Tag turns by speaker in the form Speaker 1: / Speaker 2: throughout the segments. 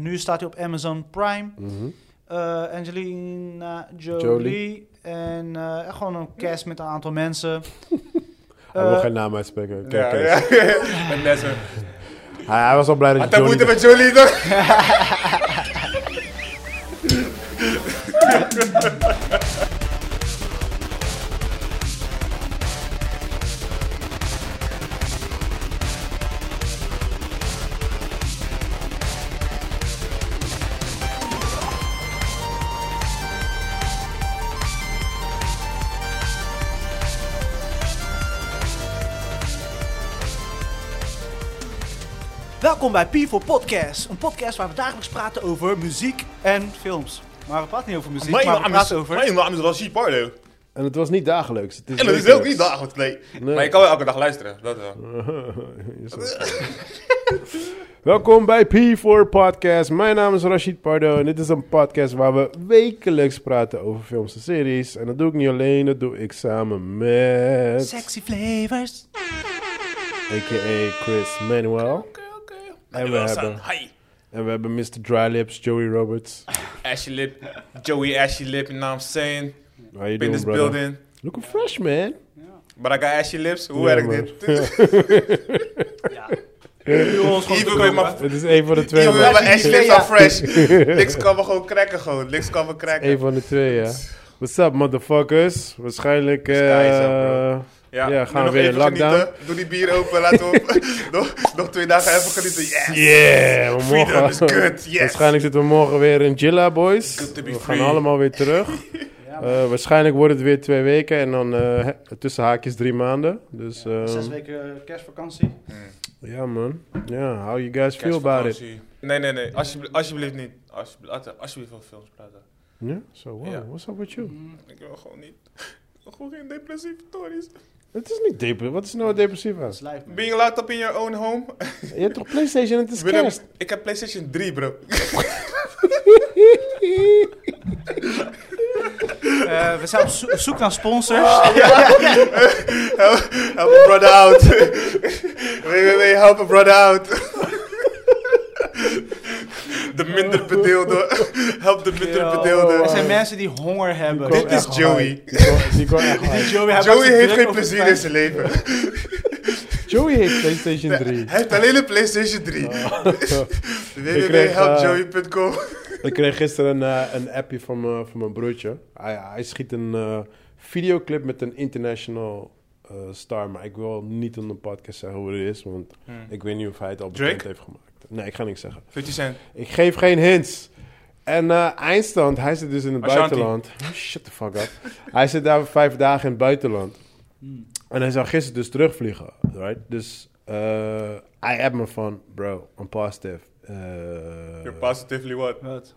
Speaker 1: Nu staat hij op Amazon Prime.
Speaker 2: Mhm.
Speaker 1: Eh, Angelina Jolie.
Speaker 2: Jolie.
Speaker 1: En eh, gewoon een cast met een aantal mensen.
Speaker 2: Hij
Speaker 1: Eh,
Speaker 2: wil geen naam uitspreken. Kijk,
Speaker 3: ja,
Speaker 2: kijk.
Speaker 3: ja. En net zo.
Speaker 2: Hij, hij was al blij dat
Speaker 3: Had
Speaker 2: je
Speaker 3: dat
Speaker 2: Johnny...
Speaker 3: moeten met jullie toch?
Speaker 1: Welkom bij P4 Podcast. Een podcast waar we dagelijks praten over muziek en films. Maar we praten niet over muziek, maar we praten over...
Speaker 3: Mijn naam is Rashid Pardo.
Speaker 2: En het was niet dagelijks. Het is
Speaker 3: En dat is
Speaker 2: wekelijks.
Speaker 3: ook niet dagelijks, nee.
Speaker 2: Nee.
Speaker 3: Maar je kan wel elke dag luisteren, dat wel.
Speaker 2: Is dat- Welkom bij P4 Podcast. Mijn naam is Rashid Pardo en dit is een podcast waar we wekelijks praten over films en series. En dat doe ik niet alleen, dat doe ik samen met...
Speaker 1: Sexy flavors.
Speaker 2: A.k.a. Chris Manuel. En we, hebben,
Speaker 3: Hi.
Speaker 2: en we hebben Mr. Dry Lips, Joey Roberts.
Speaker 3: Ashley Lip. Joey Ashley Lip, you know what I'm saying?
Speaker 2: How you
Speaker 3: In
Speaker 2: doing,
Speaker 3: this
Speaker 2: brother?
Speaker 3: building.
Speaker 2: Looking fresh, man.
Speaker 3: But I got Ashley Lips. Hoe
Speaker 2: Ja,
Speaker 3: werkt
Speaker 2: man.
Speaker 3: dit?
Speaker 1: Ja. Nu ons gewoon te
Speaker 3: Even bij
Speaker 1: koop,
Speaker 3: mijn-
Speaker 1: hè?
Speaker 2: Het is één van de twee.
Speaker 3: Yo,
Speaker 2: man.
Speaker 3: maar Ashley Lips
Speaker 1: Ja.
Speaker 3: are fresh. Liks kan me gewoon cracken, gewoon. Liks kan me
Speaker 2: Eén
Speaker 3: cracken.
Speaker 2: van de twee, ja. What's up, motherfuckers? Waarschijnlijk... eh,
Speaker 3: Sky is up, bro.
Speaker 2: ja, gaan
Speaker 3: doe nog
Speaker 2: we weer
Speaker 3: even
Speaker 2: lockdown?
Speaker 3: genieten. Doe die bier open, laten we op. nog, nog twee dagen even genieten. Yes!
Speaker 2: Yeah, we
Speaker 3: Freedom
Speaker 2: morgen.
Speaker 3: is good, yes.
Speaker 2: Waarschijnlijk zitten we morgen weer in Jilla, boys.
Speaker 3: Good to be
Speaker 2: we
Speaker 3: free.
Speaker 2: gaan allemaal weer terug. Eh, waarschijnlijk wordt het weer twee weken en dan eh, he- tussen haakjes drie maanden. Dus eh,
Speaker 1: Zes weken kerstvakantie.
Speaker 2: ja, man. Ja, how you guys feel about it?
Speaker 3: Kerstvakantie. Nee, nee, nee. Alsjeblieft, alsjeblieft niet. Alsjeblieft, laten we alsjeblieft over films praten.
Speaker 2: Ja? So, wow,
Speaker 3: Ja.
Speaker 2: what's up with you?
Speaker 3: Ik wil gewoon niet. Ik wil gewoon geen depressieve stories.
Speaker 2: Het is niet depressief. Wat is nou wat depressief aan?
Speaker 1: Dat is lijf, man.
Speaker 3: Being locked up in your own home.
Speaker 2: Je hebt toch PlayStation en het is
Speaker 3: Ik ben een-
Speaker 2: kerst?
Speaker 3: ik heb PlayStation 3, bro.
Speaker 1: Eh, we zijn op zo- op zoek naar
Speaker 3: Oh,
Speaker 1: sponsors.
Speaker 3: Help, help a brother out. wait, wait, wait, help a brother out. de minder bedeelde. help de minder bedeelde.
Speaker 1: Er zijn mensen die honger hebben.
Speaker 3: Dit is
Speaker 2: Echt
Speaker 3: Joey.
Speaker 2: hard. Die kwam- die kwam echt hard.
Speaker 1: Die Joey, hij maakt
Speaker 3: Joey
Speaker 1: zich
Speaker 3: heeft
Speaker 1: druk
Speaker 3: geen
Speaker 1: over het
Speaker 3: plezier in
Speaker 1: feit-
Speaker 3: zijn leven.
Speaker 2: Joey heeft PlayStation Ah. 3.
Speaker 3: Hij heeft alleen een PlayStation 3.
Speaker 2: kreeg, eh,
Speaker 3: www.helpjoey.com
Speaker 2: Ik kreeg gisteren een, eh, een appje van, mijn- van mijn broertje. Hij, hij schiet een eh, videoclip met een international eh, star. Maar ik wil niet op de podcast zeggen hoe het is. Want ik weet niet of hij het al bekend
Speaker 3: Drake?
Speaker 2: heeft gemaakt. Nee, ik ga niks zeggen.
Speaker 3: 50 cent.
Speaker 2: Ik geef geen hints. En eh, eindstand, hij zit dus in het
Speaker 3: Ashanti.
Speaker 2: buitenland. Shut the fuck up. hij zit daar vijf dagen in het buitenland.
Speaker 3: Hmm.
Speaker 2: En hij zou gisteren dus terugvliegen. Right? Dus eh, hij appt me van... Bro, I'm positive. Eh,
Speaker 3: You're positively what?
Speaker 1: Wat?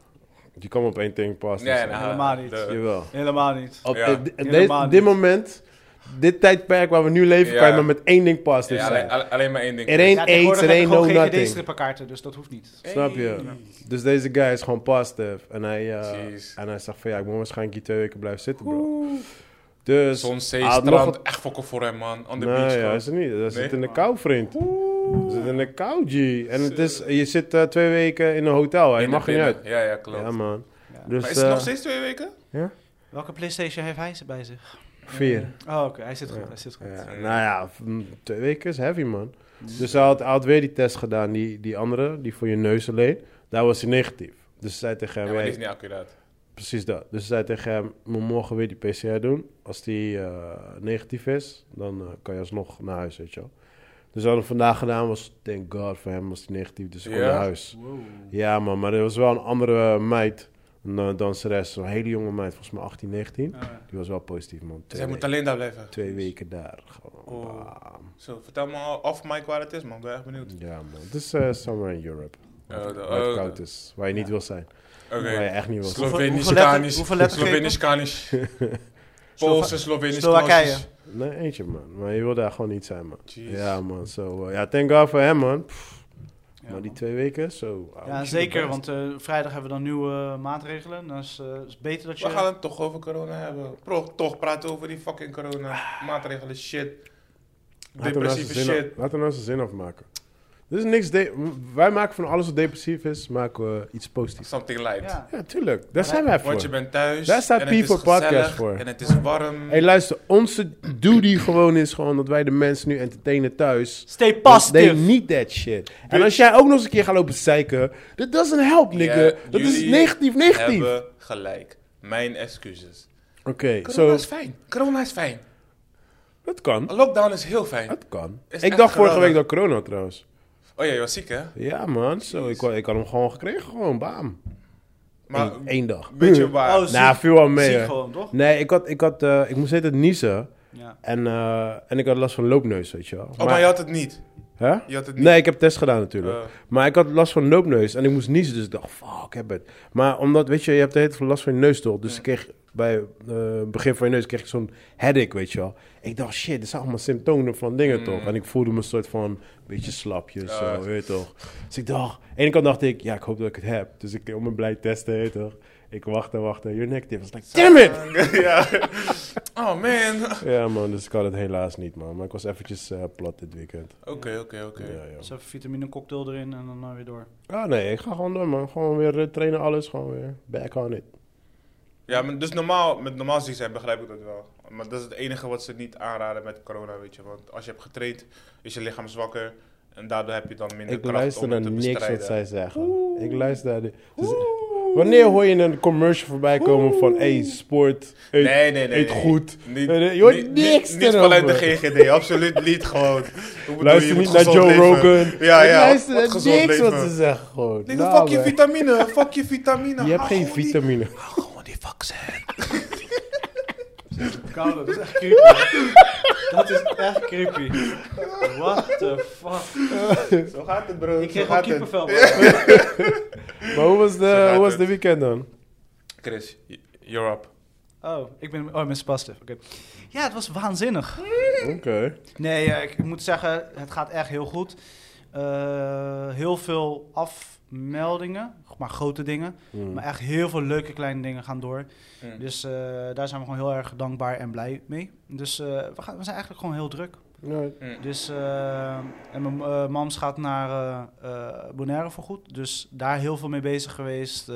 Speaker 2: je kan op één ding positive zijn.
Speaker 1: helemaal niet.
Speaker 3: eh, de-
Speaker 2: Jawel.
Speaker 1: Helemaal niet.
Speaker 2: Op
Speaker 3: Ja.
Speaker 2: eh, d- en
Speaker 1: Helemaal
Speaker 2: deze-
Speaker 1: niet.
Speaker 2: dit moment, dit tijdperk waar we nu leven,
Speaker 3: Ja.
Speaker 2: kan je maar met één ding positief
Speaker 3: Ja, alleen,
Speaker 2: zijn.
Speaker 3: alle- alleen maar één ding.
Speaker 2: Er één
Speaker 1: Ja,
Speaker 2: aids,
Speaker 1: tegenwoordig
Speaker 2: er
Speaker 1: heb je
Speaker 2: één no
Speaker 1: gewoon geen
Speaker 2: nothing.
Speaker 1: GD-strippenkaarten, dus dat hoeft niet.
Speaker 2: Snap je? Dus deze guy is gewoon positief. En hij, eh,
Speaker 3: Jeez.
Speaker 2: en hij zegt van ja, ik moet waarschijnlijk hier twee weken blijven zitten, bro. Dus.
Speaker 3: Zon, zee,
Speaker 2: hij had nog
Speaker 3: strand,
Speaker 2: wat-
Speaker 3: echt fokken voor hem, man. On the beach,
Speaker 2: Nee, ja,
Speaker 3: gewoon.
Speaker 2: is oh, het niet. Dat zit
Speaker 3: Nee?
Speaker 2: in de kou, vriend. Dat zit in de kou, G. En het is, je zit eh, twee weken in een hotel. Hij
Speaker 3: In de
Speaker 2: mag er niet
Speaker 3: binnen.
Speaker 2: uit.
Speaker 3: Ja, ja, klopt.
Speaker 2: Ja, man.
Speaker 1: Ja.
Speaker 2: Dus
Speaker 3: maar is het nog
Speaker 2: eh,
Speaker 3: steeds twee weken?
Speaker 1: Welke PlayStation heeft hij bij zich?
Speaker 2: vier.
Speaker 1: Oh, oké, hij zit goed. Hij zit goed.
Speaker 2: Ja, nou ja, mm, twee weken is heavy, man. Dus hij had, hij had weer die test gedaan, die, die andere, die voor je neus alleen. Daar was hij negatief. Dus ze zei tegen hem,
Speaker 3: Ja, maar die
Speaker 2: hey,
Speaker 3: is niet accuraat.
Speaker 2: precies dat. Dus ze zei tegen hem, moet morgen weer die PCR doen. Als die eh, negatief is, dan eh, kan je alsnog naar huis, weet je wel. Dus wat hij vandaag gedaan was, thank god voor hem, was hij negatief. Dus hij kon
Speaker 3: Ja?
Speaker 2: naar huis. Ja man, maar er was wel een andere meid, een eh, danseres, een hele jonge meid, volgens mij 18, 19.
Speaker 1: Oh,
Speaker 2: Die was wel positief, man.
Speaker 3: Zij
Speaker 2: Twee,
Speaker 3: Dus moet
Speaker 2: weken,
Speaker 3: alleen daar blijven.
Speaker 2: twee weken daar, gewoon.
Speaker 3: Oh.
Speaker 2: Bam.
Speaker 3: Zo, vertel me al off mic waar het is, man. Ik ben echt benieuwd.
Speaker 2: Ja, man. Het is eh, somewhere in Europe.
Speaker 3: Oh, de-
Speaker 2: waar het
Speaker 3: oh,
Speaker 2: koud
Speaker 3: de-
Speaker 2: is. Waar je niet wil zijn.
Speaker 3: Oké.
Speaker 2: Waar je echt niet wil zijn.
Speaker 1: Hoeveel-
Speaker 3: Slovenisch,
Speaker 1: hoeveel letter-
Speaker 3: Kanisch.
Speaker 1: hoeveel lettergrepen?
Speaker 3: Slovenisch, Kanisch. Poolse, Slovenisch,
Speaker 1: Slowakije.
Speaker 3: Kanisch.
Speaker 2: Nee, eentje, man. Maar je wil daar gewoon niet zijn, man.
Speaker 3: Jeez.
Speaker 2: Ja, man. So, eh, ja, thank God voor hem, man. Pff,
Speaker 1: Ja,
Speaker 2: maar die
Speaker 1: man.
Speaker 2: twee weken, zo. ah, I
Speaker 1: Ja,
Speaker 2: wish
Speaker 1: zeker,
Speaker 2: you the
Speaker 1: want eh, vrijdag hebben we dan nieuwe eh, maatregelen. Dan is eh, is beter dat je...
Speaker 3: Dus We gaan het toch over corona hebben. Pro, toch praten over die fucking corona. Maatregelen, shit.
Speaker 2: best. Laat hem nou zijn
Speaker 3: Depressieve
Speaker 2: zin af-
Speaker 3: shit.
Speaker 2: Laat hem nou zijn zin afmaken. Er is niks... de- wij maken van alles wat depressief is, maken we iets positiefs.
Speaker 3: Something light.
Speaker 1: Ja.
Speaker 2: Ja, tuurlijk. Daar zijn wij
Speaker 3: Want je
Speaker 2: voor.
Speaker 3: bent thuis.
Speaker 2: Daar staat
Speaker 3: en het is
Speaker 2: People Podcast
Speaker 3: gezellig
Speaker 2: voor.
Speaker 3: En het is warm.
Speaker 2: hey, luister. Onze duty gewoon is gewoon dat wij de mensen nu entertainen thuis.
Speaker 1: Stay
Speaker 2: They
Speaker 1: positive.
Speaker 2: need that shit. En als jij ook nog eens een keer gaat lopen zeiken, that doesn't help, nigga.
Speaker 3: Ja,
Speaker 2: dat is
Speaker 3: jullie
Speaker 2: negatief, negatief. Oké,
Speaker 3: hebben gelijk. Mijn excuses. Corona
Speaker 2: zo,
Speaker 3: is fijn. Corona is fijn.
Speaker 2: dat kan.
Speaker 3: Lockdown is heel fijn.
Speaker 2: Dat kan.
Speaker 3: Is
Speaker 2: ik
Speaker 3: echt
Speaker 2: dacht vorige
Speaker 3: geweldig.
Speaker 2: week dat corona trouwens.
Speaker 3: Oh ja, je was ziek hè?
Speaker 2: Ja, man. Zo, ik, ik had hem gewoon gekregen, gewoon, bam.
Speaker 3: Maar
Speaker 2: Eén één dag.
Speaker 3: weet je waar?
Speaker 2: Nou, viel wel mee.
Speaker 1: Ziek
Speaker 2: hè.
Speaker 1: gewoon, toch?
Speaker 2: Nee, ik, had, ik, had, eh, ik moest steeds niezen.
Speaker 1: Ja.
Speaker 2: En, eh, en ik had last van loopneus, weet je wel.
Speaker 3: Oh, maar je had het niet.
Speaker 2: Hè?
Speaker 3: Je had het niet.
Speaker 2: Nee, ik heb test gedaan natuurlijk.
Speaker 3: Eh.
Speaker 2: Maar ik had last van loopneus en ik moest niezen. Dus ik dacht, fuck, ik heb het. Maar omdat, weet je, je hebt de hele tijd last van je neus toch. Dus ik kreeg bij eh, het begin van je neus kreeg ik zo'n headache, weet je wel. Ik dacht, shit, dit zijn allemaal symptomen van
Speaker 3: Mm.
Speaker 2: dingen toch. En ik voelde me een soort van een beetje slapje, zo, weet je toch. Dus ik dacht, aan de ene kant dacht ik, ja, ik hoop dat ik het heb. Dus ik om me blij testen, weet je toch. Ik wacht en wacht en you're negative. Ik was like, damn it!
Speaker 3: ja. Oh man. Oké,
Speaker 2: Ja man, dus ik had het helaas niet man. Maar ik was eventjes eh, plat dit weekend.
Speaker 3: oké, oké.
Speaker 2: Ja, ja.
Speaker 1: Dus even vitamine cocktail erin en dan eh, weer door.
Speaker 2: Ah nee, ik ga gewoon door man. Gewoon weer eh, trainen, alles. Gewoon weer back on it.
Speaker 3: Ja, maar dus normaal, met normaal ziek zijn begrijp ik dat wel. Maar dat is het enige wat ze niet aanraden met corona, weet je. Want als je hebt getraind, is je lichaam zwakker. En daardoor heb je dan minder
Speaker 2: ik
Speaker 3: kracht
Speaker 2: luister
Speaker 3: om het
Speaker 2: naar
Speaker 3: te
Speaker 2: niks
Speaker 3: bestrijden.
Speaker 2: wat zij zeggen. Ik luister naar... de- dus- wanneer hoor je een commercial voorbij komen van... Hey, sport. Eet,
Speaker 3: Nee, nee, nee.
Speaker 2: eet
Speaker 3: nee.
Speaker 2: goed.
Speaker 3: Niet,
Speaker 2: Eh, je hoort
Speaker 3: niet-
Speaker 2: niks
Speaker 3: Niet, niet
Speaker 2: erover.
Speaker 3: vanuit de GGD, absoluut niet gewoon. Ik bedoel, je
Speaker 2: Luister
Speaker 3: moet
Speaker 2: niet naar
Speaker 3: gezond
Speaker 2: Joe
Speaker 3: leven.
Speaker 2: Rogan.
Speaker 3: Ja,
Speaker 2: ik
Speaker 3: ja.
Speaker 2: luister
Speaker 3: wat
Speaker 2: naar niks
Speaker 3: gezond leven.
Speaker 2: wat ze zeggen gewoon.
Speaker 3: Nigga,
Speaker 2: Nou,
Speaker 3: fuck je
Speaker 2: man.
Speaker 3: vitamine, fuck je vitamine.
Speaker 2: Je hebt
Speaker 3: Hou
Speaker 2: geen
Speaker 3: gewoon die-
Speaker 2: vitamine.
Speaker 3: hou Gewoon die vaccin.
Speaker 1: Koude, dat is echt creepy. dat is echt creepy. What the fuck.
Speaker 3: Zo gaat het, bro.
Speaker 1: Ik
Speaker 3: Zo
Speaker 1: kreeg al
Speaker 3: gaat het.
Speaker 1: kippenvel.
Speaker 2: Maar hoe was de,
Speaker 3: gaat
Speaker 2: hoe was
Speaker 3: het.
Speaker 2: de weekend dan?
Speaker 3: Chris, y- you're up.
Speaker 1: Oh, ik ben, oh, ik ben spastic. Oké. Ja, het was waanzinnig.
Speaker 2: Oké.
Speaker 1: Nee, eh, ik moet zeggen, het gaat echt heel goed. Eh, heel veel afmeldingen, maar grote dingen.
Speaker 2: Hmm.
Speaker 1: Maar echt heel veel leuke kleine dingen gaan door.
Speaker 3: Mm.
Speaker 1: Dus eh, daar zijn we gewoon heel erg dankbaar en blij mee. Dus eh, we, gaan, we zijn eigenlijk gewoon heel druk.
Speaker 2: Ja,
Speaker 3: Mm.
Speaker 1: Dus, eh, en mijn eh, mams gaat naar eh eh Bonaire voorgoed. Dus daar heel veel mee bezig geweest. eh,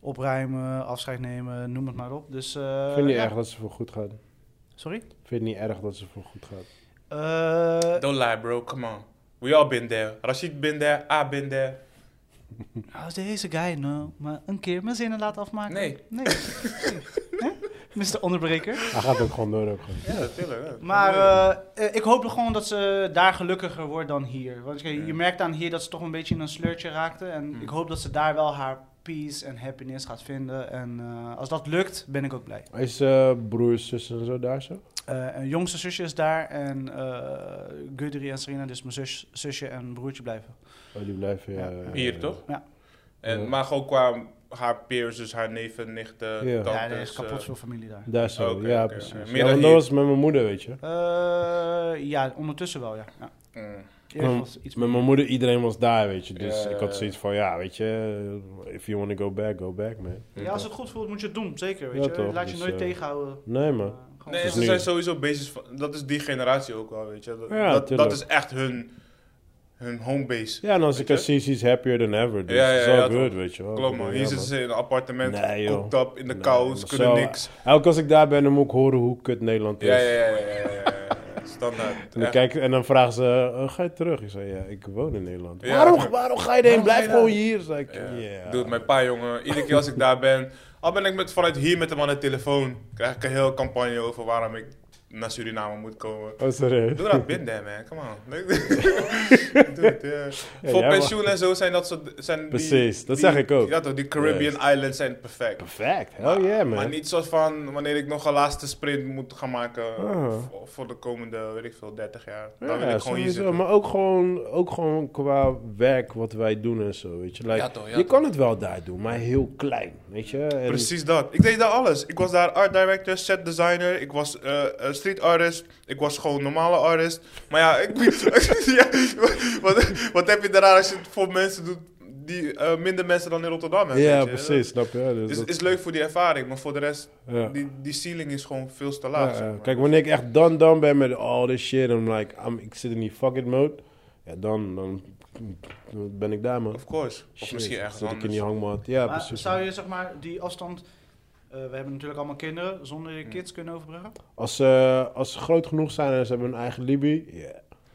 Speaker 1: opruimen, afscheid nemen, noem het maar op. Dus, eh,
Speaker 2: Vind je niet
Speaker 1: ja.
Speaker 2: erg dat ze voor goed gaat?
Speaker 1: Sorry?
Speaker 2: Vind je niet erg dat ze voor goed gaat?
Speaker 1: Eh,
Speaker 3: Don't lie, bro. Come on. We all been there. Rashid been there. I been there.
Speaker 1: Als deze guy nou maar een keer mijn zinnen laat afmaken?
Speaker 3: Nee.
Speaker 1: Nee. Hè? Mr. Onderbreker.
Speaker 2: Hij gaat ook gewoon door ook gewoon.
Speaker 3: Ja, natuurlijk. ja.
Speaker 1: Maar
Speaker 3: Ja.
Speaker 1: eh, eh, ik hoop gewoon dat ze daar gelukkiger wordt dan hier. Want je, je merkt aan hier dat ze toch een beetje in een sleurtje raakte. En
Speaker 3: Hmm.
Speaker 1: ik hoop dat ze daar wel haar peace en happiness gaat vinden. En eh, als dat lukt, ben ik ook blij.
Speaker 2: Is eh broers, zussen en zo daar zo?
Speaker 1: Eh een jongste zusje is daar. En eh Gudri en Serena, dus mijn zus, zusje en broertje blijven.
Speaker 2: Oh, die blijven
Speaker 1: Ja.
Speaker 2: eh,
Speaker 3: Hier, toch?
Speaker 1: Ja.
Speaker 3: En,
Speaker 2: Ja.
Speaker 3: Maar gewoon qua haar peers, dus haar neven, nichten,
Speaker 2: Ja.
Speaker 1: ja, er
Speaker 3: tantes.
Speaker 1: is kapot
Speaker 3: eh,
Speaker 1: veel familie daar.
Speaker 2: Daar zo,
Speaker 3: Oké,
Speaker 2: ja,
Speaker 3: oké,
Speaker 2: precies.
Speaker 3: oké. Meer
Speaker 2: Ja,
Speaker 3: dan
Speaker 2: want dat
Speaker 3: hier.
Speaker 2: was met mijn moeder, weet je.
Speaker 1: Eh, ja, ondertussen wel, ja. ja.
Speaker 3: mm.
Speaker 1: Eerst
Speaker 2: Mm.
Speaker 1: was het iets
Speaker 2: Met mijn moeder, iedereen was daar, weet je. Dus
Speaker 3: Ja,
Speaker 2: ik
Speaker 3: ja,
Speaker 2: had
Speaker 3: ja.
Speaker 2: zoiets van, ja, weet je, eh, if you want to go back, go back, man.
Speaker 1: Ja, als het goed voelt moet je het doen, zeker. Weet je?
Speaker 2: Ja, toch,
Speaker 1: Laat je
Speaker 2: dus,
Speaker 1: nooit
Speaker 2: eh,
Speaker 1: tegenhouden.
Speaker 2: Nee,
Speaker 1: Eh,
Speaker 2: man.
Speaker 1: gewoon
Speaker 3: Nee,
Speaker 2: Dus
Speaker 3: en
Speaker 1: doen.
Speaker 3: ze
Speaker 2: nu-
Speaker 3: zijn sowieso basis van... Dat is die generatie ook wel, weet je. Dat,
Speaker 2: Ja,
Speaker 3: dat,
Speaker 2: tuurlijk.
Speaker 3: dat is echt hun, hun homebase.
Speaker 2: Ja, en als
Speaker 3: Weet
Speaker 2: ik
Speaker 3: je?
Speaker 2: haar zie, she's happier than ever. Dus
Speaker 3: Ja, ja,
Speaker 2: it's
Speaker 3: ja,
Speaker 2: all
Speaker 3: toch.
Speaker 2: good, weet je wel.
Speaker 3: Klopt, man.
Speaker 2: Ja,
Speaker 3: Hier zitten ze in een appartement,
Speaker 2: Nee, joh.
Speaker 3: kokt op, in de
Speaker 2: Nee,
Speaker 3: kou, ze
Speaker 2: maar
Speaker 3: kunnen
Speaker 2: zo-
Speaker 3: niks.
Speaker 2: Elke keer als ik daar ben, dan moet ik horen hoe kut Nederland is.
Speaker 3: Ja, ja, ja, ja, ja, ja, ja, ja. Standaard.
Speaker 2: En dan,
Speaker 3: Echt.
Speaker 2: kijk, en dan vragen ze, eh, ga je terug? Ik zei, ja, ik woon in Nederland.
Speaker 3: Ja.
Speaker 2: Waarom, waarom ga je heen?
Speaker 3: Waarom ga
Speaker 2: Blijf
Speaker 3: je
Speaker 2: gewoon
Speaker 3: daar?
Speaker 2: hier. Zei ik,
Speaker 3: Ja.
Speaker 2: ja.
Speaker 3: Doet mijn pa, jongen. Iedere keer als ik daar ben, al ben ik met, vanuit hier met hem aan de telefoon, krijg ik een hele campagne over waarom ik naar Suriname moet komen.
Speaker 2: Oh, serieus?
Speaker 3: Doe dat binnen, man. Come on. Doe het, ja. Voor
Speaker 2: jij
Speaker 3: pensioen en zo zijn dat soort... Zijn die-
Speaker 2: Precies, dat
Speaker 3: die-
Speaker 2: zeg ik ook.
Speaker 3: Ja, toch, die Caribbean Islands zijn perfect.
Speaker 2: Perfect. Hell yeah,
Speaker 3: Maar
Speaker 2: man.
Speaker 3: niet zo van wanneer ik nog een laatste sprint moet gaan maken
Speaker 2: Ah.
Speaker 3: voor, voor de komende, weet ik veel, 30 jaar. Dan
Speaker 2: Ja,
Speaker 3: wil ik gewoon hier
Speaker 2: sowieso.
Speaker 3: zitten.
Speaker 2: Maar ook gewoon, ook gewoon qua werk wat wij doen en zo, weet je. Like,
Speaker 3: Ja, toch, ja,
Speaker 2: je
Speaker 3: toch.
Speaker 2: kan het wel daar doen, maar heel klein, weet je. En-
Speaker 3: Precies dat. Ik deed daar alles. Ik was daar art director, set designer, ik was eh, eh, street artist, ik was gewoon normale artist. Maar ja, ik, ja, wat, wat heb je daaraan als je het voor mensen doet die eh, minder mensen dan in Rotterdam hebben? weet
Speaker 2: Ja,
Speaker 3: je?
Speaker 2: precies, snap je. Dus
Speaker 3: Het
Speaker 2: dat-
Speaker 3: is, is leuk voor die ervaring, maar voor de rest,
Speaker 2: ja.
Speaker 3: die, die ceiling is gewoon veel te
Speaker 2: Ja,
Speaker 3: laag.
Speaker 2: ja.
Speaker 3: zeg maar.
Speaker 2: Kijk, wanneer ik echt done, done ben met all this shit, I'm like, I'm, ik zit in die fuck it mode. Ja, dan, dan ben ik daar, man.
Speaker 3: Of course. Of
Speaker 2: Shit,
Speaker 3: misschien ergens
Speaker 2: zit ik in
Speaker 3: anders.
Speaker 2: die hangmat. Ja,
Speaker 1: maar
Speaker 2: precies.
Speaker 1: zou je zeg maar die afstand... eh, we hebben natuurlijk allemaal kinderen zonder je kids kunnen overbruggen.
Speaker 2: Als, ze- als ze groot genoeg zijn en ze hebben hun eigen Libby, ja.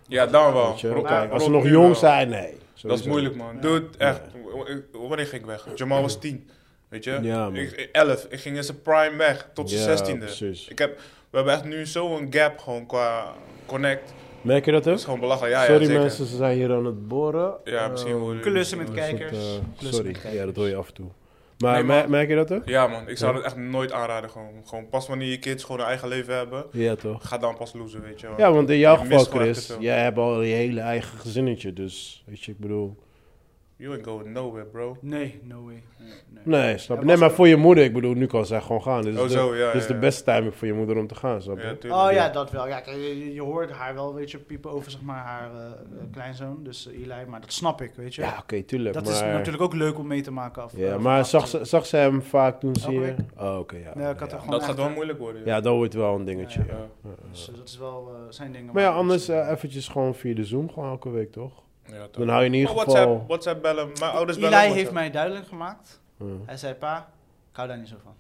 Speaker 3: Ja, dan wel.
Speaker 2: weet je.
Speaker 3: Rob-
Speaker 2: Kijk, als ze
Speaker 3: Rob
Speaker 2: nog
Speaker 3: nu
Speaker 2: jong
Speaker 3: wel.
Speaker 2: zijn, nee.
Speaker 3: Dat is
Speaker 2: Sowieso.
Speaker 3: moeilijk, man.
Speaker 1: Ja.
Speaker 3: Dude, echt. w- w- Wanneer ging ik weg? Jamal was 10. Weet je?
Speaker 2: Ja, man.
Speaker 3: ik, ik- 11. Ik ging in zijn prime weg. Tot zijn
Speaker 2: Ja,
Speaker 3: 16e.
Speaker 2: precies.
Speaker 3: Ik heb, we hebben echt nu zo'n gap gewoon qua connect.
Speaker 2: Merk je dat
Speaker 3: Dat
Speaker 2: ook?
Speaker 3: is gewoon belachelijk. Ja, ja,
Speaker 2: sorry
Speaker 3: zeker.
Speaker 2: mensen, ze zijn hier aan het boren.
Speaker 3: Ja, misschien
Speaker 2: Eh,
Speaker 3: worden
Speaker 1: Oh. Klussen met
Speaker 2: een soort,
Speaker 1: kijkers.
Speaker 2: eh,
Speaker 1: Klussen
Speaker 2: sorry,
Speaker 1: met kijkers.
Speaker 2: ja, dat hoor je af en toe. Maar
Speaker 3: Nee,
Speaker 2: mer-
Speaker 3: man.
Speaker 2: merk je dat ook?
Speaker 3: Ja, man. Ik zou
Speaker 2: Ja.
Speaker 3: dat echt nooit aanraden. Gewoon. gewoon pas wanneer je kids gewoon een eigen leven hebben.
Speaker 2: Ja, toch?
Speaker 3: Ga dan pas lozen, weet je wel.
Speaker 2: Ja, want in jouw
Speaker 3: Je
Speaker 2: geval,
Speaker 3: mist gewoon echt
Speaker 2: Chris,
Speaker 3: het, eh,
Speaker 2: jij hebt al je hele eigen gezinnetje, dus weet je, ik bedoel.
Speaker 3: You ain't going nowhere, bro.
Speaker 1: Nee, no way. Nee.
Speaker 2: Nee, snap je?
Speaker 1: Ja,
Speaker 2: Nee,
Speaker 1: was-
Speaker 2: maar voor je moeder, ik bedoel, nu kan zij gewoon gaan. Dit is,
Speaker 3: Oh,
Speaker 2: de,
Speaker 3: zo, ja,
Speaker 2: dit is
Speaker 3: ja,
Speaker 2: de
Speaker 3: ja.
Speaker 2: beste timing voor je moeder om te gaan, snap je?
Speaker 3: Ja, tuurlijk.
Speaker 1: Oh ja, dat wel. Ja, kijk, je, je hoort haar wel, weet je, piepen over zeg maar, haar eh, eh, kleinzoon, dus eh, Eli. Maar dat snap ik, weet je.
Speaker 2: Ja, oké, tuurlijk.
Speaker 1: dat
Speaker 2: maar...
Speaker 1: is natuurlijk ook leuk om mee te maken. Af,
Speaker 2: Ja,
Speaker 1: eh,
Speaker 2: maar
Speaker 1: vanaf
Speaker 2: zag
Speaker 1: te-
Speaker 2: ze, zag ze hem vaak toen ze
Speaker 1: Elke
Speaker 2: hier...
Speaker 1: week.
Speaker 2: Oh, oké, ja.
Speaker 1: Nee, ik had
Speaker 2: ja.
Speaker 1: er gewoon
Speaker 3: Dat
Speaker 1: echt-
Speaker 3: gaat wel moeilijk worden.
Speaker 2: ja, dat wordt wel een dingetje,
Speaker 1: Ja,
Speaker 2: ja.
Speaker 3: Ja.
Speaker 1: Dus, eh, dat is wel eh, zijn dingen.
Speaker 2: Maar ja,
Speaker 1: waar-
Speaker 2: anders eh, eventjes gewoon via de Zoom, gewoon elke week, toch?
Speaker 3: Ja, toch.
Speaker 2: Dan hou je in ieder
Speaker 3: Maar
Speaker 2: geval...
Speaker 3: WhatsApp, WhatsApp bellen. Mijn ouders bellen.
Speaker 1: Eli
Speaker 3: ook
Speaker 1: heeft
Speaker 3: WhatsApp.
Speaker 1: mij duidelijk gemaakt.
Speaker 2: Ja.
Speaker 1: Hij zei, pa, ik hou daar niet zo van.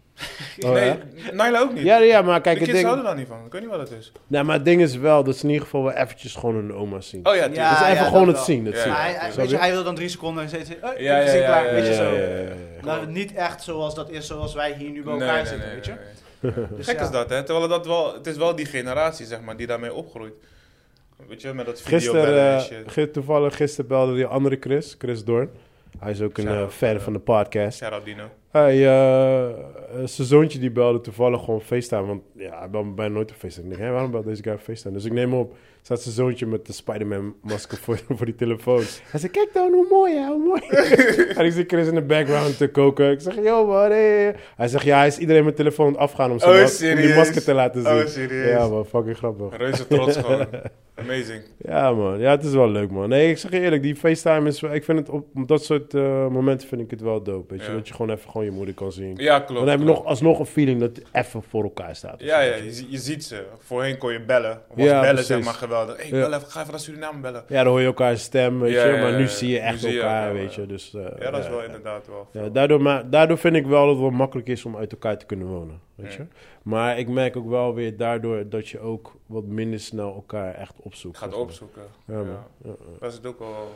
Speaker 2: Oh, ja?
Speaker 3: Nee, Naila ook niet.
Speaker 2: Ja, ja, maar
Speaker 3: de
Speaker 2: kijk, het
Speaker 3: kids
Speaker 2: ding,
Speaker 3: houden daar niet van. Ik weet niet wat het is.
Speaker 2: nou, maar het ding is wel dat ze in ieder geval wel eventjes gewoon hun oma zien.
Speaker 3: Oh ja,
Speaker 1: Ja,
Speaker 3: tuurlijk.
Speaker 2: dus even
Speaker 1: dat
Speaker 2: gewoon het
Speaker 1: wel.
Speaker 2: zien, het
Speaker 3: Ja.
Speaker 2: zien.
Speaker 1: Maar hij, hij,
Speaker 2: Snap
Speaker 1: weet je,
Speaker 2: je?
Speaker 1: hij wil dan drie seconden en steeds... Oh,
Speaker 3: Ja,
Speaker 1: ja,
Speaker 3: ja, ja,
Speaker 1: klaar,
Speaker 3: ja,
Speaker 1: weet je
Speaker 3: ja,
Speaker 1: zo.
Speaker 3: ja,
Speaker 1: Nou, niet echt zoals dat is, zoals wij hier nu bij elkaar
Speaker 3: Nee, nee,
Speaker 1: zitten,
Speaker 3: nee,
Speaker 1: weet je.
Speaker 3: nee, nee.
Speaker 1: Dus
Speaker 3: Gek
Speaker 1: ja.
Speaker 3: is dat, hè? Terwijl dat wel, het is wel die generatie, zeg maar, die daarmee opgroeit. Weet je, met dat videobellen
Speaker 2: Gisteren,
Speaker 3: en
Speaker 2: eh,
Speaker 3: shit.
Speaker 2: ge- toevallig gisteren belde die andere Chris, Chris Doorn. Hij is ook een
Speaker 3: Shout-out.
Speaker 2: eh, fan van de podcast.
Speaker 3: Shout-out Dino.
Speaker 2: Hij, eh, eh, zijn zoontje die belde toevallig gewoon FaceTime. Want ja, hij belde me bijna nooit op FaceTime. Ik denk, hé, waarom belt deze guy op FaceTime? Dus ik neem hem op. Staat zijn zoontje met de Spider-Man masker voor, voor die telefoon. Hij zei, kijk dan, hoe mooi, hè, hoe mooi. en ik zie Chris in de background te koken. Ik zeg, yo, man, hé." Hij zegt, ja, hij is iedereen mijn telefoon afgaan om, zijn
Speaker 3: Oh,
Speaker 2: mas- om die
Speaker 3: serieus?
Speaker 2: masker te laten zien.
Speaker 3: Oh, serieus?
Speaker 2: Ja, man, fucking grappig.
Speaker 3: Reuze trots gewoon. Amazing.
Speaker 2: Ja, man. Ja, het is wel leuk, man. Nee, ik zeg je eerlijk, die FaceTime is... wel- Ik vind het op, op dat soort eh, momenten vind ik het wel dope, weet je.
Speaker 3: Ja.
Speaker 2: Dat je gewoon even gewoon je moeder kan zien.
Speaker 3: Ja, klopt.
Speaker 2: Dan heb je
Speaker 3: klopt.
Speaker 2: nog, alsnog een feeling dat het even voor elkaar staat.
Speaker 3: Ja, ja je, zie- je ziet ze. Voorheen kon je bellen. Was
Speaker 2: Ja,
Speaker 3: bellen, zeg
Speaker 2: precies.
Speaker 3: maar, geweldig. Hey,
Speaker 2: Ja.
Speaker 3: bel even, ga even naar Suriname bellen.
Speaker 2: Ja, dan hoor je elkaar stem, weet
Speaker 3: Ja,
Speaker 2: je.
Speaker 3: ja,
Speaker 2: Maar
Speaker 3: ja,
Speaker 2: nu
Speaker 3: ja.
Speaker 2: zie je
Speaker 3: Nu
Speaker 2: echt
Speaker 3: zie je
Speaker 2: elkaar,
Speaker 3: elkaar,
Speaker 2: weet
Speaker 3: ja.
Speaker 2: je. Dus, eh,
Speaker 3: Ja, dat is wel
Speaker 2: ja.
Speaker 3: inderdaad wel.
Speaker 2: Ja, daardoor, ma- daardoor vind ik wel dat het wel makkelijk is om uit elkaar te kunnen wonen, weet je.
Speaker 3: Ja.
Speaker 2: Maar ik merk ook wel weer daardoor dat je ook wat minder snel elkaar echt opzoekt.
Speaker 3: Ik ga het
Speaker 2: zeg maar.
Speaker 3: opzoeken.
Speaker 2: Ja,
Speaker 3: Ja.
Speaker 2: man. Ja, ja.
Speaker 3: Dat is het ook wel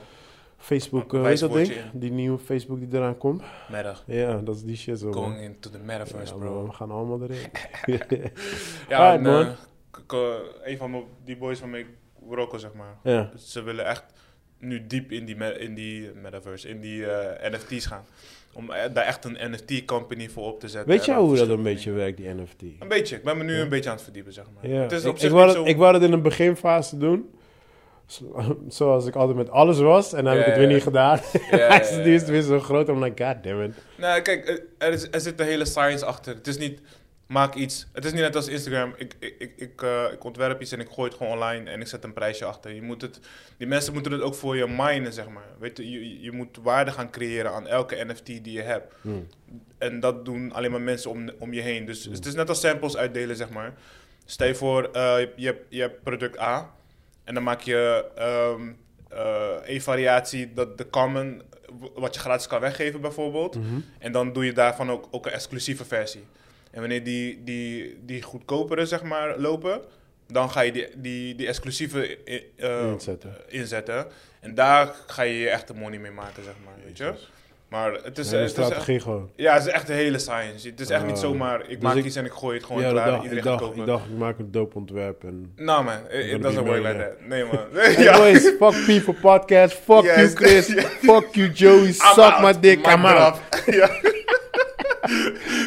Speaker 2: Facebook,
Speaker 3: Een
Speaker 2: eh, weet je dat ding?
Speaker 3: wijswoordje.
Speaker 2: Die nieuwe Facebook die eraan komt.
Speaker 3: middag.
Speaker 2: Ja, dat is die shit zo. man.
Speaker 3: Going into the metaverse,
Speaker 2: Ja,
Speaker 3: bro.
Speaker 2: man, we gaan allemaal erin.
Speaker 3: Ja,
Speaker 2: Alright,
Speaker 3: en, eh,
Speaker 2: man.
Speaker 3: k- k- een van mijn- die boys waarmee ik rocken, zeg maar.
Speaker 2: ja.
Speaker 3: Ze willen echt nu diep in die, me- in die metaverse, in die eh, NFT's gaan. Om eh, daar echt een NFT-company voor op te zetten.
Speaker 2: Weet
Speaker 3: En
Speaker 2: jij
Speaker 3: dan
Speaker 2: hoe dat een
Speaker 3: verschillende
Speaker 2: beetje werkt, die NFT?
Speaker 3: dingen. Een beetje. Ik ben me nu
Speaker 2: Ja.
Speaker 3: een beetje aan het verdiepen, zeg maar.
Speaker 2: Ja.
Speaker 3: Het is
Speaker 2: ik,
Speaker 3: op zich
Speaker 2: ik, wou
Speaker 3: niet
Speaker 2: het,
Speaker 3: zo...
Speaker 2: ik wou het in een beginfase doen. Zo- Zoals ik altijd met alles was. En dan heb
Speaker 3: Ja,
Speaker 2: ik het weer
Speaker 3: ja.
Speaker 2: niet gedaan.
Speaker 3: Ja, ja,
Speaker 2: Hij is-
Speaker 3: ja,
Speaker 2: die is
Speaker 3: ja.
Speaker 2: weer zo groot. I'm like, god damn it.
Speaker 3: Nou, kijk, er- er, is, er zit de hele science achter. Het is niet, maak iets. Het is niet net als Instagram. Ik, ik, ik, ik, eh, ik ontwerp iets en ik gooi het gewoon online en ik zet een prijsje achter. Je moet het, die mensen moeten het ook voor je minen, zeg maar. Weet je, je, je moet waarde gaan creëren aan elke NFT die je hebt.
Speaker 2: Hmm.
Speaker 3: En dat doen alleen maar mensen om, om je heen. Dus
Speaker 2: Mm.
Speaker 3: het is net als samples uitdelen, zeg maar. Stel je voor, eh, je, hebt, je hebt product A. En dan maak je ehm eh, een variatie dat de common, w- wat je gratis kan weggeven bijvoorbeeld.
Speaker 2: Mm-hmm.
Speaker 3: En dan doe je daarvan ook, ook een exclusieve versie. En wanneer die, die, die goedkopere, zeg maar, lopen, dan ga je die, die, die exclusieve i- eh,
Speaker 2: Inzetten.
Speaker 3: inzetten. En daar ga je je echte money mee maken, zeg maar, weet je. Maar het is,
Speaker 2: Een hele
Speaker 3: het is echt,
Speaker 2: strategie gewoon.
Speaker 3: ja, het is echt de hele science. Het is echt niet
Speaker 2: Ah.
Speaker 3: zomaar, ik
Speaker 2: Dus
Speaker 3: maak
Speaker 2: ik-
Speaker 3: iets en ik gooi het gewoon
Speaker 2: Ja, dat
Speaker 3: klaar en
Speaker 2: dacht, ik,
Speaker 3: iedereen gaat
Speaker 2: dacht, ik
Speaker 3: kopen.
Speaker 2: dacht, ik maak een dope ontwerp. En...
Speaker 3: Nou man, it,
Speaker 2: gonna
Speaker 3: it doesn't
Speaker 2: be
Speaker 3: work like
Speaker 2: millionaire.
Speaker 3: that. Nee man.
Speaker 2: Hey,
Speaker 3: Ja.
Speaker 2: boys, fuck people podcast. Fuck
Speaker 3: Yes.
Speaker 2: you Chris. fuck you Joey.
Speaker 3: I'm
Speaker 2: Suck
Speaker 3: out.
Speaker 2: my dick.
Speaker 3: Maak
Speaker 2: I'm
Speaker 3: eraf.
Speaker 2: out.
Speaker 3: Ja.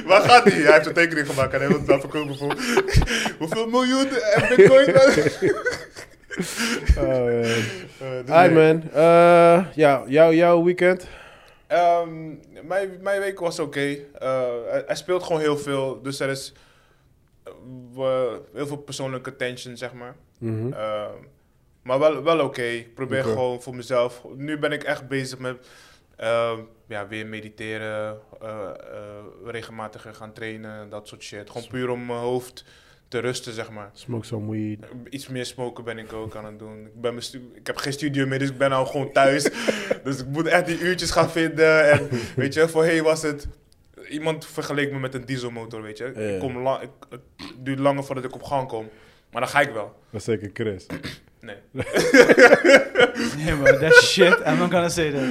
Speaker 3: Waar gaat die? Hij heeft een tekening gemaakt en hij wil het daar verkopen voor. Hoeveel miljoen en bitcoin?
Speaker 2: Oh, man.
Speaker 3: Eh, dus
Speaker 2: Alright,
Speaker 3: nee.
Speaker 2: man. Eh, ja, jouw jouw weekend?
Speaker 3: Ehm, mijn, mijn week was oké. Eh, hij, hij speelt gewoon heel veel. Dus er is eh, we- heel veel persoonlijke tension, zeg maar.
Speaker 2: Mhm.
Speaker 3: Ehm, maar wel, wel oké. Ik probeer
Speaker 2: Oké.
Speaker 3: gewoon voor mezelf. Nu ben ik echt bezig met ehm, ja, weer mediteren, eh, eh, regelmatiger gaan trainen, dat soort shit. Gewoon puur om mijn hoofd te rusten, zeg maar.
Speaker 2: Smoke some weed.
Speaker 3: Iets meer smoken ben ik ook aan het doen. Ik, ben mijn stu- ik heb geen studio meer, dus ik ben nou gewoon thuis. dus ik moet echt die uurtjes gaan vinden. En weet je, voorheen was het... Iemand vergeleek me met een dieselmotor, weet je.
Speaker 2: Ja.
Speaker 3: Ik kom lang, ik, het duurt langer voordat ik op gang kom. Maar dan ga ik wel.
Speaker 2: Dat is zeker Chris.
Speaker 3: Nee.
Speaker 1: Nee, bro, that shit. I'm not gonna say that.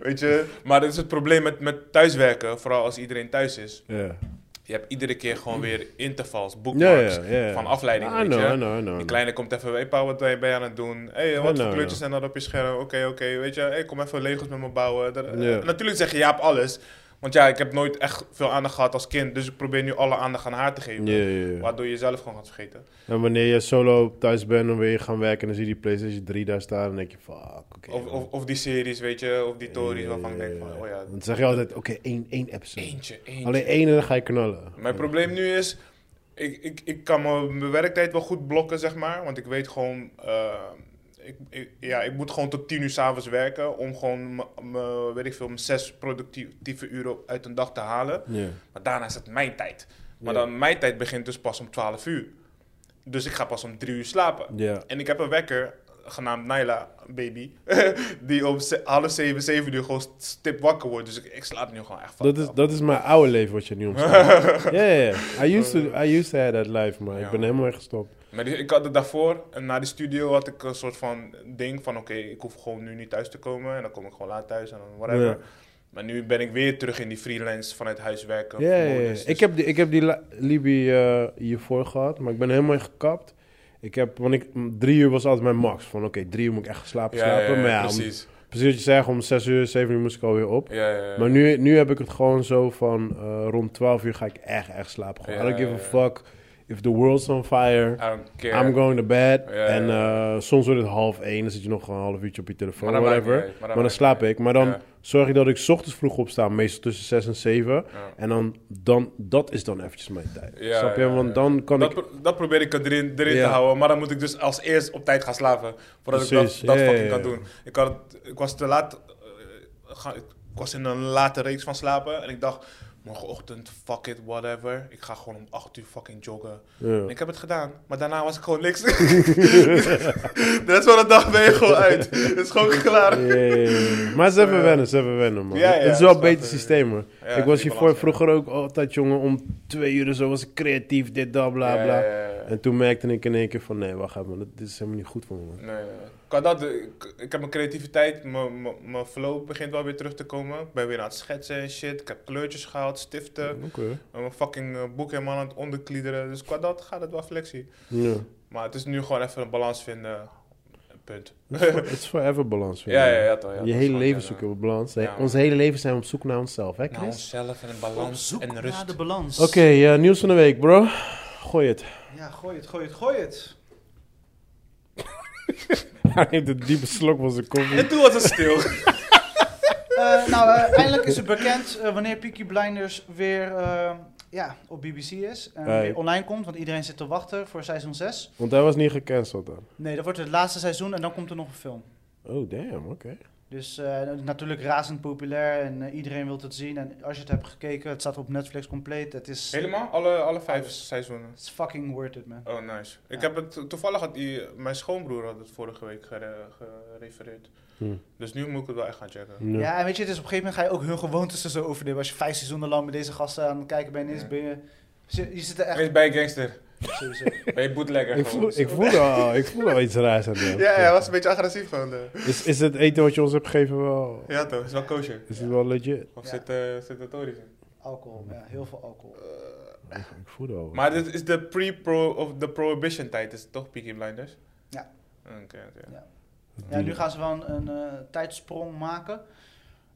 Speaker 3: Weet je, maar dat is het probleem met, met thuiswerken. Vooral als iedereen thuis is.
Speaker 2: Ja.
Speaker 3: Je hebt iedere keer gewoon weer intervals,
Speaker 2: Ja,
Speaker 3: bookmarks.
Speaker 2: ja, ja.
Speaker 3: Van afleiding,
Speaker 2: I
Speaker 3: weet
Speaker 2: know,
Speaker 3: je.
Speaker 2: I know, I know, I
Speaker 3: Die
Speaker 2: know.
Speaker 3: kleine komt even, hey pa, wat ben je aan het doen? hey,
Speaker 2: Ja,
Speaker 3: wat
Speaker 2: nou,
Speaker 3: voor
Speaker 2: ja.
Speaker 3: kleurtjes zijn dat op je scherm? Oké, oké, weet je, hey, kom even Legos met me bouwen. Dat-
Speaker 2: Ja.
Speaker 3: eh, Natuurlijk zeg je ja op alles. Want ja, ik heb nooit echt veel aandacht gehad als kind, dus ik probeer nu alle aandacht aan haar te geven.
Speaker 2: Ja, ja, ja.
Speaker 3: Waardoor je zelf gewoon gaat vergeten.
Speaker 2: En wanneer je solo thuis bent, dan wil je gaan werken en dan zie je die PlayStation 3 daar staan. Dan denk je, fuck, oké.
Speaker 3: Of, of, of die series, weet je, of die tories waarvan ik denk van, oh ja,
Speaker 2: Dan zeg je altijd, oké, één, één episode.
Speaker 3: eentje, eentje.
Speaker 2: Alleen één en dan ga je knallen.
Speaker 3: Mijn probleem nu is, ik, ik, ik kan mijn, mijn werktijd wel goed blokken, zeg maar. Want ik weet gewoon, eh, ik, ik- ja, ik moet gewoon tot tien uur s'avonds werken om gewoon, m- m- weet ik veel, mijn zes productieve uren uit een dag te halen.
Speaker 2: Ja.
Speaker 3: Maar daarna is het mijn tijd. Maar
Speaker 2: Ja.
Speaker 3: dan mijn tijd begint dus pas om 12 uur. Dus ik ga pas om drie uur slapen.
Speaker 2: Ja.
Speaker 3: En ik heb een wekker, genaamd Naila Baby, die om ze- half zeven, zeven uur gewoon stip wakker wordt. Dus ik, ik slaap nu gewoon echt van.
Speaker 2: Dat is, dat is mijn oude leven wat je nu omschrijft. Ja, ja, ja. I used to, I used to have that life, maar ik
Speaker 3: Ja.
Speaker 2: ben helemaal echt gestopt.
Speaker 3: Maar die- ik had het daarvoor, en na de studio had ik een soort van ding van oké, ik hoef gewoon nu niet thuis te komen en dan kom ik gewoon laat thuis en dan whatever.
Speaker 2: Ja.
Speaker 3: Maar nu ben ik weer terug in die freelance vanuit huis werken.
Speaker 2: Ja, ja, ja.
Speaker 3: modus. Dus
Speaker 2: Ik heb die, ik heb die la- Libi eh, hiervoor gehad, maar ik ben helemaal gekapt. Ik heb, want ik, m, drie uur was altijd mijn max. Van oké, drie uur moet ik echt slapen,
Speaker 3: dus- Ja, ja,
Speaker 2: slapen.
Speaker 3: ja,
Speaker 2: maar ja, om- precies.
Speaker 3: precies.
Speaker 2: wat je zegt, om zes uur, zeven uur moest ik alweer op.
Speaker 3: Ja, ja, ja.
Speaker 2: Maar nu, nu heb ik het gewoon zo van eh, rond 12 uur ga ik echt, echt slapen. Gewoon,
Speaker 3: Ja,
Speaker 2: I don't give
Speaker 3: ja,
Speaker 2: a fuck if the world's on fire.
Speaker 3: I don't care.
Speaker 2: I'm going to bed.
Speaker 3: Ja, ja,
Speaker 2: en
Speaker 3: ja.
Speaker 2: eh, soms wordt het half één, dan zit je nog een half uurtje op je telefoon,
Speaker 3: Maar dat maakt
Speaker 2: whatever.
Speaker 3: niet uit, maar dat
Speaker 2: maar dan
Speaker 3: maakt
Speaker 2: slaap
Speaker 3: niet
Speaker 2: ik. Maar dan
Speaker 3: Ja.
Speaker 2: zorg ik dat ik 's ochtends vroeg opsta, meestal tussen 6 en 7.
Speaker 3: Ja.
Speaker 2: En dan, dan, dat is dan eventjes mijn tijd.
Speaker 3: Ja,
Speaker 2: Snap je?
Speaker 3: ja,
Speaker 2: Want
Speaker 3: ja.
Speaker 2: dan kan
Speaker 3: dat,
Speaker 2: ik...
Speaker 3: pro- dat probeer ik erin, erin
Speaker 2: Ja.
Speaker 3: te houden, maar dan moet ik dus als eerst op tijd gaan slapen. Voordat
Speaker 2: Precies,
Speaker 3: ik dat, dat
Speaker 2: ja,
Speaker 3: fucking
Speaker 2: ja,
Speaker 3: kan
Speaker 2: ja.
Speaker 3: doen. Ik, had, het- ik was te laat, eh, ga- ik was in een late reeks van slapen en ik dacht, morgenochtend, fuck it, whatever. Ik ga gewoon om 8 uur fucking joggen.
Speaker 2: Ja.
Speaker 3: En ik heb het gedaan, maar daarna was ik gewoon niks. de rest van de dag ben je gewoon uit. Het is gewoon klaar.
Speaker 2: Ja, ja, ja. Maar het is even
Speaker 3: Ja.
Speaker 2: wennen, het is even wennen, man.
Speaker 3: Dus, eh, Ja, ja,
Speaker 2: het is
Speaker 3: het
Speaker 2: wel
Speaker 3: is
Speaker 2: een
Speaker 3: wel
Speaker 2: beter
Speaker 3: even-
Speaker 2: systeem, hoor.
Speaker 3: Ja,
Speaker 2: ik was
Speaker 3: die
Speaker 2: hiervoor
Speaker 3: balans,
Speaker 2: vroeger ook altijd, jongen, om twee uur of zo was ik creatief, dit, dat, bla,
Speaker 3: Ja,
Speaker 2: bla.
Speaker 3: ja, ja, ja.
Speaker 2: En toen merkte ik in één keer van, nee, wacht even, man, dit is helemaal niet goed voor me, man.
Speaker 3: Nee, nee, nee. Qua dat, eh, ik, ik heb mijn creativiteit, mijn- mijn mijn flow begint wel weer terug te komen. Ik ben weer aan het schetsen en shit. Ik heb kleurtjes gehaald, stiften.
Speaker 2: Oké.
Speaker 3: En Mijn fucking eh, boek helemaal aan het onderkliederen. Dus qua dat gaat het wel flexie.
Speaker 2: Ja.
Speaker 3: Maar het is nu gewoon even een balans vinden. Punt.
Speaker 2: Het is forever balans. vind
Speaker 3: Ja,
Speaker 2: ik.
Speaker 3: ja, ja, toch, ja,
Speaker 2: je
Speaker 3: dat
Speaker 2: hele
Speaker 3: is
Speaker 2: leven
Speaker 3: wel,
Speaker 2: zoeken we balans.
Speaker 3: Ja,
Speaker 2: Ons hele leven zijn we op zoek naar onszelf, hè,
Speaker 3: Naar
Speaker 2: Chris?
Speaker 3: onszelf en een
Speaker 1: Op
Speaker 3: balans
Speaker 1: zoek
Speaker 3: en rust.
Speaker 1: naar de balans.
Speaker 2: Oké, eh, nieuws van de week, bro. Gooi het.
Speaker 1: Ja, gooi het, gooi het, gooi het.
Speaker 2: Hij heeft een diepe slok van zijn koffie.
Speaker 3: En toen was het stil.
Speaker 1: Eh, nou, eh, eindelijk is het bekend eh, wanneer Peaky Blinders weer eh, ja, op BBC is. En
Speaker 2: Hey.
Speaker 1: weer online komt, want iedereen zit te wachten voor seizoen 6.
Speaker 2: Want hij was niet gecanceld dan.
Speaker 1: Nee, dat wordt het laatste seizoen en dan komt er nog een film.
Speaker 2: Oh, damn, oké.
Speaker 1: Dus eh, natuurlijk razend populair en eh, iedereen wil het zien. En als je het hebt gekeken, het staat op Netflix compleet. Het is, het
Speaker 3: Helemaal? Alle, alle vijf seizoenen.
Speaker 1: is fucking worth it, man.
Speaker 3: Oh, nice. Ik
Speaker 1: Ja.
Speaker 3: heb het, toevallig had die, mijn schoonbroer had het vorige week gere- gerefereerd.
Speaker 2: Hm.
Speaker 3: Dus nu moet ik het wel echt gaan checken.
Speaker 2: Ja.
Speaker 1: Ja, en weet je, het is op een gegeven moment ga je ook hun gewoontes er zo overnemen. Als je vijf seizoenen lang met deze gasten aan het kijken bent, is,
Speaker 3: Ja.
Speaker 1: ben je... Je, je zit er echt...
Speaker 3: Wees bij gangster.
Speaker 1: Sowieso.
Speaker 3: Ben je bootlegger
Speaker 2: Ik,
Speaker 3: gewoon.
Speaker 2: voel, ik, voel al, ik voel al iets raars aan hem.
Speaker 3: Ja, hij was een beetje agressief eh. van de...
Speaker 2: Is, is het eten wat je ons hebt gegeven wel...
Speaker 3: Ja toch, is wel kosher.
Speaker 2: Is het wel legit?
Speaker 3: Of
Speaker 1: Ja.
Speaker 3: zit, eh zit er tories in?
Speaker 1: Alcohol, ja, heel veel alcohol.
Speaker 3: Eh,
Speaker 2: Ik, ik voel al...
Speaker 3: Maar dit is de pre-pro of de prohibition tijd, is het toch Peaky Blinders?
Speaker 1: Ja.
Speaker 3: Oké, oké.
Speaker 1: Ja. Ja, nu gaan ze wel een, een eh, tijdsprong maken.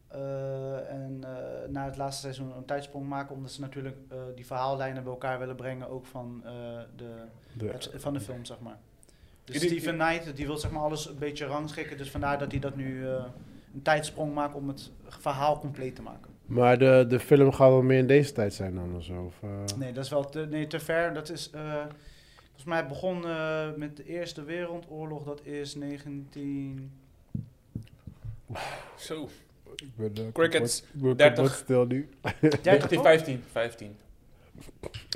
Speaker 1: Eh, en eh, na het laatste seizoen een tijdsprong maken, omdat ze natuurlijk eh, die verhaallijnen bij elkaar willen brengen, ook van, eh, de,
Speaker 2: De-
Speaker 1: het- van de film, zeg maar. Dus
Speaker 3: Ieder-
Speaker 1: Steven Knight, die wil zeg maar alles een beetje rangschikken, dus vandaar dat hij dat nu eh, een tijdsprong maakt om het verhaal compleet te maken.
Speaker 2: Maar de, de film gaat wel meer in deze tijd zijn dan of zo? Of, eh?
Speaker 1: Nee, dat is wel te, nee, te ver. Dat is, eh, volgens mij begon eh, met de Eerste Wereldoorlog, dat is 19...
Speaker 3: Zo,
Speaker 2: Ik ben, eh,
Speaker 3: Crickets,
Speaker 2: kapot- ik ben
Speaker 3: 30.
Speaker 2: kapot stil nu.
Speaker 1: 30, toch?
Speaker 3: 1915. 15.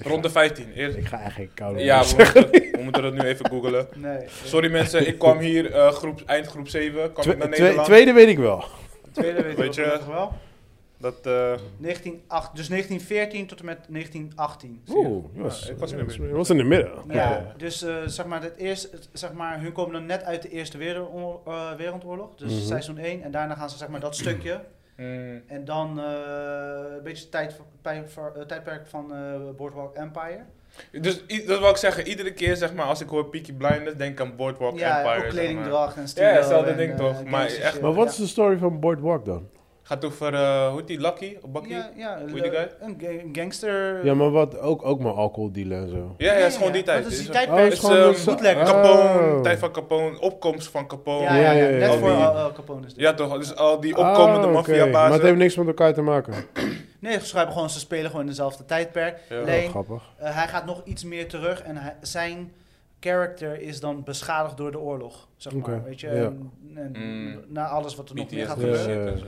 Speaker 3: Rond de 15. Eerst,
Speaker 2: Ik ga eigenlijk koude
Speaker 3: ja,
Speaker 2: lunch
Speaker 3: we moeten, dat, we moeten dat nu even googelen.
Speaker 1: Nee. eh,
Speaker 3: Sorry mensen, ik kwam hier eh, groep, eind groep 7. Kwam
Speaker 2: Twe-
Speaker 3: ik naar
Speaker 2: twe-
Speaker 3: Nederland.
Speaker 2: tweede weet ik wel.
Speaker 1: Tweede weet,
Speaker 3: Weet
Speaker 1: weet
Speaker 3: je-
Speaker 1: je nog wel.
Speaker 3: Dat, eh,
Speaker 1: 1908, dus 1914 tot en met 1918.
Speaker 3: Zie je.
Speaker 2: Oeh, je was,
Speaker 3: Ja, ik
Speaker 2: ik
Speaker 3: was
Speaker 2: was,
Speaker 3: in de midden.
Speaker 2: in de midden.
Speaker 1: Ja,
Speaker 3: Ja.
Speaker 1: Dus eh, zeg maar, het eerst, het- zeg maar, hun komen dan net uit de Eerste Wereldoor- eh, Wereldoorlog, dus
Speaker 2: Mhm.
Speaker 1: seizoen 1. En daarna gaan ze zeg maar dat stukje.
Speaker 3: mm,
Speaker 1: En dan eh, een beetje tijd, pij- ver- eh, tijdperk van eh, Boardwalk Empire.
Speaker 3: dus i- dat wil ik zeggen, iedere keer zeg maar, als ik hoor Peaky Blinders, denk ik aan Boardwalk
Speaker 1: ja,
Speaker 3: Empire. zeg
Speaker 1: ook
Speaker 3: maar.
Speaker 1: kledingdracht en stilo.
Speaker 3: Ja, hetzelfde
Speaker 1: en,
Speaker 3: ding
Speaker 1: eh,
Speaker 3: toch, maar
Speaker 1: gangster
Speaker 3: echt-
Speaker 1: shit.
Speaker 2: Maar wat is de story van Boardwalk dan?
Speaker 3: Gaat over, eh, hoe heet die, Lucky? Of Bucky?
Speaker 1: Ja,
Speaker 3: Ja,
Speaker 1: ja
Speaker 3: Hoe heet die guy?
Speaker 1: een ga- een gangster.
Speaker 2: Ja, maar wat? Ook, ook maar alcohol dealen en zo.
Speaker 3: ja, is gewoon die tijd.
Speaker 1: Dat is die
Speaker 3: Is-
Speaker 2: Oh,
Speaker 1: tijdperk.
Speaker 2: het
Speaker 3: is
Speaker 2: is
Speaker 1: van
Speaker 2: gewoon
Speaker 3: ehm,
Speaker 2: een so-
Speaker 1: bootleg.
Speaker 3: Capone,
Speaker 2: Oh.
Speaker 3: tijd van Capone, opkomst van Capone.
Speaker 1: ja, ja,
Speaker 2: Ja,
Speaker 1: ja,
Speaker 2: ja,
Speaker 1: net
Speaker 2: ja.
Speaker 1: voor
Speaker 3: Al die-
Speaker 1: eh, eh, Capone is dit.
Speaker 3: Ja, toch? Dus al die opkomende
Speaker 2: Ah, oké. Maar het
Speaker 3: maffiabazen.
Speaker 2: heeft niks met elkaar te maken.
Speaker 1: Nee, ze schrijven gewoon, ze spelen gewoon in dezelfde tijdperk.
Speaker 3: Ja.
Speaker 2: Oh,
Speaker 1: Alleen,
Speaker 2: grappig.
Speaker 1: eh, hij gaat nog iets meer terug en hij- zijn character is dan beschadigd door de oorlog, zeg maar.
Speaker 2: Oké,
Speaker 1: Weet je,
Speaker 2: ja.
Speaker 1: en, en
Speaker 3: Mm.
Speaker 1: na alles wat er nog meer gaat
Speaker 2: Ja,
Speaker 3: eh,
Speaker 1: gebeuren.
Speaker 2: ja, ja.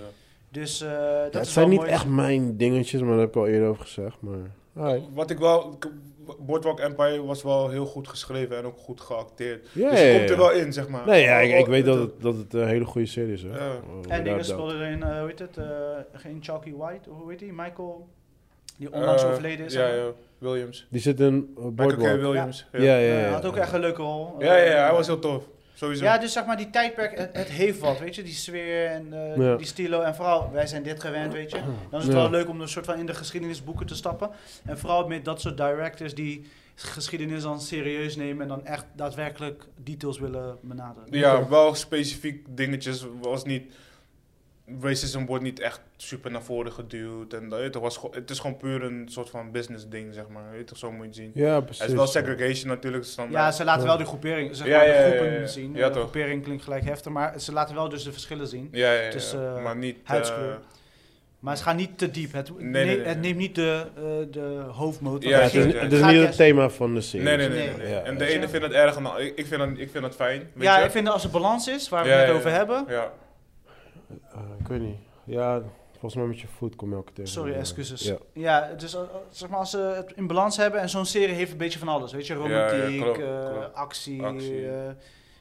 Speaker 1: Dus eh, dat
Speaker 2: Ja, het
Speaker 1: is wel
Speaker 2: zijn niet
Speaker 1: mooi.
Speaker 2: echt mijn dingetjes, maar daar heb ik al eerder over gezegd. Maar... Alright.
Speaker 3: eh, Wat ik wel... k- Boardwalk Empire was wel heel goed geschreven en ook goed geacteerd.
Speaker 2: Ja,
Speaker 3: dus
Speaker 2: ja,
Speaker 3: je
Speaker 2: ja,
Speaker 3: komt
Speaker 2: ja.
Speaker 3: er wel in, zeg maar.
Speaker 2: Nee, ja, ik, ik
Speaker 3: Oh,
Speaker 2: weet dat
Speaker 3: het-
Speaker 2: het, dat het een hele goede serie is. Hè?
Speaker 3: Ja.
Speaker 2: Oh,
Speaker 1: En dingen
Speaker 2: inderdaad.
Speaker 1: speelden erin, eh, hoe heet het, eh, in Chalky White, hoe heet die, Michael, die onlangs
Speaker 3: eh,
Speaker 1: overleden is.
Speaker 3: Ja, ja. Williams.
Speaker 2: Die zit in eh,
Speaker 3: Michael K.
Speaker 2: Boardwalk.
Speaker 3: Williams.
Speaker 2: Ja, ja,
Speaker 3: ja.
Speaker 2: ja.
Speaker 1: Eh, had ook echt een leuke rol.
Speaker 3: Ja, ja,
Speaker 1: Eh,
Speaker 3: hij was heel tof. Sowieso.
Speaker 1: Ja, dus zeg maar die tijdperk, het, het heeft wat, weet je, die sfeer en eh,
Speaker 2: Ja.
Speaker 1: die stilo. En vooral, wij zijn dit gewend, weet je. Dan is het
Speaker 2: Ja.
Speaker 1: wel leuk om een soort van in de geschiedenisboeken te stappen. En vooral met dat soort directors die geschiedenis dan serieus nemen en dan echt daadwerkelijk details willen benaderen.
Speaker 3: Ja, wel specifiek dingetjes was niet... Racism wordt niet echt super naar voren geduwd. En, dat- het, was, gewoon- het is gewoon puur een soort van business ding, zeg maar. Weet je toch, zo moet je het zien.
Speaker 2: Ja, precies.
Speaker 3: Het is wel segregation natuurlijk. standaard.
Speaker 1: Ja, ze laten
Speaker 2: Ja.
Speaker 1: wel die groepering, zeg
Speaker 3: Ja,
Speaker 1: maar,
Speaker 3: ja, ja,
Speaker 1: de groepen
Speaker 3: ja, ja.
Speaker 1: zien.
Speaker 3: Ja,
Speaker 1: de
Speaker 3: toch.
Speaker 1: groepering klinkt gelijk heftig, maar ze laten wel dus de verschillen zien.
Speaker 3: Ja, ja, ja,
Speaker 1: Dus,
Speaker 3: ja.
Speaker 1: eh,
Speaker 3: maar niet... eh,
Speaker 1: huidskleur. Maar ze gaan niet te diep. Het,
Speaker 3: Nee, nee,
Speaker 1: nee-
Speaker 3: nee,
Speaker 1: het
Speaker 3: nee.
Speaker 1: neemt niet de, eh, de hoofdmoot.
Speaker 3: Ja,
Speaker 2: Ja, het, is,
Speaker 3: ja,
Speaker 2: het
Speaker 3: ja.
Speaker 2: is niet het thema van de
Speaker 3: nee,
Speaker 2: serie.
Speaker 3: nee, nee. nee, nee.
Speaker 2: Ja,
Speaker 3: en
Speaker 2: ja.
Speaker 3: de ene vindt het erg en de- ik, ik, vind het, ik vind het fijn. Weet
Speaker 1: Ja,
Speaker 3: je?
Speaker 1: ik vind dat als het balans is, waar we
Speaker 3: Ja,
Speaker 1: het
Speaker 3: ja,
Speaker 1: over
Speaker 3: ja.
Speaker 1: hebben.
Speaker 3: Ja.
Speaker 2: Eh, ik weet niet. Ja, volgens mij met je voet kom je elke tegen.
Speaker 1: Sorry, excuses.
Speaker 2: Ja.
Speaker 1: Ja, dus eh, eh, zeg maar als ze het in balans hebben en zo'n serie heeft een beetje van alles. Weet je, romantiek,
Speaker 3: klopt,
Speaker 1: eh,
Speaker 3: klopt.
Speaker 1: actie,
Speaker 3: Actie.
Speaker 1: eh,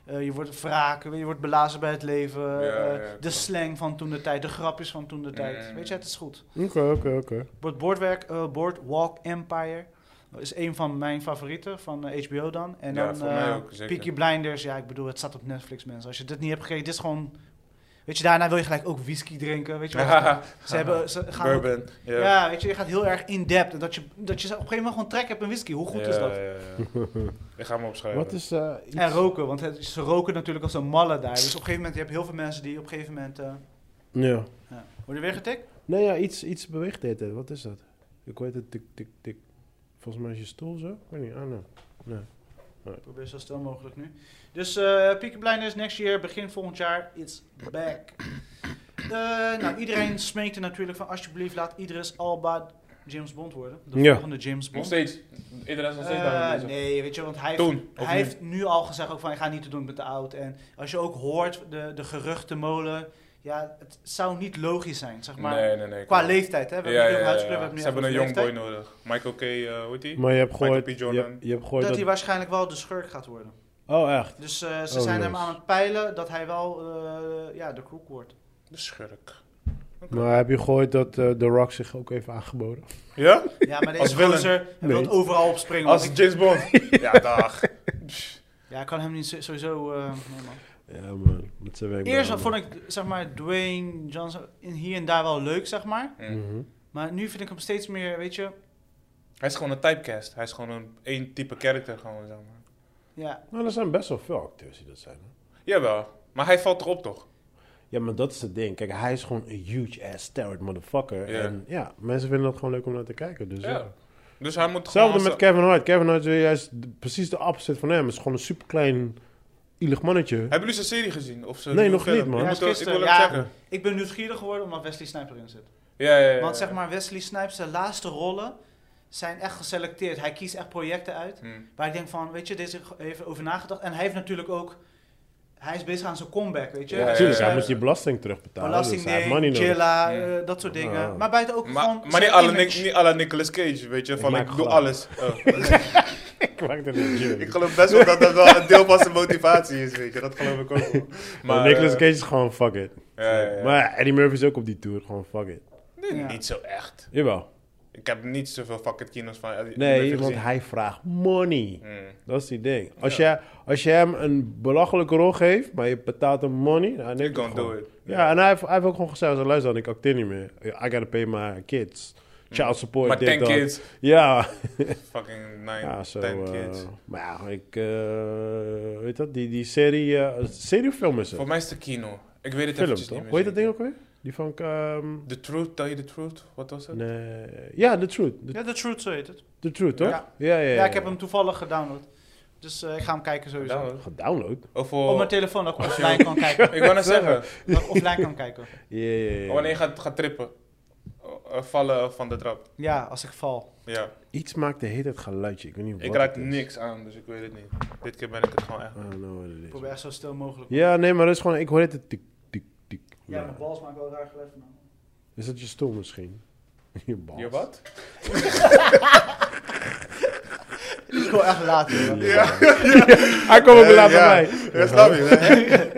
Speaker 1: eh, je wordt wraken, je wordt belazen bij het leven. eh,
Speaker 3: ja,
Speaker 1: de
Speaker 3: klopt.
Speaker 1: slang van toen de tijd, de grapjes van toen de tijd.
Speaker 3: Mm.
Speaker 1: Weet je, het is goed.
Speaker 2: Oké, oké, oké.
Speaker 1: Wordt Boardwerk, eh Boardwalk Empire is een van mijn favorieten van eh, HBO dan. En
Speaker 3: Ja,
Speaker 1: dan
Speaker 3: voor mij
Speaker 1: eh,
Speaker 3: ook, zeker.
Speaker 1: Peaky Blinders, ja, ik bedoel, het staat op Netflix, mensen. Als je dit niet hebt gekeken, dit is gewoon... Weet je, daarna wil je gelijk ook whisky drinken, weet je wel. ze, hebben, ze gaan ook
Speaker 3: Bourbon. Ja,
Speaker 1: ja, weet je, je gaat heel erg in-depth. En dat je, dat je op een gegeven moment gewoon trek hebt in whisky. Hoe goed
Speaker 3: Ja,
Speaker 1: is dat?
Speaker 3: ja, ja, ja. Ik ga hem opschrijven.
Speaker 2: Wat is... eh, iets-
Speaker 1: En roken, want het, ze roken natuurlijk als een malle daar. Dus op een gegeven moment, je hebt heel veel mensen die op een gegeven moment... eh
Speaker 2: Ja.
Speaker 1: ja. Word je weer getikt?
Speaker 2: Nee, ja, iets, iets beweegt de hele tijd. Wat is dat? Ik weet het, tik, tik, tik. Volgens mij is je stoel zo. Ik weet niet, ah, nee.
Speaker 1: Ik probeer zo stil mogelijk nu. Dus eh Peaky Blinders next year, begin volgend jaar, it's back. Eh, nou, iedereen smeekt er natuurlijk van... alsjeblieft, laat Idris Alba James Bond worden. De
Speaker 2: Ja.
Speaker 1: volgende James
Speaker 3: Nog
Speaker 1: Bond.
Speaker 3: steeds. Iedereen is nog steeds
Speaker 1: Eh,
Speaker 3: daarmee bezig.
Speaker 1: nee, weet je, want hij,
Speaker 3: Toen, of
Speaker 1: hij
Speaker 3: nu?
Speaker 1: heeft nu al gezegd ook van ik ga niet te doen met de oud. En als je ook hoort, de, de geruchtenmolen, ja, het zou niet logisch zijn, zeg maar.
Speaker 3: nee, nee, nee.
Speaker 1: Qua
Speaker 3: klopt.
Speaker 1: leeftijd, hè? We
Speaker 3: Ja,
Speaker 1: hebben nu
Speaker 3: ja,
Speaker 1: een
Speaker 3: ja,
Speaker 1: huidskleur, we
Speaker 3: ja.
Speaker 1: hebben nu
Speaker 3: Ze hebben een
Speaker 1: echt
Speaker 3: young boy
Speaker 1: leeftijd.
Speaker 3: nodig. Michael K. eh, hoe heet die?
Speaker 2: Maar je hebt
Speaker 3: Michael
Speaker 2: gehoord...
Speaker 3: B. Jordan.
Speaker 2: Je, je hebt gehoord
Speaker 1: Dat
Speaker 2: dat...
Speaker 1: hij waarschijnlijk wel de schurk gaat worden.
Speaker 2: Oh, echt?
Speaker 1: Dus eh, ze
Speaker 2: Oh,
Speaker 1: zijn hem
Speaker 2: nice.
Speaker 1: aan het peilen dat hij wel eh, ja, de crook wordt.
Speaker 3: De schurk.
Speaker 2: Maar heb je gehoord dat eh, The Rock zich ook heeft aangeboden?
Speaker 3: Ja?
Speaker 1: Ja, maar
Speaker 3: Als
Speaker 1: deze
Speaker 3: Willem.
Speaker 1: gozer hij
Speaker 2: Nee.
Speaker 1: wil overal op springen.
Speaker 3: Als
Speaker 1: want ik-
Speaker 3: James Bond. ja, dag.
Speaker 1: ja, ik kan hem niet zo- sowieso... eh, nee, man.
Speaker 2: Ja, man. Met zijn werk.
Speaker 1: Eerst vond ik, zeg maar, Dwayne Johnson in hier en daar wel leuk, zeg maar.
Speaker 3: Mm.
Speaker 2: Mhm.
Speaker 1: Maar nu vind ik hem steeds meer, weet je...
Speaker 3: Hij is gewoon een typecast. Hij is gewoon een één type karakter gewoon, zeg maar.
Speaker 1: Ja,
Speaker 2: Nou, er zijn best wel veel acteurs die dat zijn. hè.
Speaker 3: Jawel. Maar hij valt erop, toch?
Speaker 2: Ja, maar dat is het ding. Kijk, hij is gewoon een huge ass steroid motherfucker.
Speaker 3: Ja.
Speaker 2: En ja, mensen vinden dat gewoon leuk om naar te kijken. Dus, ja.
Speaker 3: Dus hij moet
Speaker 2: Hetzelfde
Speaker 3: gewoon... als-
Speaker 2: met Kevin Hart. Kevin Hart is juist de- precies de opposite van hem. Is gewoon een superklein, ielig mannetje.
Speaker 3: Hebben jullie zijn serie gezien? Of zijn
Speaker 2: Nee,
Speaker 3: nieuwe
Speaker 2: nog niet, man.
Speaker 3: Ik
Speaker 1: Ja,
Speaker 3: moet- ik
Speaker 1: gisteren,
Speaker 3: wil
Speaker 1: ja.
Speaker 3: hem checken.
Speaker 1: ik ben nieuwsgierig geworden omdat Wesley Snipes erin zit.
Speaker 3: Ja, ja, ja.
Speaker 1: Want
Speaker 3: ja.
Speaker 1: zeg maar, Wesley Snipes' zijn laatste rollen zijn echt geselecteerd. Hij kiest echt projecten uit
Speaker 3: Hmm.
Speaker 1: waar ik denk van, weet je, deze heeft over nagedacht. En hij heeft natuurlijk ook... hij is bezig aan zijn comeback, weet je.
Speaker 2: Ja,
Speaker 1: Dus,
Speaker 2: natuurlijk.
Speaker 1: eh,
Speaker 2: Hij moet je belasting terugbetalen. dus hij heeft money
Speaker 1: belasting,
Speaker 2: nodig.
Speaker 1: chilla,
Speaker 4: Ja.
Speaker 1: eh, dat soort dingen.
Speaker 2: Ja.
Speaker 1: Maar buiten ook
Speaker 3: Maar,
Speaker 1: gewoon
Speaker 3: maar niet,
Speaker 1: zijn
Speaker 3: alle
Speaker 1: image.
Speaker 3: Nic- niet alle Nicolas Cage, weet je, van
Speaker 2: maak
Speaker 3: ik, doe
Speaker 2: grap.
Speaker 3: alles. Eh,
Speaker 2: Ik maak er niet joke.
Speaker 3: ik geloof best wel dat dat wel een deel van zijn motivatie is, weet je, dat geloof ik ook wel.
Speaker 2: Maar
Speaker 3: eh,
Speaker 2: Nicolas Cage is gewoon fuck it.
Speaker 3: ja, ja, ja.
Speaker 2: Maar ja, Eddie Murphy is ook op die tour, gewoon fuck it.
Speaker 3: Nee,
Speaker 1: Ja.
Speaker 3: Niet zo echt.
Speaker 2: Jawel.
Speaker 3: Ik heb niet zoveel fucking kino's van Eddie
Speaker 2: Nee,
Speaker 3: Murphy
Speaker 2: want
Speaker 3: gezien.
Speaker 2: hij vraagt money.
Speaker 3: Mm.
Speaker 2: Dat is die ding. Als, jij, als jij hem een belachelijke rol geeft, maar je betaalt hem money, nou, dan neemt
Speaker 3: You
Speaker 2: hij het
Speaker 3: gonna
Speaker 2: gewoon.
Speaker 3: do it.
Speaker 2: Ja, en hij heeft, hij heeft ook gewoon gezegd, zo, luister dan, ik acteer niet meer. I gotta pay my kids. Child support,
Speaker 3: Maar
Speaker 2: dit,
Speaker 3: 10
Speaker 2: dat.
Speaker 3: kids,
Speaker 2: Ja.
Speaker 3: fucking 9,
Speaker 2: ja, zo.
Speaker 3: 10
Speaker 2: eh,
Speaker 3: kids.
Speaker 2: maar ja, ik... eh, weet dat? Die, die serie... eh seriefilm is het.
Speaker 3: Voor mij is het de kino. Ik weet het
Speaker 2: Film,
Speaker 3: eventjes niet
Speaker 2: toch?
Speaker 3: meer
Speaker 2: Hoe heet dat ding
Speaker 3: zeker.
Speaker 2: ook weer? Die van... ehm,
Speaker 3: The Truth, Tell You The Truth, wat was het?
Speaker 2: nee. Ja, The Truth. The,
Speaker 1: Ja, The Truth, zo heet het.
Speaker 2: The Truth, toch?
Speaker 1: Ja.
Speaker 2: ja,
Speaker 1: Ja, ik heb hem toevallig gedownload. Dus eh, ik ga hem kijken sowieso.
Speaker 3: Download.
Speaker 2: Gedownload?
Speaker 3: Of
Speaker 1: Op mijn
Speaker 3: oh,
Speaker 1: telefoon, dat ik offline kan kijken.
Speaker 3: ik wou net zeggen,
Speaker 1: Dat ik offline kan kijken.
Speaker 2: Ja, ja, ja.
Speaker 3: wanneer je gaat, gaat trippen, Eh, eh, vallen van de trap.
Speaker 1: Ja, als ik val.
Speaker 3: Ja,
Speaker 2: Iets maakt de hele tijd geluidje. Ik weet niet wat
Speaker 3: ik raak
Speaker 2: het is.
Speaker 3: niks aan, dus ik weet het niet. Dit keer ben ik het gewoon echt.
Speaker 2: I don't know what it
Speaker 1: Ik
Speaker 2: is.
Speaker 1: probeer echt zo stil mogelijk.
Speaker 2: Ja, nee, maar dat is gewoon... Ik hoor het tik, tik, tik.
Speaker 1: Ja,
Speaker 2: Ja.
Speaker 1: mijn balls maken wel raar geluid van.
Speaker 2: Is dat je stoel misschien? je bal.
Speaker 3: Je wat?
Speaker 1: Ik wil echt later. hoor.
Speaker 2: Ja. Hij komt ook
Speaker 3: Eh,
Speaker 2: later
Speaker 3: ja.
Speaker 2: bij.
Speaker 3: Ja, snap je? hè?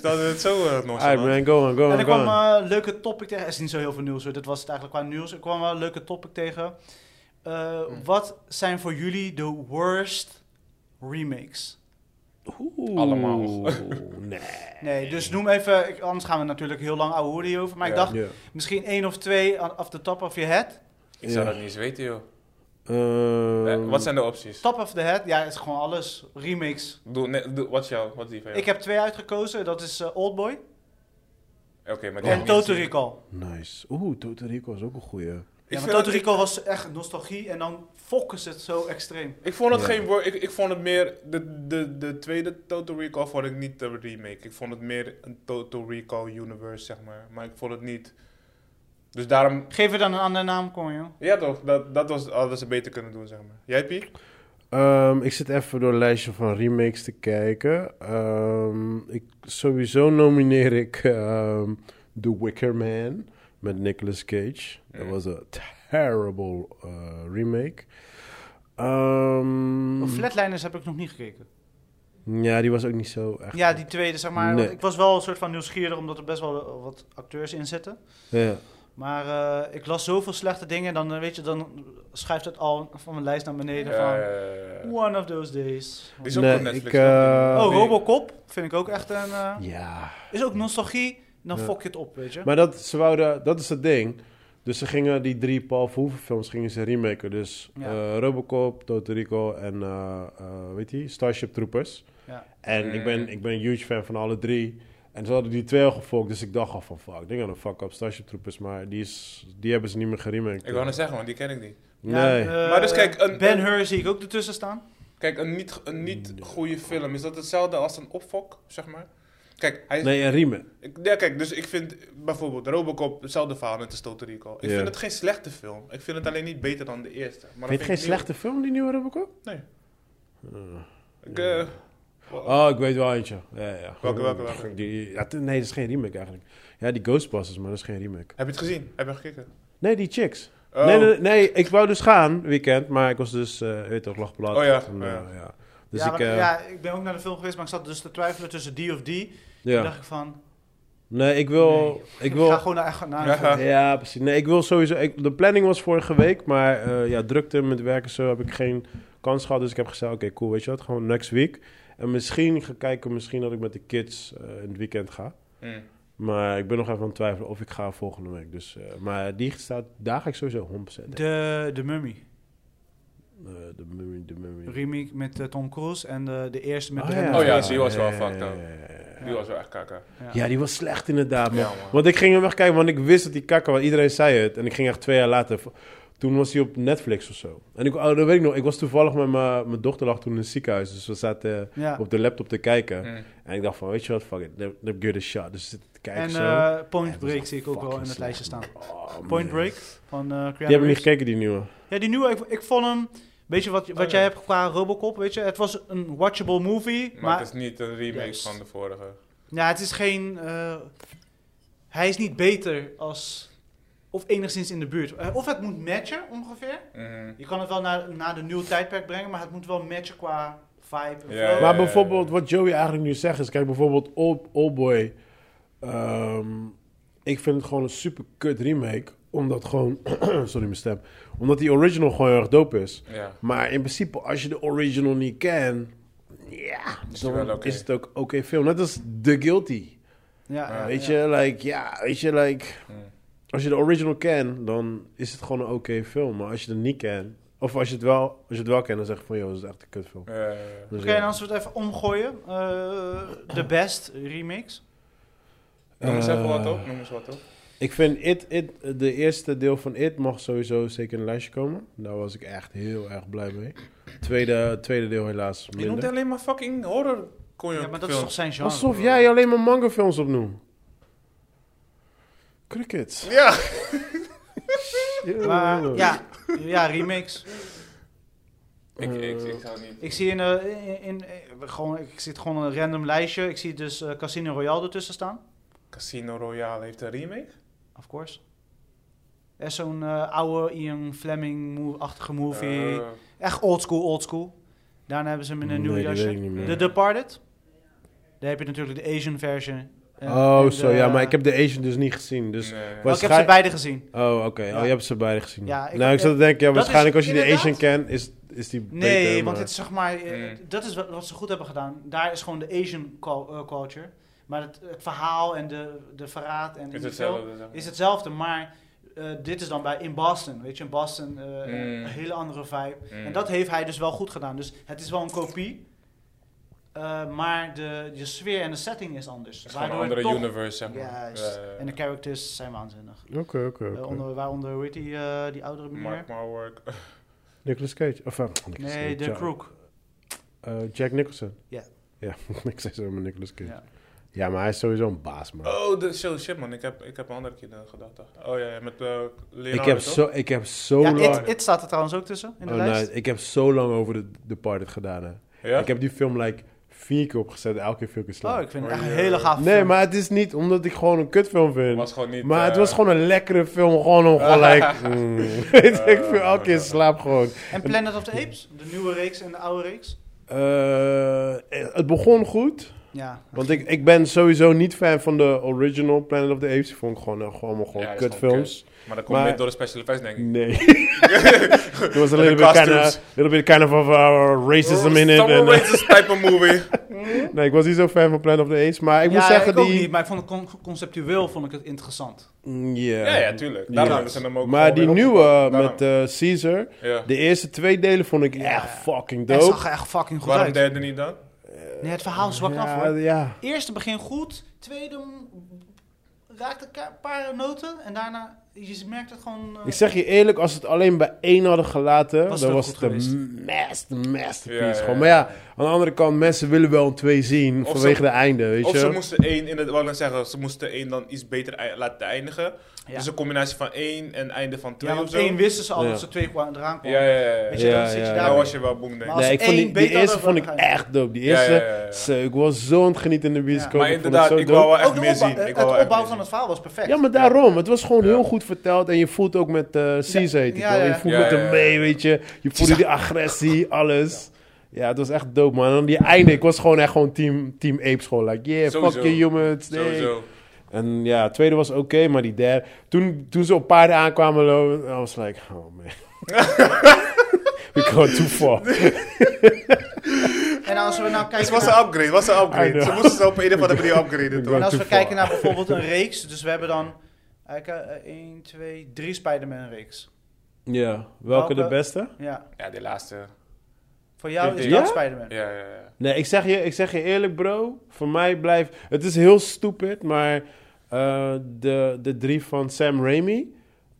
Speaker 3: Dat het zo uh,
Speaker 2: Alright man, go on, go
Speaker 1: En
Speaker 2: on,
Speaker 1: ik
Speaker 2: go
Speaker 1: kwam
Speaker 2: on.
Speaker 1: eh, een leuke topic tegen. Er is niet zo heel veel nieuws hoor. Dit was het eigenlijk qua nieuws. Ik kwam wel een leuke topic tegen. Eh,
Speaker 3: Hm.
Speaker 1: Wat zijn voor jullie de worst remakes? eh,
Speaker 2: Oeh,
Speaker 3: Allemaal.
Speaker 2: Nee.
Speaker 1: Nee, dus noem even. ik- anders gaan we natuurlijk heel lang ouwe hoeren hierover. Maar ik
Speaker 3: Ja.
Speaker 1: dacht
Speaker 2: Ja.
Speaker 1: misschien één of twee aan- off the top of your head.
Speaker 3: Ik
Speaker 2: Ja.
Speaker 3: zou dat niet eens weten, joh. Eh,
Speaker 2: Ehm,
Speaker 3: wat zijn de opties?
Speaker 1: Top of the head, ja, het is gewoon alles. Remakes.
Speaker 3: Doe, nee, doe, wat is jouw? Wat is die van jou?
Speaker 1: Ik heb twee uitgekozen. Dat is eh, Oldboy
Speaker 3: Oké, maar die heb
Speaker 1: en
Speaker 3: ik niet
Speaker 1: Total
Speaker 3: gezien.
Speaker 1: Recall.
Speaker 2: Nice. Oeh, Toto Rico is ook een goeie.
Speaker 3: Ik
Speaker 1: Ja, maar
Speaker 3: vind
Speaker 1: Total
Speaker 3: dat-
Speaker 1: Recall was echt nostalgie en dan fokken ze het zo extreem.
Speaker 3: Ik vond het
Speaker 2: Ja.
Speaker 3: geen wor- ik, ik vond het meer. De, de, de tweede Total Recall vond ik niet de remake. Ik vond het meer een Total Recall universe, zeg maar. Maar ik vond het niet. Dus daarom.
Speaker 1: Geef er dan een andere naam, kom joh.
Speaker 3: Ja, toch? Dat, dat was, hadden ze beter kunnen doen, zeg maar. Jij, Pie?
Speaker 2: Ehm, ik zit even door een lijstje van remakes te kijken. Ehm, ik, sowieso nomineer ik ehm, The Wicker Man met Nicolas Cage. Dat
Speaker 3: Mm.
Speaker 2: was een terrible eh, remake.
Speaker 3: Hmm.
Speaker 2: Ehm,
Speaker 1: Flatliners heb ik nog niet gekeken.
Speaker 2: ja, die was ook niet zo echt.
Speaker 1: Ja, die tweede, zeg maar.
Speaker 2: Nee.
Speaker 1: want Ik was wel een soort van nieuwsgierig, omdat er best wel eh, wat acteurs in zitten.
Speaker 2: Ja.
Speaker 1: Maar eh, ik las zoveel slechte dingen, dan eh, weet je, dan schuift het al van mijn lijst naar beneden van...
Speaker 3: Eh,
Speaker 1: One of those days.
Speaker 3: die is ook
Speaker 2: Nee,
Speaker 3: op Netflix.
Speaker 2: ik,
Speaker 3: toch?
Speaker 2: eh,
Speaker 1: Oh,
Speaker 3: Die-
Speaker 1: Robocop vind ik ook echt een... eh,
Speaker 2: ja.
Speaker 1: Is ook nostalgie, dan
Speaker 2: Ja.
Speaker 1: fok je het op, weet je.
Speaker 2: Maar dat, ze wouden, dat is het ding. Dus ze gingen die drie Paul Verhoeven films gingen ze remaken. Dus
Speaker 1: Ja.
Speaker 2: eh, Robocop, Totorico en eh, eh, weet je, Starship Troopers.
Speaker 1: Ja.
Speaker 2: En ik, ben, ik ben een huge fan van alle drie. En ze hadden die twee al gevolgd, dus ik dacht al van fuck, ding aan de fuck up Starship Troopers. Maar die, is, die hebben ze niet meer geremaked.
Speaker 3: Ik wou net zeggen, want die ken ik niet.
Speaker 2: Nee.
Speaker 1: Ja, eh,
Speaker 3: Maar dus kijk, een-
Speaker 1: ben Hur zie ik ook ertussen staan.
Speaker 3: Kijk, een niet, een niet goede film. Is dat hetzelfde als een opfok, zeg maar? Kijk, hij,
Speaker 2: nee, een remake.
Speaker 3: Ik, ja, kijk, dus ik vind bijvoorbeeld Robocop hetzelfde verhaal net als Total Recall.
Speaker 2: Ja.
Speaker 3: Ik vind het geen slechte film. Ik vind het alleen niet beter dan de eerste. Maar
Speaker 2: Vind je het geen slechte film, die nieuwe Robocop?
Speaker 3: Ik, eh,
Speaker 2: Oh, ik weet wel eentje. Ja, ja.
Speaker 3: Welke, welke, welke?
Speaker 2: Die, ja, t- nee, dat is geen remake eigenlijk. Ja, die Ghostbusters, maar dat is geen remake.
Speaker 3: Heb je het gezien? Heb je gekeken?
Speaker 2: Nee, die chicks.
Speaker 3: Oh.
Speaker 2: Nee, nee, nee, ik wou dus gaan, weekend, maar ik was dus, eh weet je toch, lachblad.
Speaker 3: Oh ja,
Speaker 2: En,
Speaker 3: oh
Speaker 2: eh,
Speaker 3: ja.
Speaker 2: ja. Dus
Speaker 1: ja,
Speaker 2: ik,
Speaker 1: maar-
Speaker 2: eh, ja.
Speaker 1: ja, ik ben ook naar de film geweest, maar ik zat dus te twijfelen tussen die of die. Toen dacht ik van,
Speaker 2: Nee, ik wil,
Speaker 1: Nee.
Speaker 2: ik
Speaker 1: ik,
Speaker 2: wil,
Speaker 1: ga gewoon naar, naar een
Speaker 3: Ja.
Speaker 1: film.
Speaker 2: ja, precies. Nee, ik wil sowieso, ik, de planning was vorige week, maar eh, ja, drukte met werken zo heb ik geen kans gehad. Dus ik heb gezegd, oké, cool, weet je wat, gewoon next week. En misschien ga kijken, misschien dat ik met de kids eh, in het weekend ga.
Speaker 3: Mm.
Speaker 2: Maar ik ben nog even aan het twijfelen of ik ga volgende week. Dus, eh, maar die staat, daar ga ik sowieso 100%. De,
Speaker 1: De, de Mummy.
Speaker 2: Eh, de mummy, de mummy.
Speaker 1: Remake met eh, Tom Cruise en de, de eerste met
Speaker 2: Ah,
Speaker 1: Brandon
Speaker 3: Oh ja,
Speaker 1: Fraser.
Speaker 3: die was wel
Speaker 2: ja,
Speaker 3: fucked
Speaker 2: ja,
Speaker 3: up.
Speaker 2: ja, ja, ja.
Speaker 3: Die was wel echt kaka.
Speaker 2: Ja, die was slecht inderdaad, man.
Speaker 3: Ja, man.
Speaker 2: Want ik ging hem echt kijken, want ik wist dat die kakker, want iedereen zei het. En ik ging echt twee jaar later, v- toen was hij op Netflix of zo. En ik, oh, dat weet ik nog, ik was toevallig met mijn mijn dochter lag toen in het ziekenhuis. Dus we zaten
Speaker 1: Ja.
Speaker 2: op de laptop te kijken.
Speaker 3: Mm.
Speaker 2: En ik dacht van, weet je wat, fuck it, let- let me give it a shot. Dus ik zit te kijken
Speaker 1: En
Speaker 2: zo.
Speaker 1: eh,
Speaker 2: Ja,
Speaker 1: Point
Speaker 2: dat
Speaker 1: Break
Speaker 2: is
Speaker 1: zie ik ook wel in het
Speaker 2: fucking
Speaker 1: lijstje staan.
Speaker 2: slecht, man. Oh, man.
Speaker 1: Point Break van eh Keanu
Speaker 2: Die hebben
Speaker 1: Reeves.
Speaker 2: niet gekeken, die nieuwe.
Speaker 1: Ja, die nieuwe, ik, ik vond hem... Weet je wat, wat
Speaker 3: Oh, ja.
Speaker 1: jij hebt qua Robocop? Weet je, het was een watchable movie.
Speaker 3: Maar,
Speaker 1: maar
Speaker 3: het is niet een remake
Speaker 1: Juist.
Speaker 3: van de vorige.
Speaker 1: Ja, het is geen. eh, hij is niet beter als. Of enigszins in de buurt. Eh, of het moet matchen ongeveer.
Speaker 3: Mhm.
Speaker 1: Je kan het wel naar, naar de nieuwe tijdperk brengen, maar het moet wel matchen qua vibe. en
Speaker 3: Ja,
Speaker 1: flow.
Speaker 2: Maar bijvoorbeeld, wat Joey eigenlijk nu zegt is... Kijk, bijvoorbeeld Old, Oldboy. ehm, ik vind het gewoon een super kut remake. Omdat gewoon... sorry, mijn stem. Omdat die original gewoon heel erg dope is.
Speaker 3: Ja.
Speaker 2: Maar in principe, als je de original niet kent... Ja,
Speaker 3: Is het
Speaker 2: dan
Speaker 3: wel oké.
Speaker 2: is het ook oké film. Net als The Guilty.
Speaker 1: Ja,
Speaker 3: Ah,
Speaker 1: ja,
Speaker 2: weet
Speaker 1: ja.
Speaker 2: je, like... Ja, weet je, like...
Speaker 3: Mm.
Speaker 2: Als je de original kent, dan is het gewoon een oké film. Maar als je het niet kent... Of als je het wel, als je het wel kent, dan zeg je van... Yo, dat is echt een kut film.
Speaker 3: Eh,
Speaker 2: Dus
Speaker 1: Oké,
Speaker 2: ja.
Speaker 1: en als we het even omgooien. eh the Best remix.
Speaker 3: noem eens even wat
Speaker 2: Eh,
Speaker 3: op, noem eens wat op.
Speaker 2: Ik vind It, It, de eerste deel van It mag sowieso zeker in een lijstje komen. Daar was ik echt heel erg blij mee. Tweede, tweede deel helaas
Speaker 3: Je noemt
Speaker 2: minder.
Speaker 3: alleen maar fucking horror kon je
Speaker 1: Ja, maar dat is toch zijn genre?
Speaker 2: Alsof jij alleen maar manga films opnoemt. Crickets.
Speaker 3: Ja!
Speaker 1: Maar ja, ja, remix.
Speaker 3: Ik, ik,
Speaker 2: Eh,
Speaker 3: ik zou niet...
Speaker 1: Ik zie in, eh, in, in- eh, gewoon, ik zit gewoon een random lijstje. Ik zie dus eh, Casino Royale ertussen staan.
Speaker 3: Casino Royale heeft een remake?
Speaker 1: Of course. Er is zo'n eh, oude Ian Fleming-achtige movie.
Speaker 3: Eh,
Speaker 1: Echt oldschool, oldschool. Daarna hebben ze hem in een nieuw
Speaker 2: Nee, die weet ik
Speaker 1: jasje.
Speaker 2: niet meer.
Speaker 1: The Departed. Daar heb je natuurlijk de Asian version. En-
Speaker 2: Oh,
Speaker 1: en
Speaker 2: zo
Speaker 1: de-
Speaker 2: ja, maar ik heb de Asian dus niet gezien. Dus...
Speaker 3: nee.
Speaker 1: Wel,
Speaker 2: was-
Speaker 1: ik heb ze
Speaker 2: waarschijn-
Speaker 1: beide gezien.
Speaker 2: Oh, oké. Oh,
Speaker 1: Ja.
Speaker 2: je hebt ze beide gezien.
Speaker 1: Ja, ik-
Speaker 2: nou, ik
Speaker 1: eh,
Speaker 2: zat te denken, ja,
Speaker 1: dat is
Speaker 2: waarschijnlijk als je de
Speaker 1: inderdaad-
Speaker 2: Asian kent, is, is die
Speaker 1: Nee,
Speaker 2: beter,
Speaker 1: want
Speaker 2: maar-
Speaker 1: het is zeg maar... eh,
Speaker 3: Mm.
Speaker 1: Dat is wat, wat ze goed hebben gedaan. Daar is gewoon de Asian cul- eh, culture. Maar het, het verhaal en de, de verraad en...
Speaker 3: Is
Speaker 1: de
Speaker 3: hetzelfde. zeg maar.
Speaker 1: is hetzelfde, maar eh, dit is dan bij in Boston. Weet je, in Boston eh,
Speaker 3: Mm.
Speaker 1: een hele andere vibe.
Speaker 3: Mm.
Speaker 1: En dat heeft hij dus wel goed gedaan. Dus het is wel een kopie. eh, maar de, de sfeer en de setting is anders.
Speaker 3: Het is gewoon een
Speaker 1: Waardoor
Speaker 3: andere
Speaker 1: het toch-
Speaker 3: universe, zeg maar.
Speaker 1: Juist.
Speaker 3: Eh,
Speaker 1: En de characters zijn waanzinnig.
Speaker 2: Oké, oké,
Speaker 1: Eh,
Speaker 2: oké.
Speaker 1: onder, waaronder, hoe heet die, eh, die oudere meneer?
Speaker 3: Mark my work.
Speaker 2: Nicolas Cage. Of, eh, Nicolas
Speaker 1: Nee,
Speaker 2: Cage,
Speaker 1: de
Speaker 2: ja.
Speaker 1: Crook.
Speaker 2: Eh, Jack Nicholson.
Speaker 1: Ja.
Speaker 2: Ja, ik zei zo met Nicolas Cage.
Speaker 1: Ja.
Speaker 2: Ja. maar hij is sowieso een baas, man.
Speaker 3: Oh, de, shit, shit man, ik heb, ik heb een andere keer aan gedacht. Oh ja, ja, met eh Leonardo,
Speaker 2: ik, heb
Speaker 3: toch?
Speaker 2: zo, ik heb zo
Speaker 1: Ja,
Speaker 2: lang...
Speaker 1: it, It staat er trouwens ook tussen in de
Speaker 2: Oh,
Speaker 1: lijst.
Speaker 2: nee, ik heb zo lang over de, de Parted gedaan, hè.
Speaker 3: Ja?
Speaker 2: Ik heb die film, like, vier keer opgezet. Elke keer vier keer
Speaker 1: Oh,
Speaker 2: slaan.
Speaker 1: ik vind
Speaker 3: Oh,
Speaker 1: het echt een
Speaker 3: ja.
Speaker 1: hele gaaf
Speaker 2: nee,
Speaker 1: film.
Speaker 2: maar het is niet omdat ik gewoon een kutfilm vind.
Speaker 3: was gewoon niet...
Speaker 2: maar het
Speaker 3: eh,
Speaker 2: was gewoon een lekkere film. Gewoon om gewoon, like... mm, weet ik veel,
Speaker 3: Eh,
Speaker 2: elke keer slaap gewoon.
Speaker 1: En Planet of the Apes, de nieuwe reeks en de oude reeks.
Speaker 2: Eh, het begon goed.
Speaker 1: Ja,
Speaker 2: Want ik, ik ben sowieso niet fan van de original Planet of the Apes. Die vond ik gewoon, eh, gewoon allemaal gewoon
Speaker 3: Ja, dat is
Speaker 2: kutfilms.
Speaker 3: Maar dat komt
Speaker 2: maar-
Speaker 3: niet door de special effects, denk ik.
Speaker 2: Nee. There was a little
Speaker 3: de Oh,
Speaker 2: bit, kind
Speaker 3: costumes.
Speaker 2: of, little bit kind of of, uh, racism in it.
Speaker 3: Some
Speaker 2: En, eh,
Speaker 3: racist type of movie.
Speaker 2: nee, ik was niet zo fan van Planet of the Apes. Maar ik
Speaker 1: ja,
Speaker 2: moet zeggen,
Speaker 1: ik ook
Speaker 2: die...
Speaker 1: niet, maar ik vond het con- conceptueel vond ik het interessant.
Speaker 2: Mm,
Speaker 3: ja, ja, tuurlijk. Daarom hebben ze hem ook
Speaker 2: maar die
Speaker 3: gewoon weer
Speaker 2: nieuwe
Speaker 3: opgepakt.
Speaker 2: met eh, Caesar,
Speaker 3: Daarom. Ja.
Speaker 2: de eerste twee delen vond ik
Speaker 1: Ja.
Speaker 2: echt fucking
Speaker 1: Het
Speaker 2: dope.
Speaker 1: zag er echt fucking goed
Speaker 3: Waarom
Speaker 1: uit.
Speaker 3: derde niet dan?
Speaker 1: Nee, het verhaal zwakt af
Speaker 2: ja,
Speaker 1: hoor.
Speaker 2: ja.
Speaker 1: Eerste begin goed, tweede mm, raakt een ka- paar noten en daarna, je merkt het gewoon... eh,
Speaker 2: Ik zeg je eerlijk, als ze het alleen bij één hadden gelaten,
Speaker 1: Was het
Speaker 2: dan
Speaker 1: ook
Speaker 2: was
Speaker 1: goed
Speaker 2: het een
Speaker 1: geweest.
Speaker 2: master, masterpiece.
Speaker 3: Ja, ja, ja.
Speaker 2: Gewoon. Maar ja, aan de andere kant, mensen willen wel een twee zien
Speaker 3: Of
Speaker 2: vanwege
Speaker 3: ze-
Speaker 2: de einde, weet
Speaker 3: Of
Speaker 2: je.
Speaker 3: ze moesten één, in het, wat ik net zeggen, ze moesten één dan iets beter ei- laten eindigen.
Speaker 1: Ja.
Speaker 3: Dus een combinatie van één en einde van twee
Speaker 1: ja,
Speaker 3: of
Speaker 1: want
Speaker 3: zo.
Speaker 1: één wisten ze al
Speaker 2: Ja.
Speaker 1: dat ze twee kwa- eraan
Speaker 3: Ja,
Speaker 1: kwamen.
Speaker 3: ja, ja. ja.
Speaker 1: Weet je, dan
Speaker 2: Ja,
Speaker 1: zit je
Speaker 2: ja,
Speaker 1: daar...
Speaker 2: ja.
Speaker 3: Daar was je wel boem, denk ik.
Speaker 1: als
Speaker 2: Nee, ik vond
Speaker 1: één
Speaker 2: die, die
Speaker 1: beter
Speaker 2: eerste
Speaker 1: dan
Speaker 2: vond ik
Speaker 1: dan-
Speaker 2: echt dope. Die
Speaker 3: Ja,
Speaker 2: eerste,
Speaker 3: ja, ja, ja.
Speaker 2: Zo, ik was zo aan het genieten in de bioscoop.
Speaker 1: Ja.
Speaker 2: Ik
Speaker 3: Maar
Speaker 2: vond het
Speaker 3: inderdaad,
Speaker 2: zo
Speaker 3: ik wou
Speaker 2: dope.
Speaker 3: wel echt
Speaker 1: Ook de
Speaker 3: meer
Speaker 1: opbouw-
Speaker 3: zien.
Speaker 1: eh,
Speaker 3: Ik wou wel
Speaker 1: het
Speaker 3: echt
Speaker 1: opbouw
Speaker 3: meer
Speaker 1: van het
Speaker 3: zien.
Speaker 1: verhaal was perfect.
Speaker 2: Ja, maar daarom. Het was gewoon
Speaker 3: Ja.
Speaker 2: heel goed verteld. En je voelt ook met eh Caesar, heet die
Speaker 1: Ja,
Speaker 2: toch?
Speaker 1: ja,
Speaker 2: Je
Speaker 1: ja.
Speaker 2: voelt
Speaker 3: Ja,
Speaker 2: met
Speaker 3: ja,
Speaker 2: hem
Speaker 3: ja.
Speaker 2: mee, weet je. Je voelde die agressie, alles. Ja, het was echt dope, man. En dan die einde. Ik was gewoon echt gewoon team, team apes. Gewoon like, yeah,
Speaker 3: Sowieso.
Speaker 2: fuck you humans. nee.
Speaker 3: Sowieso.
Speaker 2: En ja, het tweede was oké, maar die derde... Toen, toen ze op paarden aankwamen lopen, I was like, oh man. We go too far.
Speaker 1: En als we nou
Speaker 3: Het
Speaker 1: kijken
Speaker 3: was
Speaker 1: naar-
Speaker 3: een upgrade, was een
Speaker 2: I
Speaker 3: upgrade.
Speaker 2: know.
Speaker 3: Ze moesten ze op een of andere manier upgraden, toch?
Speaker 1: En als we
Speaker 2: Toeval.
Speaker 1: kijken naar bijvoorbeeld een reeks, dus we hebben dan eh, 1, 2, 3 Spider-Man reeks.
Speaker 2: Ja,
Speaker 1: Welke?
Speaker 2: welke de beste?
Speaker 1: Ja,
Speaker 3: Ja, die laatste.
Speaker 1: voor jou is
Speaker 3: Ja?
Speaker 1: dat Spider-Man.
Speaker 3: Ja, ja, ja.
Speaker 2: Nee, ik zeg, je, ik zeg je eerlijk, bro. Voor mij blijft... Het is heel stupid, maar... eh, de, de drie van Sam Raimi.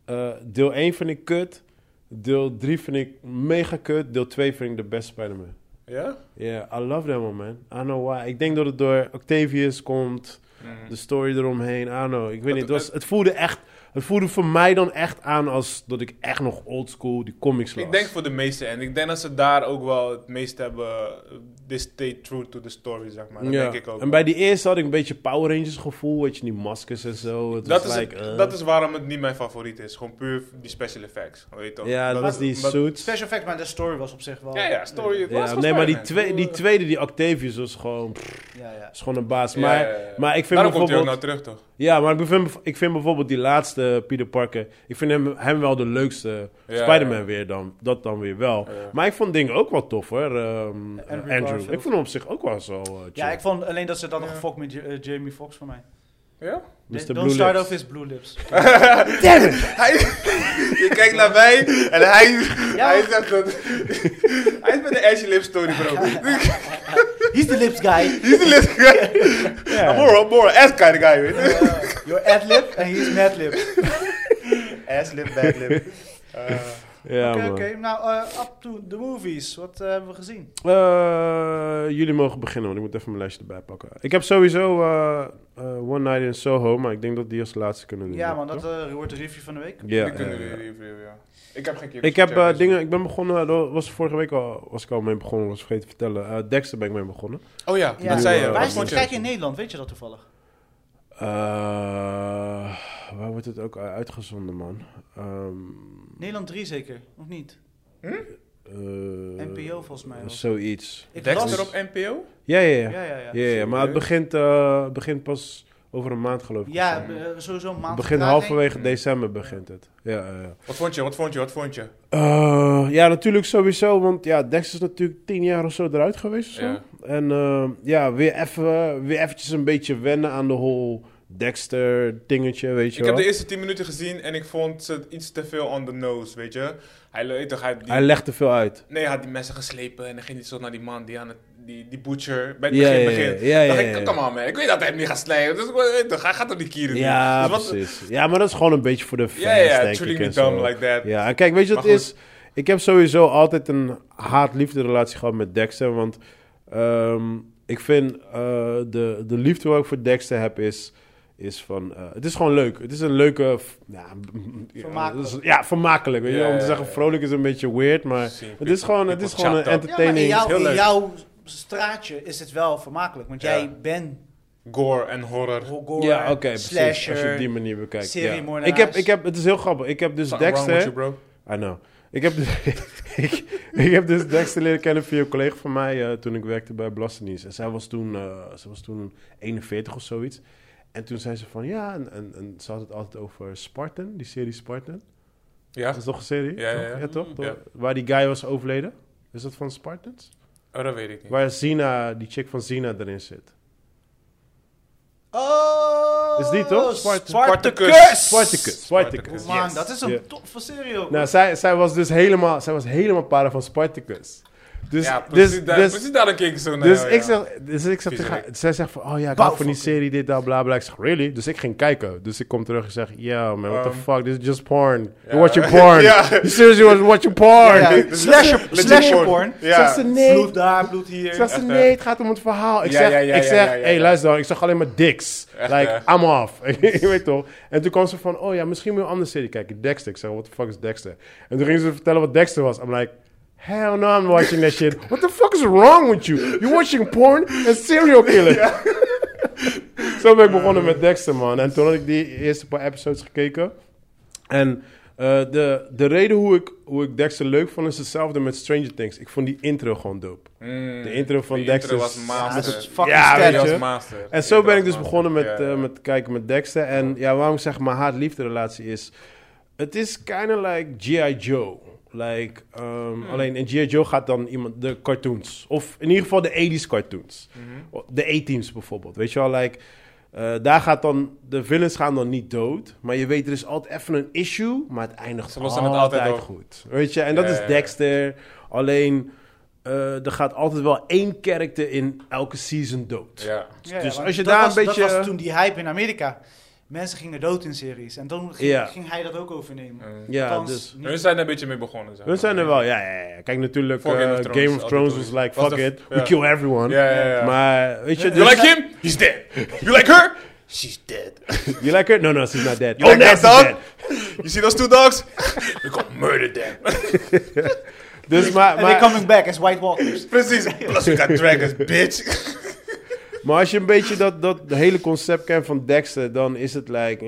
Speaker 2: eh, deel 1 vind ik kut. Deel 3 vind ik mega kut. Deel 2 vind ik de beste Spider-Man.
Speaker 3: Ja?
Speaker 2: Ja, I love that one, man. I know why. Ik denk dat het door Octavius komt.
Speaker 3: Mm.
Speaker 2: De story eromheen. I don't know. Ik weet
Speaker 3: Het-
Speaker 2: niet. Het, was, het voelde echt... Het voelde voor mij dan echt aan als dat ik echt nog oldschool die comics las.
Speaker 3: Ik denk voor de meeste. En ik denk dat ze daar ook wel het meest hebben... eh, They stay true to the story, zeg maar. Dat
Speaker 2: Ja.
Speaker 3: denk ik ook.
Speaker 2: En bij die eerste had ik een beetje Power Rangers gevoel, weet je, die maskers en zo. Het
Speaker 3: dat,
Speaker 2: was
Speaker 3: is
Speaker 2: like,
Speaker 3: het-
Speaker 2: eh.
Speaker 3: dat is waarom het niet mijn favoriet is. Gewoon puur die special effects. Weet je toch?
Speaker 2: Ja, dat was die
Speaker 3: dat-
Speaker 2: suits.
Speaker 1: Special effect, maar de story was op zich wel...
Speaker 3: Ja, ja, story. het was
Speaker 2: Ja,
Speaker 3: van
Speaker 2: nee, maar die,
Speaker 3: Spider-Man.
Speaker 2: twee, die tweede, die Octavius, was gewoon, pff,
Speaker 1: Ja, ja.
Speaker 2: is gewoon een baas.
Speaker 3: Ja,
Speaker 2: Maar,
Speaker 3: ja, ja.
Speaker 2: maar ik vind
Speaker 3: Daarom komt hij ook
Speaker 2: bijvoorbeeld...
Speaker 3: nou terug, toch?
Speaker 2: Ja, maar ik vind, ik vind bijvoorbeeld die laatste eh, Peter Parker... Ik vind hem, hem wel de leukste
Speaker 3: Ja,
Speaker 2: Spider-Man
Speaker 3: ja.
Speaker 2: weer dan. Dat dan weer wel.
Speaker 3: Ja.
Speaker 2: Maar ik vond dingen ook wel tof, hoor. ehm, eh, Andrew.
Speaker 1: Garfield.
Speaker 2: Ik vond hem op zich ook wel zo eh, chill.
Speaker 1: Ja, ik vond alleen dat ze dat nog
Speaker 3: Ja.
Speaker 1: gefokt met J- eh, Jamie Foxx voor mij.
Speaker 3: Ja?
Speaker 2: Mr.
Speaker 1: Don't
Speaker 2: Blue
Speaker 1: start
Speaker 2: Lips.
Speaker 1: off his blue lips.
Speaker 3: Hij, je kijkt naar mij en hij,
Speaker 1: Ja.
Speaker 3: hij zegt dat. hij is met de Ashy Lip Story, bro.
Speaker 1: He's the lips guy.
Speaker 3: He's the lip guy.
Speaker 2: Ja.
Speaker 3: More, more ass kind of guy, weet je.
Speaker 1: Eh, your ad lip en he's mad lip. Oké,
Speaker 3: Ass lip, bad lip.
Speaker 2: Ja,
Speaker 1: oké.
Speaker 2: man.
Speaker 1: Nou, eh, up to the movies. Wat eh, hebben we gezien?
Speaker 2: Eh, jullie mogen beginnen, want ik moet even mijn lijstje erbij pakken. Ik heb sowieso eh, eh, One Night in Soho, maar ik denk dat die als laatste kunnen doen.
Speaker 1: Ja, man,
Speaker 2: toch?
Speaker 1: dat eh, wordt de review van de week.
Speaker 2: Ja,
Speaker 3: Die kunnen
Speaker 2: ja,
Speaker 3: we
Speaker 2: ja.
Speaker 3: reviewen, ja. Ik heb geen keer. dus-
Speaker 2: Ik heb eh, dingen, ik ben begonnen, eh, dat was vorige week al, was ik al mee begonnen, was vergeten te vertellen. Eh, Dexter ben ik mee begonnen.
Speaker 3: Oh ja,
Speaker 1: Ja.
Speaker 3: dat zei je.
Speaker 2: Waar
Speaker 1: Wij
Speaker 3: Wat
Speaker 2: is
Speaker 1: zijn
Speaker 3: vond
Speaker 2: het
Speaker 3: je?
Speaker 1: gek in Nederland, weet je dat toevallig?
Speaker 2: Eh, waar wordt het ook uitgezonden, man? Ehm,
Speaker 1: Nederland 3 zeker, of niet?
Speaker 2: eh,
Speaker 1: NPO volgens mij wel.
Speaker 2: Zoiets.
Speaker 1: Ik
Speaker 3: Dexter
Speaker 1: las-
Speaker 3: op NPO?
Speaker 2: Ja, ja, ja.
Speaker 1: Ja, ja, ja.
Speaker 2: Ja, ja, maar het begint, eh, begint pas over een maand, geloof ik.
Speaker 1: Ja,
Speaker 2: of
Speaker 1: eh,
Speaker 2: zo.
Speaker 1: sowieso een
Speaker 2: Het
Speaker 1: maand.
Speaker 2: begint
Speaker 1: vertraging.
Speaker 2: halverwege december begint het. Ja, ja, ja.
Speaker 3: Wat vond je, wat vond je, wat vond je?
Speaker 2: Eh, ja, natuurlijk sowieso. Want ja, Dex is natuurlijk tien jaar of zo eruit geweest. of Zo.
Speaker 3: Ja.
Speaker 2: En eh, ja, weer, even, weer eventjes een beetje wennen aan de whole Dexter dingetje, weet je
Speaker 3: Ik heb
Speaker 2: wel.
Speaker 3: de eerste 10 minuten gezien en ik vond ze iets te veel on the nose, weet je. Hij, weet toch, hij, die-
Speaker 2: Hij legt er veel uit.
Speaker 3: Nee, hij had die messen geslepen en dan ging hij zo naar die man, die, aan het, die, die butcher, bij het
Speaker 2: Ja,
Speaker 3: begin
Speaker 2: ja,
Speaker 3: begint.
Speaker 2: ja, ja,
Speaker 3: dacht
Speaker 2: ja, ja.
Speaker 3: ik, come on man, ik weet dat hij hem niet gaat snijden. Dus, eh, toch, hij gaat toch niet kieren doen.
Speaker 2: Ja,
Speaker 3: Dus wat-
Speaker 2: precies. Ja, maar dat is gewoon een beetje voor de fans,
Speaker 3: Ja, ja,
Speaker 2: denk
Speaker 3: truly
Speaker 2: ik.
Speaker 3: me
Speaker 2: en zo.
Speaker 3: dumb like that.
Speaker 2: Ja, en kijk, weet je wat
Speaker 3: Maar
Speaker 2: het is? Ik heb sowieso altijd een haat-liefde relatie gehad met Dexter. Want ehm, ik vind eh, de, de liefde waar ik voor Dexter heb is, is van... eh, het is gewoon leuk. Het is een leuke... f- Ja, mm, ja,
Speaker 1: Vermakelijk.
Speaker 2: het is- Ja, vermakelijk. Weet je?
Speaker 3: Ja,
Speaker 2: Om te
Speaker 3: ja,
Speaker 2: zeggen
Speaker 3: ja.
Speaker 2: vrolijk is een beetje weird, maar... Het is gewoon, het is
Speaker 3: People
Speaker 2: gewoon een
Speaker 3: chopped up.
Speaker 1: Ja, maar in
Speaker 2: entertaining...
Speaker 1: jouw,
Speaker 3: Heel
Speaker 1: in
Speaker 3: leuk.
Speaker 1: jouw straatje is het wel vermakelijk. Want
Speaker 3: Ja.
Speaker 1: jij bent
Speaker 3: Gore en horror.
Speaker 1: horror,
Speaker 2: ja, oké, precies. Als je
Speaker 1: slasher.
Speaker 2: op die manier bekijkt. Ja.
Speaker 1: seriemoordenaars.
Speaker 2: Ik heb, ik heb, het is heel grappig. Ik heb dus
Speaker 3: Something wrong
Speaker 2: Dexter.
Speaker 3: with you, bro.
Speaker 2: I know. Ik heb, dus- ik, ik heb dus Dexter leren kennen via een collega van mij eh, toen ik werkte bij Belastingdienst. En zij was toen, eh ze was toen 41 of zoiets. En toen zei ze van ja, en, en, en ze had het altijd over Spartan, die serie Spartan.
Speaker 3: Ja,
Speaker 2: Dat is toch een serie?
Speaker 3: Ja, ja, ja. Mm,
Speaker 2: toch? toch?
Speaker 3: Ja.
Speaker 2: Waar die guy was overleden. Is dat van Spartans?
Speaker 3: oh, dat weet ik niet.
Speaker 2: Waar Zina, die chick van Zina erin zit.
Speaker 1: Oh!
Speaker 2: Is die toch? Sparta-
Speaker 1: Spartacus!
Speaker 2: Spartacus. Spartacus.
Speaker 3: Spartacus.
Speaker 1: Man,
Speaker 3: Yes.
Speaker 1: dat is een
Speaker 2: Ja.
Speaker 1: toffe serie ook.
Speaker 2: Nou, zij, zij was dus helemaal, zij was helemaal para van Spartacus. Dus,
Speaker 3: ja, precies,
Speaker 2: dus,
Speaker 3: daar,
Speaker 2: dus-
Speaker 3: precies daarom keek ik zo naar
Speaker 2: Dus,
Speaker 3: jou,
Speaker 2: ik
Speaker 3: ja.
Speaker 2: zeg, dus ik zeg tegen haar,
Speaker 3: Viezerik.
Speaker 2: zij zegt van, oh ja, ik hou van die
Speaker 1: Bouwvakker.
Speaker 2: serie, dit, dat, bla, bla. Ik zeg, really? Dus ik ging kijken. Dus ik kom terug en zeg, yeah man, what the
Speaker 3: Um,
Speaker 2: fuck, this is just porn.
Speaker 3: Ja.
Speaker 2: You watching porn.
Speaker 3: Ja.
Speaker 2: You seriously was watching porn.
Speaker 1: Ja,
Speaker 2: Ik
Speaker 1: ja. Slasher,
Speaker 3: Legit
Speaker 1: slasher
Speaker 3: porn.
Speaker 1: porn.
Speaker 2: Zeg
Speaker 3: Ja.
Speaker 2: ze nee,
Speaker 1: Bloed daar, bloed hier.
Speaker 2: Ik zeg ze
Speaker 3: Echt,
Speaker 2: nee, het gaat om het verhaal. Ik
Speaker 3: Ja,
Speaker 2: zeg,
Speaker 3: ja, ja,
Speaker 2: ik
Speaker 3: ja,
Speaker 2: zeg
Speaker 3: ja, ja,
Speaker 2: hey,
Speaker 3: ja.
Speaker 2: luister dan, ik zag alleen maar dicks.
Speaker 3: Echt,
Speaker 2: like,
Speaker 3: hè?
Speaker 2: I'm off. je weet toch? En toen kwam ze van, oh ja, misschien moet je een andere serie kijken. Dexter. Ik zeg, what the fuck is Dexter? En toen ging ze vertellen wat Dexter was. I'm like, hell no, I'm watching that shit. What the fuck is wrong with you? You're watching porn and serial killer. Zo ben ik begonnen met Dexter, man. En toen had ik die eerste paar episodes gekeken. En eh, de, de reden hoe ik, hoe ik Dexter leuk vond is hetzelfde met Stranger Things. Ik vond die intro gewoon dope.
Speaker 3: Mm,
Speaker 2: de intro van
Speaker 3: die
Speaker 2: Dexter
Speaker 3: intro was
Speaker 2: is-
Speaker 1: Ja, dat
Speaker 3: master.
Speaker 1: is fucking
Speaker 2: Ja,
Speaker 1: sterk.
Speaker 2: weet je.
Speaker 3: was master.
Speaker 2: En zo ben ik dus
Speaker 3: Ja,
Speaker 2: begonnen met,
Speaker 3: ja,
Speaker 2: eh,
Speaker 3: ja.
Speaker 2: met kijken met Dexter. En ja, waarom ik zeg mijn haat-liefde-relatie is... Het is kind of like G.I. Joe. Like, ehm,
Speaker 3: Hmm.
Speaker 2: Alleen in G.I. Joe gaat dan iemand de cartoons. Of in ieder geval de 80s cartoons.
Speaker 3: Mhm.
Speaker 2: De A-teams bijvoorbeeld. Weet je wel, like... eh, daar gaat dan, de villains gaan dan niet dood. Maar je weet, er is altijd even een issue. Maar het eindigt
Speaker 3: Ze lossen
Speaker 2: altijd,
Speaker 3: het altijd op.
Speaker 2: goed. Weet je, en dat
Speaker 3: Ja,
Speaker 2: is
Speaker 3: ja, ja.
Speaker 2: Dexter. Alleen, eh, er gaat altijd wel één character in elke season dood.
Speaker 3: Ja.
Speaker 1: Ja, ja,
Speaker 2: Dus
Speaker 1: want
Speaker 2: als je
Speaker 1: dat
Speaker 2: daar
Speaker 1: was-
Speaker 2: een beetje-
Speaker 1: Dat was toen die hype in Amerika. Mensen gingen dood in series. En toen ging,
Speaker 2: Ja.
Speaker 1: ging hij dat ook overnemen.
Speaker 3: Mm.
Speaker 2: Ja,
Speaker 1: Althans,
Speaker 2: dus.
Speaker 1: niet-
Speaker 3: Hun zijn er een beetje mee begonnen. zeg
Speaker 2: Hun
Speaker 3: maar.
Speaker 2: zijn er wel, ja, ja, ja. Kijk, natuurlijk,
Speaker 3: Voor
Speaker 2: eh, Game of Thrones, was
Speaker 3: altijd
Speaker 2: like,
Speaker 3: wel.
Speaker 2: fuck
Speaker 3: Was
Speaker 2: it,
Speaker 3: de-
Speaker 2: we
Speaker 3: ja.
Speaker 2: kill everyone.
Speaker 3: Ja, ja, ja.
Speaker 2: Maar, weet je,
Speaker 3: You
Speaker 2: dus-
Speaker 3: like him? He's dead. You like her? She's dead.
Speaker 2: You like her? No, no, she's not dead.
Speaker 3: You
Speaker 2: oh,
Speaker 3: like
Speaker 2: nee,
Speaker 3: that
Speaker 2: she's
Speaker 3: dog?
Speaker 2: dead.
Speaker 3: You see those two dogs? We gonna murder them.
Speaker 2: Dus maar,
Speaker 1: And they're
Speaker 2: maar,
Speaker 1: coming back as White Walkers.
Speaker 3: Precies. Plus we got dragons, bitch.
Speaker 2: maar als je een beetje dat, dat hele concept kent van Dexter, dan is het like...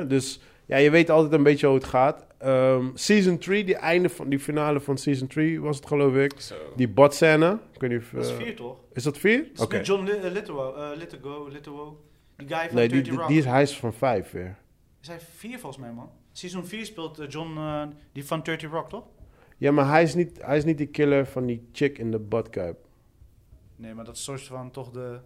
Speaker 2: eh, dus ja, je weet altijd een beetje hoe het gaat. Ehm, season 3, die, einde van, die finale van Season 3 was het geloof ik.
Speaker 3: Zo.
Speaker 2: Die botscène. Ik weet niet of...
Speaker 1: Dat is
Speaker 2: eh,
Speaker 1: vier toch?
Speaker 2: is dat 4?
Speaker 1: Dat is met John Li- eh, Lithgow, eh, Lithgow, Lithgow. Die guy van
Speaker 2: Nee, die,
Speaker 1: 30
Speaker 2: die,
Speaker 1: Rock.
Speaker 2: die is, hij is van 5 weer.
Speaker 1: Is hij vier volgens mij, man? Season 4 speelt eh, John, eh, die van 30 Rock, toch?
Speaker 2: Ja, maar hij is, niet, hij is niet die killer van die chick in de badkuip.
Speaker 1: Nee, maar dat is soort van toch de...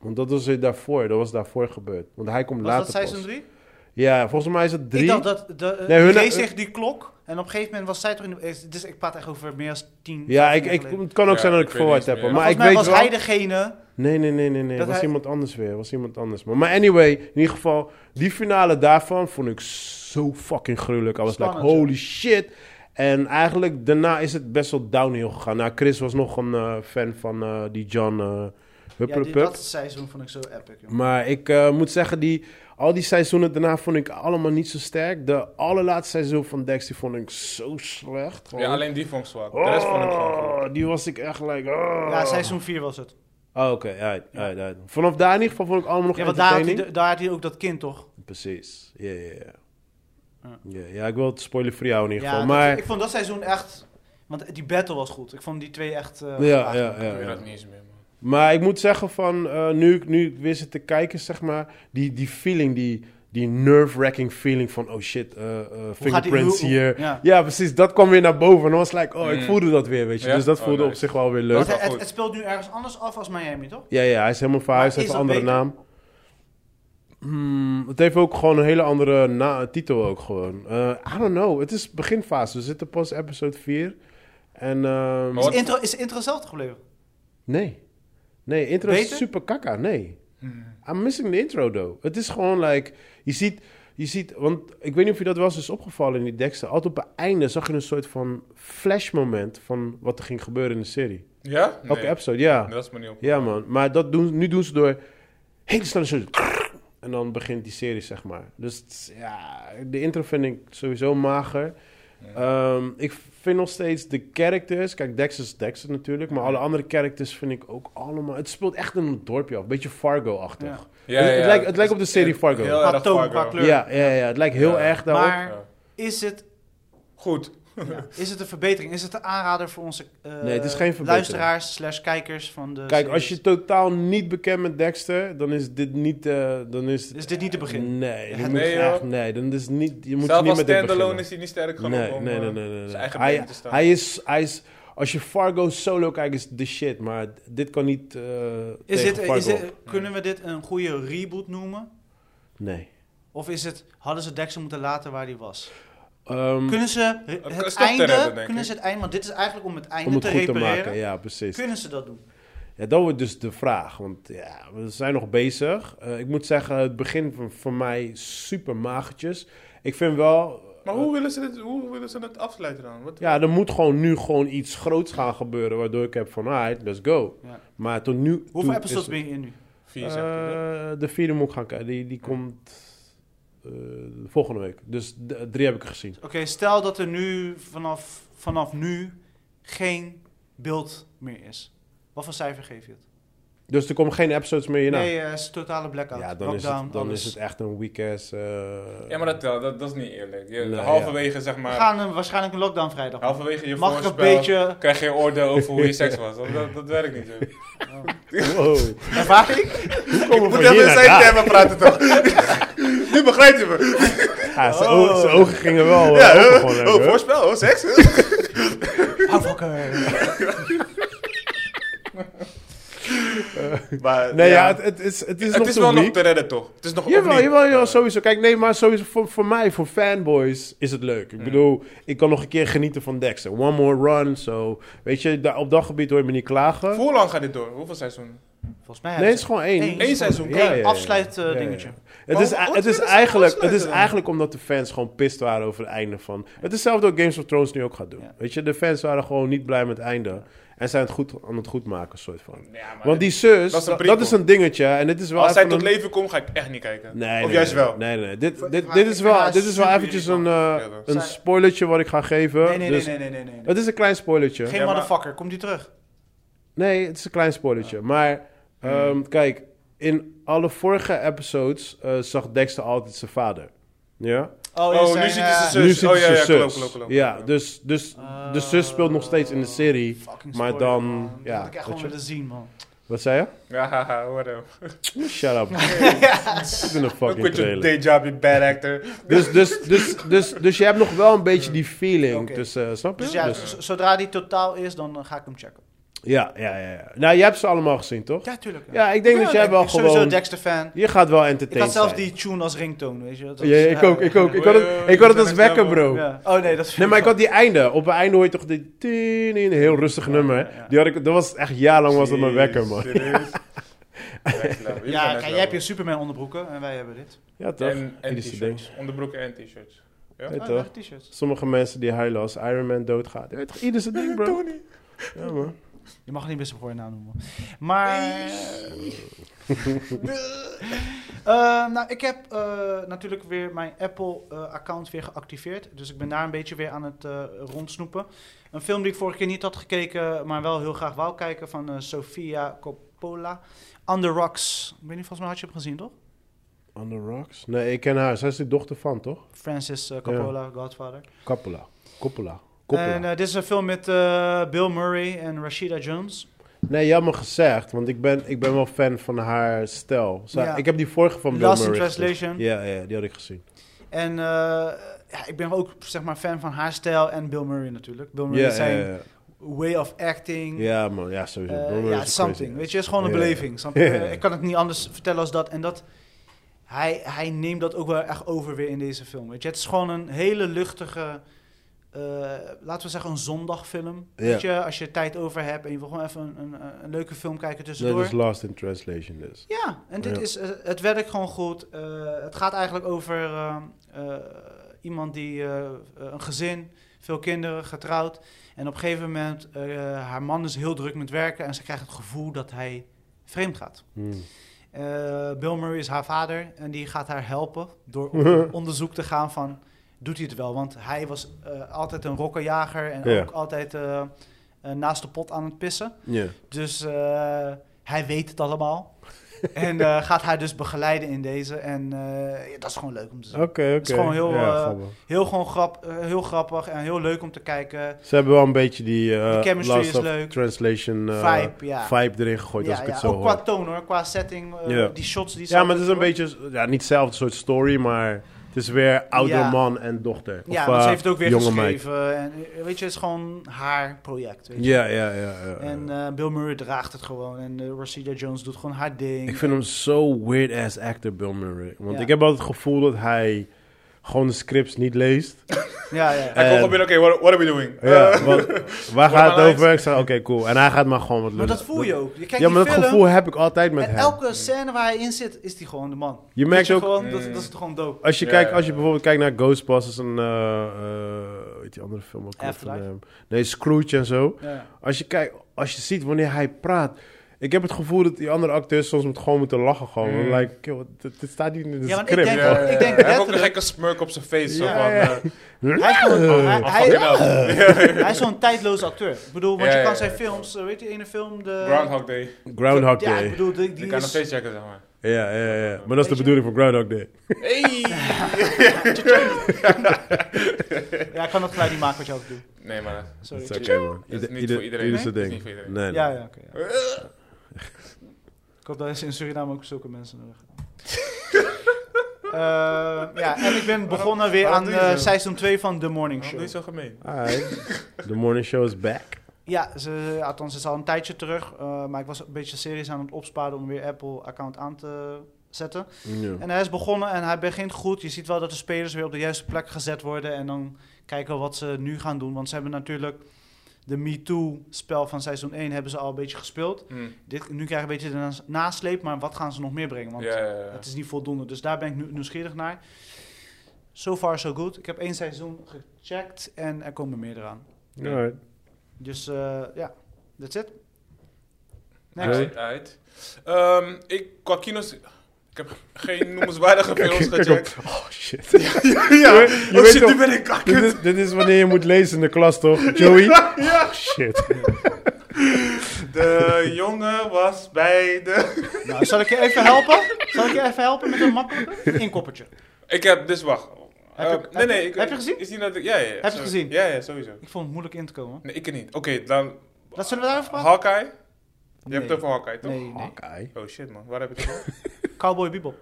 Speaker 2: Want dat was weer daarvoor. Dat was daarvoor gebeurd. Want hij komt
Speaker 1: Was
Speaker 2: later
Speaker 1: dat season
Speaker 2: pas.
Speaker 1: 3?
Speaker 2: Ja, volgens mij is het drie.
Speaker 1: Ik dacht dat... De, eh,
Speaker 2: Nee, hun-
Speaker 1: Jay zegt die klok. En op een gegeven moment was zij toch in de... eh, Dus ik praat echt over meer dan 10...
Speaker 2: ja,
Speaker 1: 15
Speaker 2: ik,
Speaker 1: jaar
Speaker 2: ik,
Speaker 1: geleden.
Speaker 2: het kan ook
Speaker 3: Ja,
Speaker 2: zijn dat
Speaker 3: ik
Speaker 2: ik
Speaker 3: weet
Speaker 2: verward
Speaker 3: niet
Speaker 2: heb.
Speaker 3: meer.
Speaker 2: Maar ik
Speaker 1: Volgens mij
Speaker 2: weet
Speaker 1: was
Speaker 2: wel...
Speaker 1: hij degene...
Speaker 2: Nee, nee, nee, nee. nee.
Speaker 1: Dat
Speaker 2: was
Speaker 1: hij-
Speaker 2: iemand anders weer. Was iemand anders. Maar, maar anyway, in ieder geval, die finale daarvan vond ik zo fucking gruwelijk. I was
Speaker 1: Spannend,
Speaker 2: like,
Speaker 1: ja.
Speaker 2: holy shit. En eigenlijk daarna is het best wel downhill gegaan. Nou, Chris was nog een eh, fan van eh, die John eh
Speaker 1: Ja, die,
Speaker 2: Huppelepup.
Speaker 1: dat seizoen vond ik zo epic, jongen.
Speaker 2: Maar ik eh, moet zeggen, die, al die seizoenen daarna vond ik allemaal niet zo sterk. De allerlaatste seizoen van Dex, die vond ik zo slecht. gewoon.
Speaker 3: Ja, alleen die vond ik zwak.
Speaker 2: Oh,
Speaker 3: De rest vond ik gewoon goed.
Speaker 2: Die was ik echt like... oh.
Speaker 1: Ja, seizoen 4 was het.
Speaker 2: Oh, oké. alright, alright, alright. Vanaf daar in ieder geval vond ik allemaal nog
Speaker 1: Ja, want daar had, hij,
Speaker 2: entertaining.
Speaker 1: de- daar had hij ook dat kind, toch?
Speaker 2: Precies. Ja, ja, ja.
Speaker 1: Ja.
Speaker 2: Ja, Ja, ik wil het spoilen voor jou in ieder geval.
Speaker 1: dat-
Speaker 2: maar
Speaker 1: ik vond dat seizoen echt... Want die battle was goed. Ik vond die twee echt... eh,
Speaker 2: Ja,
Speaker 1: gewaagd.
Speaker 2: ja, ja.
Speaker 3: Ik weet dat niet eens meer, man.
Speaker 2: Maar ik moet zeggen van, eh, nu, ik- nu ik weer zit te kijken, zeg maar, die, die feeling, die, die nerve-wracking feeling van, oh shit, eh, eh, fingerprints
Speaker 1: hoe-
Speaker 2: hier. Ja.
Speaker 1: ja.
Speaker 2: precies, dat kwam weer naar boven. En dan was het like, oh, ik
Speaker 3: Mm.
Speaker 2: voelde dat weer, weet je.
Speaker 3: Ja?
Speaker 2: Dus dat
Speaker 3: Oh,
Speaker 2: voelde op
Speaker 3: nice.
Speaker 2: zich wel
Speaker 1: Want
Speaker 2: weer leuk.
Speaker 3: Wat-
Speaker 1: het,
Speaker 3: wel
Speaker 1: het
Speaker 3: goed.
Speaker 1: speelt nu ergens anders af als Miami, toch?
Speaker 2: Ja, ja, hij is helemaal verhuisd, hij
Speaker 1: Maar
Speaker 2: heeft een
Speaker 1: is
Speaker 2: andere
Speaker 1: dat
Speaker 2: naam. Hmm, het heeft ook gewoon een hele andere na- titel ook gewoon. Eh, I don't know, het is beginfase. We zitten pas episode 4. En, ehm,
Speaker 3: Maar wat-
Speaker 1: Is, intro, is de intro zelf gebleven?
Speaker 2: Nee. Nee, intro is
Speaker 1: Beter?
Speaker 2: super kakka. Nee. I'm missing the intro, though. Het is gewoon like... Je ziet, je ziet... Want ik weet niet of je dat wel eens is opgevallen in die Dexter. Altijd op het einde zag je een soort van flashmoment... van wat er ging gebeuren in de serie.
Speaker 3: Ja? Nee.
Speaker 2: Elke episode, ja.
Speaker 3: Dat is me niet op.
Speaker 2: Ja, man. Maar dat doen, nu doen ze door... Hele snelle zo... En dan begint die serie, zeg maar. Dus het is- ja, de intro vind ik sowieso mager. Ehm, ik vind nog steeds de characters... Kijk, Dexter is Dexter natuurlijk. Maar alle andere characters vind ik ook allemaal... Het speelt echt in een dorpje af. Een beetje Fargo-achtig.
Speaker 1: Ja.
Speaker 3: Ja,
Speaker 2: het, het
Speaker 3: ja.
Speaker 2: lijkt, het lijkt op de serie
Speaker 3: Heel-
Speaker 2: Fargo.
Speaker 3: heel-
Speaker 2: Ja,
Speaker 1: Qua
Speaker 3: erg
Speaker 1: toon,
Speaker 3: Fargo.
Speaker 1: qua kleur.
Speaker 2: ja, ja, Het lijkt heel
Speaker 3: Ja.
Speaker 2: erg daarop.
Speaker 1: Maar
Speaker 3: Ja.
Speaker 1: is, het,
Speaker 3: Goed.
Speaker 1: ja, is het een verbetering? Is het een aanrader voor onze eh,
Speaker 2: Nee, het is geen verbetering.
Speaker 1: luisteraars slash kijkers van de
Speaker 2: Kijk, als je
Speaker 1: series?
Speaker 2: totaal niet bekend met Dexter... dan is dit niet... eh, dan is,
Speaker 1: Is dit niet te beginnen?
Speaker 2: Nee, je
Speaker 1: Nee,
Speaker 2: moet
Speaker 3: joh.
Speaker 2: echt, nee, dan is niet, je moet
Speaker 3: Zelf
Speaker 2: niet
Speaker 3: als
Speaker 2: met dit
Speaker 3: standalone
Speaker 2: beginnen.
Speaker 3: is hij niet sterk genoeg
Speaker 2: Nee,
Speaker 3: om
Speaker 2: nee,
Speaker 3: eh,
Speaker 2: nee, nee, nee, nee.
Speaker 3: zijn eigen
Speaker 2: hij,
Speaker 3: been te staan.
Speaker 2: hij is, hij is, als je Fargo solo kijkt, is de shit. Maar dit kan niet eh
Speaker 1: is
Speaker 2: tegen
Speaker 1: dit,
Speaker 2: Fargo.
Speaker 1: is dit, kunnen we dit een goede reboot noemen?
Speaker 2: Nee.
Speaker 1: Of is het, hadden ze Dexter moeten laten waar hij was?
Speaker 2: Ehm,
Speaker 1: Kunnen ze het,
Speaker 3: is toch te
Speaker 1: einde,
Speaker 3: redden, denk
Speaker 1: kunnen
Speaker 3: ik.
Speaker 1: ze het einde, want dit is eigenlijk om het einde
Speaker 2: om het
Speaker 1: te
Speaker 2: goed te
Speaker 1: repareren.
Speaker 2: maken, ja, precies.
Speaker 1: Kunnen ze dat doen?
Speaker 2: Ja, dat wordt dus de vraag. Want ja, we zijn nog bezig. Eh, ik moet zeggen, het begin van, voor mij super magertjes. Ik vind wel...
Speaker 3: Maar hoe willen ze dit, hoe willen ze het afsluiten dan? Wat,
Speaker 2: Ja, er moet gewoon nu gewoon iets groots gaan gebeuren... waardoor ik heb van, alright, let's go.
Speaker 1: Ja.
Speaker 2: Maar tot nu toe
Speaker 1: Hoeveel
Speaker 2: is
Speaker 1: episodes
Speaker 2: het-
Speaker 1: ben je in nu?
Speaker 3: Vier zegt hij, hè?
Speaker 2: Eh, de vierde moet ik gaan kijken. Die, die komt eh, volgende week. Dus d- drie heb ik gezien.
Speaker 1: Oké, stel dat er nu vanaf, vanaf nu geen beeld meer is. Wat voor cijfer geef je het?
Speaker 2: Dus er komen geen episodes meer hierna.
Speaker 1: Nee, eh, is totale blackout.
Speaker 2: ja, dan, is
Speaker 1: Lockdown,
Speaker 2: het, dan
Speaker 1: alles.
Speaker 2: is het echt een week-ass... eh,
Speaker 3: Ja, maar dat, telt, dat, dat is niet eerlijk. Je-
Speaker 2: Nee,
Speaker 3: halverwege, zeg
Speaker 1: We
Speaker 3: maar,
Speaker 1: gaan een, waarschijnlijk een lockdown vrijdag.
Speaker 3: halverwege je
Speaker 1: Mag ik
Speaker 3: voorspel
Speaker 1: een beetje
Speaker 3: krijg je een oordeel over hoe je seks was. Dat, dat, dat werkt niet zo.
Speaker 2: Wow.
Speaker 1: ervaring?
Speaker 2: Hoe komen we
Speaker 3: Moet
Speaker 2: van hier
Speaker 3: even
Speaker 2: naar
Speaker 3: zijn
Speaker 2: daar?
Speaker 3: termen praten toch? nu begrijp je me.
Speaker 2: Ja, zijn o- zijn ogen gingen wel eh,
Speaker 3: Oh. Ja,
Speaker 2: open
Speaker 3: eh,
Speaker 2: gewoon
Speaker 3: oh,
Speaker 2: even.
Speaker 3: voorspel, oh, seks.
Speaker 1: Hou wakker.
Speaker 3: maar,
Speaker 2: Nee, ja,
Speaker 3: het,
Speaker 2: het, het is, het is
Speaker 3: het
Speaker 2: nog
Speaker 3: is
Speaker 2: te
Speaker 3: wel nog
Speaker 2: weak.
Speaker 3: te redden toch? Het is nog of
Speaker 2: Jawel,
Speaker 3: niet?
Speaker 2: jawel, jawel, sowieso. Kijk, nee, maar sowieso voor, voor mij, voor fanboys, is het leuk. Ik bedoel, ik kan nog een keer genieten van Dexter. One more run, zo. Weet je, daar, op dat gebied hoor je me niet klagen.
Speaker 3: Voor hoe lang gaat dit door? Hoeveel seizoenen?
Speaker 1: Volgens mij
Speaker 2: Nee, het is gewoon één.
Speaker 1: Eén.
Speaker 3: Eén seizoen.
Speaker 2: Ja, ja, ja.
Speaker 1: dus afsluit eh,
Speaker 2: Ja, ja, ja.
Speaker 1: dingetje.
Speaker 2: Het
Speaker 3: Maar
Speaker 2: is,
Speaker 3: hoe- hoe
Speaker 2: het, is
Speaker 3: willen ze
Speaker 2: eigenlijk, het
Speaker 3: afsluiten
Speaker 2: is
Speaker 3: dan?
Speaker 2: eigenlijk omdat de fans gewoon pist waren over het einde van... Het is hetzelfde wat Games of Thrones nu ook gaat doen.
Speaker 1: Ja.
Speaker 2: Weet je, de fans waren gewoon niet blij met het einde. En zijn het goed aan het goed maken, soort van.
Speaker 3: Ja, maar
Speaker 2: Want die zus,
Speaker 3: dat is een
Speaker 2: dat,
Speaker 3: prequel.
Speaker 2: dat is een dingetje. En dit is wel
Speaker 3: als zij
Speaker 2: even
Speaker 3: tot
Speaker 2: een-
Speaker 3: leven komt, ga ik echt niet kijken.
Speaker 2: Nee,
Speaker 3: of
Speaker 2: nee,
Speaker 3: juist
Speaker 2: nee,
Speaker 3: wel.
Speaker 2: Nee, nee, nee. Dit,
Speaker 1: Maar-
Speaker 2: dit,
Speaker 1: maar
Speaker 2: dit,
Speaker 1: ik
Speaker 2: is
Speaker 1: vind
Speaker 2: wel,
Speaker 1: haar
Speaker 2: dit is wel
Speaker 1: super
Speaker 2: eventjes een, eh,
Speaker 3: Ja, dat-
Speaker 2: een
Speaker 1: Zij-
Speaker 2: spoilertje wat ik ga geven.
Speaker 1: Nee, nee, nee,
Speaker 2: dus
Speaker 1: nee, nee, nee, nee.
Speaker 2: Het is een klein spoilertje.
Speaker 1: Geen
Speaker 3: Ja, maar-
Speaker 1: motherfucker, komt die terug?
Speaker 2: Nee, het is een klein spoilertje. Maar ehm, kijk, in alle vorige episodes eh, zag Dexter altijd zijn vader. Ja?
Speaker 3: Oh, nu zit hij zijn zus.
Speaker 2: Nu zit
Speaker 3: oh,
Speaker 2: hij
Speaker 3: ja,
Speaker 2: zijn
Speaker 3: ja,
Speaker 2: zus.
Speaker 3: klopt, klopt, klopt.
Speaker 2: Ja, dus, dus de zus speelt nog steeds in de serie. maar dan- ja,
Speaker 1: Dat had ik echt gewoon
Speaker 2: weet je.
Speaker 1: willen zien, man.
Speaker 2: Wat zei je?
Speaker 3: Ja, haha, hoor hem.
Speaker 2: Shut up. Zit in een
Speaker 3: Dan
Speaker 2: fucking
Speaker 3: quit
Speaker 2: trailer.
Speaker 3: your day job, you bad actor.
Speaker 2: Dus, dus, dus, dus, dus je hebt nog wel een beetje die feeling
Speaker 1: Oké.
Speaker 2: tussen, snap je?
Speaker 1: Dus ja,
Speaker 2: Dus-
Speaker 1: z- zodra die totaal is, dan eh, ga ik hem checken.
Speaker 2: Ja, ja, ja, ja. Nou, je hebt ze allemaal gezien, toch? Ja,
Speaker 1: Ja, tuurlijk.
Speaker 2: ik denk dat jij wel
Speaker 1: ik ben
Speaker 2: gewoon...
Speaker 1: sowieso Dexter-fan.
Speaker 2: Je gaat wel
Speaker 1: Ik
Speaker 2: entertained
Speaker 1: had zelfs
Speaker 2: zijn.
Speaker 1: die tune als ringtone, weet je. dat
Speaker 2: Ja,
Speaker 1: is-
Speaker 2: ik ook, ik ook. Ik had
Speaker 3: Oei,
Speaker 2: het,
Speaker 3: oei,
Speaker 2: ik had het als
Speaker 3: oei, oei,
Speaker 2: wekker,
Speaker 3: oei,
Speaker 2: bro.
Speaker 1: Ja. Oh nee, dat is
Speaker 2: Nee, maar ik had die einde. Op het einde hoor je toch die... tin in, Een heel rustig nummer.
Speaker 1: ja, ja.
Speaker 2: hè? Die had ik, dat was echt jarenlang was dat mijn wekker, man.
Speaker 3: Serieus? Next level, je bent
Speaker 1: Ja,
Speaker 3: next
Speaker 1: kijk, jij
Speaker 3: level.
Speaker 1: hebt je Superman onderbroeken en wij hebben dit.
Speaker 2: Ja, toch?
Speaker 3: En, en
Speaker 2: Dit is die
Speaker 3: t-shirts. Onderbroeken en t-shirts.
Speaker 2: Ja,
Speaker 1: Oh,
Speaker 2: toch?
Speaker 1: leuke t-shirts.
Speaker 2: Sommige mensen die huilen als Iron Man doodgaat. Je Weet toch, ieder zijn ding, bro. Ja, man.
Speaker 1: Je mag niet best voor je naam noemen. Maar. Eh, nou, ik heb eh, natuurlijk weer mijn Apple-account weer geactiveerd. Dus ik ben daar een beetje weer aan het eh, rondsnoepen. Een film die ik vorige keer niet had gekeken, maar wel heel graag wou kijken van eh, Sofia Coppola. On the Rocks. Ik weet niet, volgens mij had je hem gezien, toch?
Speaker 2: On the rocks? Nee, ik ken haar. Zij is de dochter van, toch?
Speaker 1: Francis eh, Coppola, Godfather.
Speaker 2: Coppola. Coppola. Coppola.
Speaker 1: En eh, dit is een film met eh, Bill Murray en Rashida Jones.
Speaker 2: Nee, jammer gezegd, want ik ben, ik ben wel fan van haar stijl. Zij-
Speaker 1: Ja.
Speaker 2: Ik heb die vorige van Bill
Speaker 1: Lost in
Speaker 2: Murray
Speaker 1: Translation.
Speaker 2: gezien. Ja, ja, die had ik gezien.
Speaker 1: En eh, ja, ik ben ook zeg maar, fan van haar stijl en Bill Murray natuurlijk. Bill Murray
Speaker 2: Ja, ja,
Speaker 1: zijn
Speaker 2: ja,
Speaker 1: way of acting.
Speaker 2: ja, man, ja, sowieso.
Speaker 1: Eh,
Speaker 2: Bill Murray
Speaker 1: ja,
Speaker 2: is
Speaker 1: something.
Speaker 2: crazy.
Speaker 1: Weet je, het is gewoon een
Speaker 2: Ja.
Speaker 1: beleving. snap je?
Speaker 2: Ja.
Speaker 1: Eh, Ik kan het niet anders vertellen als dat. En dat, hij, hij neemt dat ook wel echt over weer in deze film. Weet je, het is gewoon een hele luchtige, eh, laten we zeggen een zondagfilm.
Speaker 2: Ja.
Speaker 1: Weet je, als je tijd over hebt en je wil gewoon even een, een, een leuke film kijken tussendoor.
Speaker 2: Dat is Lost in Translation dus.
Speaker 1: Ja, en dit
Speaker 2: Ja.
Speaker 1: is, eh, het werkt gewoon goed. Eh, het gaat eigenlijk over eh, eh, iemand die, eh, eh, een gezin, veel kinderen, getrouwd. En op een gegeven moment, eh, haar man is heel druk met werken en ze krijgt het gevoel dat hij vreemd gaat.
Speaker 2: Hmm.
Speaker 1: Eh, Bill Murray is haar vader en die gaat haar helpen door op onderzoek te gaan van, doet hij het wel? Want hij was eh, altijd een rokkenjager en
Speaker 2: Ja.
Speaker 1: ook altijd eh, eh, naast de pot aan het pissen.
Speaker 2: Ja.
Speaker 1: Dus eh, hij weet het allemaal. en eh, gaat haar dus begeleiden in deze. En eh, ja, dat is gewoon leuk om te zien.
Speaker 2: Oké, oké.
Speaker 1: is gewoon heel,
Speaker 2: Ja,
Speaker 1: eh,
Speaker 2: grappig.
Speaker 1: Heel, gewoon grap, eh, heel grappig en heel leuk om te kijken.
Speaker 2: Ze hebben wel een beetje die, eh,
Speaker 1: de chemistry
Speaker 2: Lost
Speaker 1: is
Speaker 2: of
Speaker 1: leuk.
Speaker 2: Translation eh,
Speaker 1: Vibe, ja.
Speaker 2: vibe erin gegooid, als
Speaker 1: ja,
Speaker 2: ik
Speaker 1: ja.
Speaker 2: het zo
Speaker 1: ook qua
Speaker 2: hoor.
Speaker 1: toon hoor, qua setting. eh,
Speaker 2: Ja.
Speaker 1: Die shots die
Speaker 2: Ja, maar het is een
Speaker 1: zaten
Speaker 2: beetje, ja, niet hetzelfde soort story, maar het is weer ouder
Speaker 1: Ja.
Speaker 2: man en dochter.
Speaker 1: Ja,
Speaker 2: Of,
Speaker 1: want ze
Speaker 2: eh,
Speaker 1: heeft het ook weer
Speaker 2: jonge meid.
Speaker 1: geschreven. En, eh, weet je, het is gewoon haar project. Weet je.
Speaker 2: Ja, ja, ja. ja, ja.
Speaker 1: En eh, Bill Murray draagt het gewoon. En eh, Rashida Jones doet gewoon haar ding.
Speaker 2: Ik vind hem zo weird ass actor, Bill Murray. Want
Speaker 1: Ja.
Speaker 2: ik heb altijd het gevoel dat hij gewoon de scripts niet leest.
Speaker 1: Ja, ja.
Speaker 3: Hij komt
Speaker 2: En-
Speaker 3: op binnen, oké, what, what are we doing?
Speaker 2: Ja,
Speaker 3: Eh,
Speaker 2: want waar
Speaker 3: maar
Speaker 2: gaat het
Speaker 3: lijkt-
Speaker 2: over? Ik zeg, oké, cool. En hij gaat maar gewoon wat
Speaker 1: Maar
Speaker 2: lullen.
Speaker 1: dat voel je ook. Je kijkt
Speaker 2: Ja, maar
Speaker 1: die
Speaker 2: dat
Speaker 1: film
Speaker 2: gevoel heb ik altijd met
Speaker 1: en
Speaker 2: hem.
Speaker 1: elke scène waar hij in zit, is die gewoon de man.
Speaker 2: Je
Speaker 1: Weet
Speaker 2: merkt
Speaker 1: je
Speaker 2: ook, Mm.
Speaker 1: gewoon, dat, dat is toch gewoon dope.
Speaker 2: als je,
Speaker 3: Ja,
Speaker 2: kijkt,
Speaker 3: ja,
Speaker 2: als je
Speaker 3: ja.
Speaker 2: bijvoorbeeld kijkt naar Ghostbusters en... eh, eh, hoe heet die andere film ook? alweer van
Speaker 1: Afterlife?
Speaker 2: hem? Nee, Scrooge en zo.
Speaker 1: Ja.
Speaker 2: Als je, kijkt, als je ziet wanneer hij praat... Ik heb het gevoel dat die andere acteurs soms moet gewoon moeten lachen. Gewoon.
Speaker 3: Mm.
Speaker 2: Like, yo, dit, dit staat niet in de
Speaker 1: Ja, want ik
Speaker 2: script.
Speaker 1: denk-
Speaker 2: man.
Speaker 1: ik denk
Speaker 3: Eh, Hij heeft ook een
Speaker 1: letterlijk-
Speaker 3: gekke smurk op zijn face. zo
Speaker 2: Ja,
Speaker 3: van,
Speaker 2: ja.
Speaker 3: eh,
Speaker 1: Hij, is gewoon- hij, hij-
Speaker 3: fuck it up.
Speaker 1: hij is zo'n tijdloos acteur. Ik bedoel, want
Speaker 3: Ja,
Speaker 1: je
Speaker 3: ja,
Speaker 1: kan
Speaker 3: ja,
Speaker 1: zijn
Speaker 3: ja.
Speaker 1: films, eh, weet je, ene film de...
Speaker 3: Groundhog Day.
Speaker 2: Groundhog
Speaker 1: Ja,
Speaker 2: Day.
Speaker 1: ik bedoel, die,
Speaker 3: Die
Speaker 1: die
Speaker 3: kan nog
Speaker 1: is...
Speaker 3: steeds checken, zeg maar.
Speaker 2: Ja, ja, ja. Maar dat
Speaker 1: Weet
Speaker 2: is de
Speaker 1: je?
Speaker 2: bedoeling van Groundhog Day.
Speaker 3: Hey!
Speaker 1: Ja, ik kan dat geluid niet maken wat je ook doet.
Speaker 3: Nee, maar dat-
Speaker 1: Sorry.
Speaker 2: Dat is oké,
Speaker 1: Chill.
Speaker 2: man.
Speaker 3: Dat is niet
Speaker 2: Ieder-
Speaker 3: voor iedereen,
Speaker 2: Ieder
Speaker 3: hè?
Speaker 2: zijn
Speaker 3: Dat is
Speaker 2: ding.
Speaker 3: niet voor iedereen. Eh,
Speaker 2: Nee, nee.
Speaker 1: Ja, ja, oké. ja. Ik hoop dat ze in Suriname ook zulke mensen nodig hebben. Eh, ja, en ik ben begonnen weer
Speaker 3: waarom
Speaker 1: aan
Speaker 3: doe je
Speaker 1: eh,
Speaker 3: zo?
Speaker 1: seizoen 2 van The Morning
Speaker 3: Waarom doe je
Speaker 1: Show.
Speaker 3: zo gemeen?
Speaker 2: Alright. The morning show is back.
Speaker 1: Ja, ze, althans, het is al een tijdje terug. eh, maar ik was een beetje serieus aan het opsparen om weer Apple-account aan te zetten.
Speaker 2: Ja.
Speaker 1: En hij is begonnen en hij begint goed. Je ziet wel dat de spelers weer op de juiste plek gezet worden. En dan kijken we wat ze nu gaan doen. Want ze hebben natuurlijk de MeToo-spel van seizoen 1 hebben ze al een beetje gespeeld.
Speaker 3: Hm.
Speaker 1: Dit, nu krijg je een beetje de nas- nasleep, maar wat gaan ze nog meer brengen? Want
Speaker 3: Ja, ja, ja.
Speaker 1: het is niet voldoende. Dus daar ben ik nu nieuwsgierig naar. So far so good. Ik heb één seizoen gecheckt en er komen meer eraan.
Speaker 2: Alright.
Speaker 1: Dus eh, ja, That's it. Next.
Speaker 2: Oké.
Speaker 3: Uit, uit. Ehm, ik, qua kino's... Ik heb geen noemenswaardige films
Speaker 2: Kijk
Speaker 3: gecheckt.
Speaker 2: op. Oh shit.
Speaker 3: Ja, ja.
Speaker 2: weet- je
Speaker 3: oh
Speaker 2: weet
Speaker 3: shit,
Speaker 2: toch-
Speaker 3: nu ben ik
Speaker 2: dit,
Speaker 3: kakkend.
Speaker 2: is, dit is wanneer je moet lezen in de klas, toch? Joey?
Speaker 3: Ja.
Speaker 2: Shit.
Speaker 3: De jongen was bij de...
Speaker 1: Nou, zal ik je even helpen? Zal ik je even helpen met een makkelijke inkoppertje?
Speaker 3: Ik heb... Dus wacht.
Speaker 1: Heb je-
Speaker 3: Eh,
Speaker 1: heb
Speaker 3: nee, nee.
Speaker 1: je-
Speaker 3: ik-
Speaker 1: heb je gezien?
Speaker 3: Is die nou de- ja, ja, ja,
Speaker 1: je
Speaker 3: zo-
Speaker 1: gezien?
Speaker 3: Ja, ja, sowieso.
Speaker 1: Ik vond het moeilijk in te komen.
Speaker 3: Nee, ik niet. Oké, dan...
Speaker 1: Dat zullen we daarover praten?
Speaker 3: Hawkeye? Je hebt
Speaker 1: Nee.
Speaker 3: het over Hawkeye, toch?
Speaker 1: Nee, nee.
Speaker 2: Hawkeye.
Speaker 3: Oh shit, man. Waar heb ik het over?
Speaker 1: Cowboy Bebop.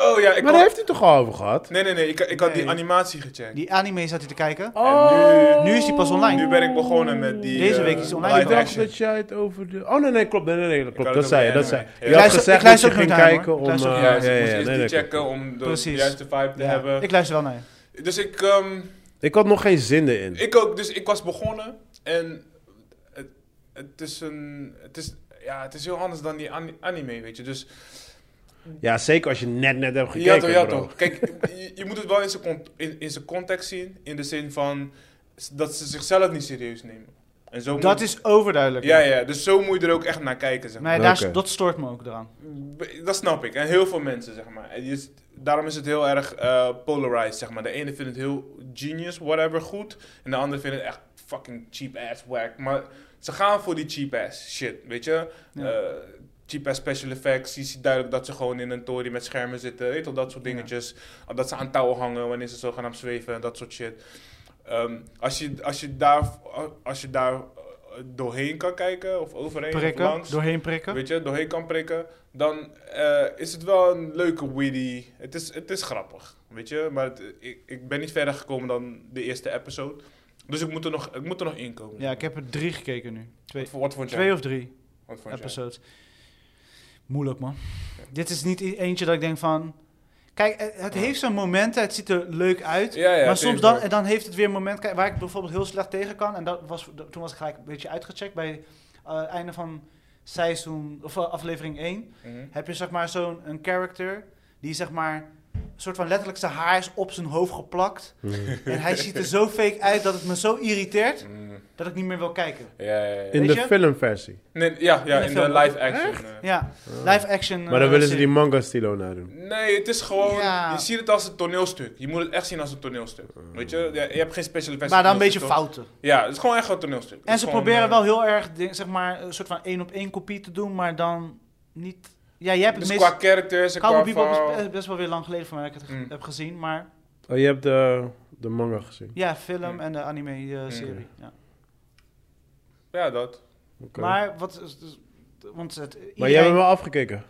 Speaker 3: Oh ja, ik
Speaker 2: Maar
Speaker 3: had-
Speaker 2: daar heeft hij toch al over gehad?
Speaker 3: Nee, nee, nee. Ik, ik had die
Speaker 1: Nee.
Speaker 3: animatie gecheckt.
Speaker 1: Die anime zat hij te kijken.
Speaker 2: Oh.
Speaker 1: nu is hij pas online.
Speaker 3: Nu ben ik begonnen met die...
Speaker 1: Deze
Speaker 3: eh,
Speaker 1: week is hij online
Speaker 2: Ik
Speaker 3: live
Speaker 1: gekomen.
Speaker 2: dacht
Speaker 3: action.
Speaker 2: dat jij het over de... Oh nee, nee, klopt. Nee, nee, nee,
Speaker 3: had
Speaker 2: klopt.
Speaker 3: het
Speaker 2: Dat
Speaker 3: over
Speaker 2: zei je,
Speaker 3: de
Speaker 2: dat
Speaker 3: anime.
Speaker 2: zei
Speaker 3: Ja.
Speaker 2: je. Je
Speaker 3: Ik
Speaker 2: had
Speaker 1: luister-
Speaker 2: gezegd
Speaker 1: ik
Speaker 2: dat je
Speaker 1: luister
Speaker 2: ging
Speaker 1: ook geen time,
Speaker 2: kijken
Speaker 1: hoor. Ik
Speaker 2: om... eh,
Speaker 1: luister ook geen
Speaker 3: Ja,
Speaker 2: Ja, ja,
Speaker 3: dus ik moest
Speaker 2: ja,
Speaker 3: eerst
Speaker 2: nee,
Speaker 3: die
Speaker 2: nee, klopt.
Speaker 3: checken om de
Speaker 1: Precies.
Speaker 3: juiste vibe te
Speaker 1: Ja,
Speaker 3: hebben.
Speaker 1: Ik luister wel naar je.
Speaker 3: Dus ik, ehm,
Speaker 2: Ik had nog geen zin erin.
Speaker 3: ik ook, dus ik was begonnen en het, het is een, het is, ja, het is heel anders dan die ani- anime, weet je. Dus
Speaker 2: Ja, zeker als je net net hebt
Speaker 3: ja
Speaker 2: gekeken,
Speaker 3: toch, ja
Speaker 2: bro.
Speaker 3: toch. Kijk, je, je moet het wel in zijn, cont- in, in zijn context zien, in de zin van s- dat ze zichzelf niet serieus nemen. En zo
Speaker 1: Dat
Speaker 3: moet,
Speaker 1: is overduidelijk.
Speaker 3: Ja, ja, dus zo moet je er ook echt naar kijken, zeg maar.
Speaker 1: Maar ja, daar,
Speaker 2: Oké.
Speaker 1: dat stoort me ook eraan.
Speaker 3: Dat snap ik. En heel veel mensen, zeg maar. En je is- daarom is het heel erg eh, polarized, zeg maar. De ene vindt het heel genius, whatever, goed. En de andere vindt het echt fucking cheap ass, whack. Maar ze gaan voor die cheap ass shit, weet je?
Speaker 1: Ja.
Speaker 3: Eh, cheap ass special effects. Je ziet duidelijk dat ze gewoon in een tory met schermen zitten. Weet je wel, dat soort
Speaker 1: Ja.
Speaker 3: dingetjes. Dat ze aan touwen hangen wanneer ze zogenaamd zweven en dat soort shit. Ehm, als, je, als, je daar, als je daar eh, doorheen kan kijken of overheen
Speaker 1: Prikken,
Speaker 3: of langs
Speaker 1: doorheen prikken.
Speaker 3: weet je, doorheen kan prikken, dan eh, is het wel een leuke witty. Het is, het is grappig, weet je. Maar het- ik, ik ben niet verder gekomen dan de eerste episode. Dus ik moet er nog, ik moet er nog inkomen.
Speaker 1: Ja, ik heb er drie gekeken nu. Twee,
Speaker 3: Wat, voor- wat vond jij?
Speaker 1: twee of drie
Speaker 3: Wat vond jij?
Speaker 1: episodes. Moeilijk, man. Dit is niet i- eentje dat ik denk van... Kijk, eh, het heeft zijn momenten, het ziet er leuk uit.
Speaker 3: Ja, ja,
Speaker 1: maar
Speaker 3: het
Speaker 1: soms
Speaker 3: heeft
Speaker 1: dan,
Speaker 3: wel-
Speaker 1: en dan heeft het weer een moment kijk, waar ik bijvoorbeeld heel slecht tegen kan. En dat was, dat- toen was ik gelijk een beetje uitgecheckt bij eh, het einde van seizoen, of eh, aflevering 1.
Speaker 3: Mhm.
Speaker 1: heb je zeg maar zo'n een character die zeg maar een soort van letterlijk zijn haar is op zijn hoofd geplakt.
Speaker 2: Mm.
Speaker 1: En hij ziet er zo fake uit dat het me zo irriteert
Speaker 3: Mm.
Speaker 1: dat ik niet meer wil kijken.
Speaker 3: Ja, ja, ja.
Speaker 2: In
Speaker 1: Weet
Speaker 2: de
Speaker 1: je?
Speaker 2: filmversie.
Speaker 3: Nee, ja, ja, in de
Speaker 1: film.
Speaker 3: live action. eh.
Speaker 1: Ja, live action.
Speaker 2: Oh. Maar
Speaker 1: eh,
Speaker 2: dan willen ze
Speaker 1: serie.
Speaker 2: die manga-stilo naar doen.
Speaker 3: Nee, het is gewoon...
Speaker 1: Ja.
Speaker 3: Je ziet het als een toneelstuk. Je moet het echt zien als een toneelstuk. Weet je, ja, je hebt geen special effects.
Speaker 1: Maar dan een beetje
Speaker 3: toneelstuk,
Speaker 1: fouten.
Speaker 3: toch? Ja, het is gewoon echt een toneelstuk. Het
Speaker 1: En
Speaker 3: is
Speaker 1: ze
Speaker 3: gewoon,
Speaker 1: proberen
Speaker 3: eh,
Speaker 1: wel heel erg di- zeg maar een soort van één op één kopie te doen, maar dan niet. Ja, jij hebt het
Speaker 3: Dus
Speaker 1: meest.
Speaker 3: qua characters en
Speaker 1: Cowboy
Speaker 3: qua
Speaker 1: Bebop is eh,
Speaker 3: verhaal.
Speaker 1: be- best wel weer lang geleden voor mij dat ik het ge-
Speaker 3: Mm.
Speaker 1: heb gezien, maar
Speaker 2: Oh, je hebt de, de manga gezien.
Speaker 1: ja, film
Speaker 3: Mm.
Speaker 1: en de anime-serie. ja.
Speaker 3: Ja, dat.
Speaker 2: Oké.
Speaker 1: Maar wat is. is- Want het,
Speaker 2: Maar jij
Speaker 1: iedereen-
Speaker 2: hebt hem wel afgekeken.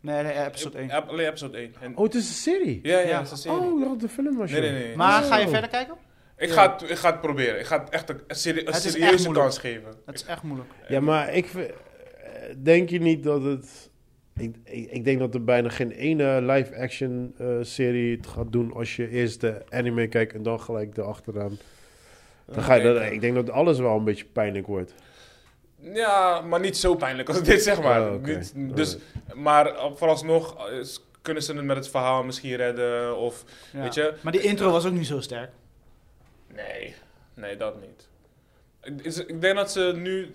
Speaker 1: Nee, nee, episode 1.
Speaker 3: Ep- Alleen episode 1. En-
Speaker 2: Oh, het is een serie.
Speaker 3: Ja, ja,
Speaker 1: Ja.
Speaker 3: dat is een serie.
Speaker 2: Oh, ik dacht dat de film was.
Speaker 3: Nee,
Speaker 2: joh.
Speaker 3: nee, nee.
Speaker 1: Maar ga je
Speaker 2: Oh.
Speaker 1: verder kijken?
Speaker 3: Ik,
Speaker 1: Ja.
Speaker 3: ga het, ik ga het proberen. Ik ga het echt een, een serie- een
Speaker 1: Het is echt
Speaker 3: serieuze
Speaker 1: moeilijk.
Speaker 3: kans geven.
Speaker 1: Dat is echt moeilijk.
Speaker 2: Ja, maar ik v- eh, denk je niet dat het. Ik, ik, ik denk dat er bijna geen ene live-action eh, serie het gaat doen als je eerst de anime kijkt en dan gelijk de achteraan. Dan ga je, dan, ik denk dat alles wel een beetje pijnlijk wordt.
Speaker 3: Ja, maar niet zo pijnlijk als dit, zeg maar.
Speaker 2: Oh, oké.
Speaker 3: niet, dus, maar vooralsnog eh, s- kunnen ze het met het verhaal misschien redden. Of,
Speaker 1: Ja.
Speaker 3: weet je?
Speaker 1: Maar die intro was ook niet zo sterk.
Speaker 3: Nee, nee, dat niet. Ik- is- Ik denk dat ze nu eh,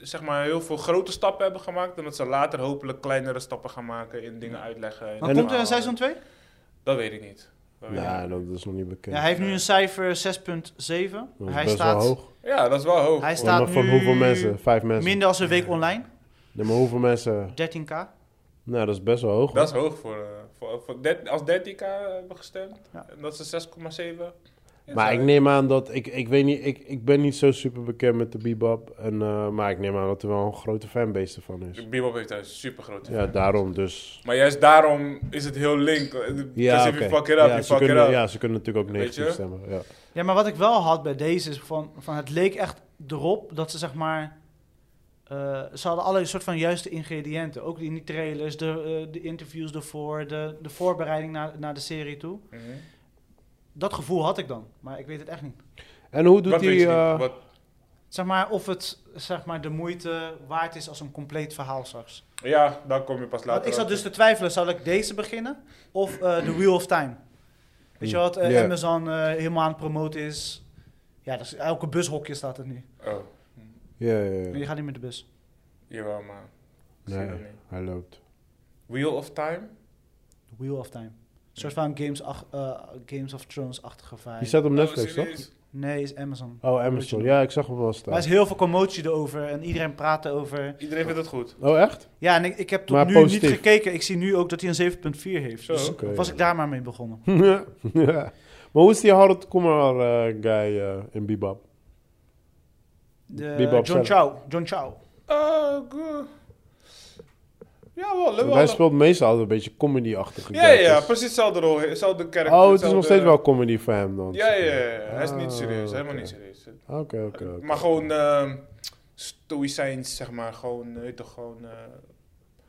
Speaker 3: zeg maar, heel veel grote stappen hebben gemaakt. En dat ze later hopelijk kleinere stappen gaan maken in dingen uitleggen. in
Speaker 1: Maar
Speaker 2: En-
Speaker 1: komt er
Speaker 3: verhalen.
Speaker 1: een seizoen 2?
Speaker 3: Dat weet ik niet. Dat weet ik
Speaker 2: Nou,
Speaker 3: niet.
Speaker 2: dat is nog niet bekend.
Speaker 1: Ja, hij heeft nu een cijfer 6.7.
Speaker 2: dat is
Speaker 1: Hij
Speaker 2: best
Speaker 1: staat,
Speaker 2: wel hoog.
Speaker 3: Ja, dat is wel hoog.
Speaker 1: Hij
Speaker 2: Ja,
Speaker 1: staat
Speaker 2: maar van
Speaker 1: nu
Speaker 2: hoeveel mensen? Vijf mensen.
Speaker 1: minder als een week online.
Speaker 2: Nee, maar hoeveel mensen?
Speaker 1: 13k.
Speaker 2: Nou, dat is best wel hoog.
Speaker 3: Dat is hoog voor, eh, voor, voor dert- als 13k hebben gestemd.
Speaker 1: Ja.
Speaker 3: En dat is 6,7. Ja,
Speaker 2: Maar
Speaker 3: zo.
Speaker 2: ik neem aan dat, ik, ik weet niet, ik, ik ben niet zo super bekend met de bebop. En, eh, maar ik neem aan dat er wel een grote fanbase ervan is.
Speaker 3: Bebop heeft een super grote
Speaker 2: Ja, daarom dus.
Speaker 3: Maar juist daarom is het heel link. Ja,
Speaker 2: Ja,
Speaker 3: if
Speaker 2: oké.
Speaker 3: you fuck it up,
Speaker 2: ja,
Speaker 3: you
Speaker 2: ze
Speaker 3: fuck it
Speaker 2: kunnen,
Speaker 3: up.
Speaker 2: ja, ze kunnen natuurlijk ook
Speaker 3: Weet
Speaker 2: negatief
Speaker 3: je?
Speaker 2: stemmen. Ja.
Speaker 1: Ja, maar wat ik wel had bij deze is van, van het leek echt erop dat ze zeg maar. eh, ze hadden alle soort van juiste ingrediënten. Ook in die trailers, de, eh, de interviews ervoor, de, de voorbereiding naar, naar de serie toe.
Speaker 3: Mhm.
Speaker 1: Dat gevoel had ik dan, maar ik weet het echt niet.
Speaker 2: En hoe doet
Speaker 3: Wat weet
Speaker 2: hij...
Speaker 3: je niet?
Speaker 2: eh,
Speaker 3: Wat-
Speaker 1: Zeg maar of het zeg maar, de moeite waard is als een compleet verhaal straks.
Speaker 3: Ja, daar kom je pas
Speaker 1: Want
Speaker 3: later.
Speaker 1: ik zat dus
Speaker 3: achter.
Speaker 1: te twijfelen, zou ik deze beginnen of eh The Wheel of Time? Weet je wat, eh,
Speaker 2: Hmm. Ja.
Speaker 1: Amazon eh, helemaal aan het promoten is. Ja, dat is, elke bushokje staat er nu.
Speaker 3: Oh.
Speaker 2: Ja, ja,
Speaker 1: Je
Speaker 2: ja.
Speaker 1: gaat niet met de bus.
Speaker 3: Jawel, maar. Zie je
Speaker 2: Nee,
Speaker 3: niet.
Speaker 2: hij loopt.
Speaker 3: Wheel of Time?
Speaker 1: Wheel of Time. Een soort van Games, ach- eh, Games of Thrones-achtige
Speaker 2: Die
Speaker 1: vibe.
Speaker 2: staat op
Speaker 3: Oh,
Speaker 2: Netflix, toch?
Speaker 3: serieus?
Speaker 1: Nee, is Amazon.
Speaker 2: Oh, Amazon. Ja, ik zag hem wel
Speaker 1: Maar er
Speaker 2: staan.
Speaker 1: is heel veel commotie erover en iedereen praat erover.
Speaker 3: Iedereen vindt het goed.
Speaker 2: Oh, echt?
Speaker 1: Ja, en ik, ik heb tot
Speaker 2: Maar
Speaker 1: nu
Speaker 2: positief.
Speaker 1: niet gekeken. Ik zie nu ook dat hij een 7.4 heeft.
Speaker 3: Zo.
Speaker 1: Dus
Speaker 2: Oké.
Speaker 1: was ik daar maar mee begonnen.
Speaker 2: ja. Maar hoe is die Harold Kumar eh, guy eh, in Bebop?
Speaker 1: De,
Speaker 2: Bebop
Speaker 1: John
Speaker 2: zelf.
Speaker 1: Chow. John Chow.
Speaker 3: Eh, go- ja, wel. wel-
Speaker 2: Hij speelt meestal een beetje comedy-achtige
Speaker 3: Ja, ja, ja,
Speaker 2: characters.
Speaker 3: precies dezelfde rol, dezelfde karakter.
Speaker 2: Oh, het is
Speaker 3: hetzelfde-
Speaker 2: nog steeds wel comedy voor hem dan.
Speaker 3: Ja, ja, ja, ja. hij is niet
Speaker 2: Ah,
Speaker 3: serieus, helemaal
Speaker 2: oké.
Speaker 3: niet serieus.
Speaker 2: Oké, oké. oké.
Speaker 3: Maar gewoon ehm stoïcijns, zeg maar. Gewoon, eh, toch gewoon eh,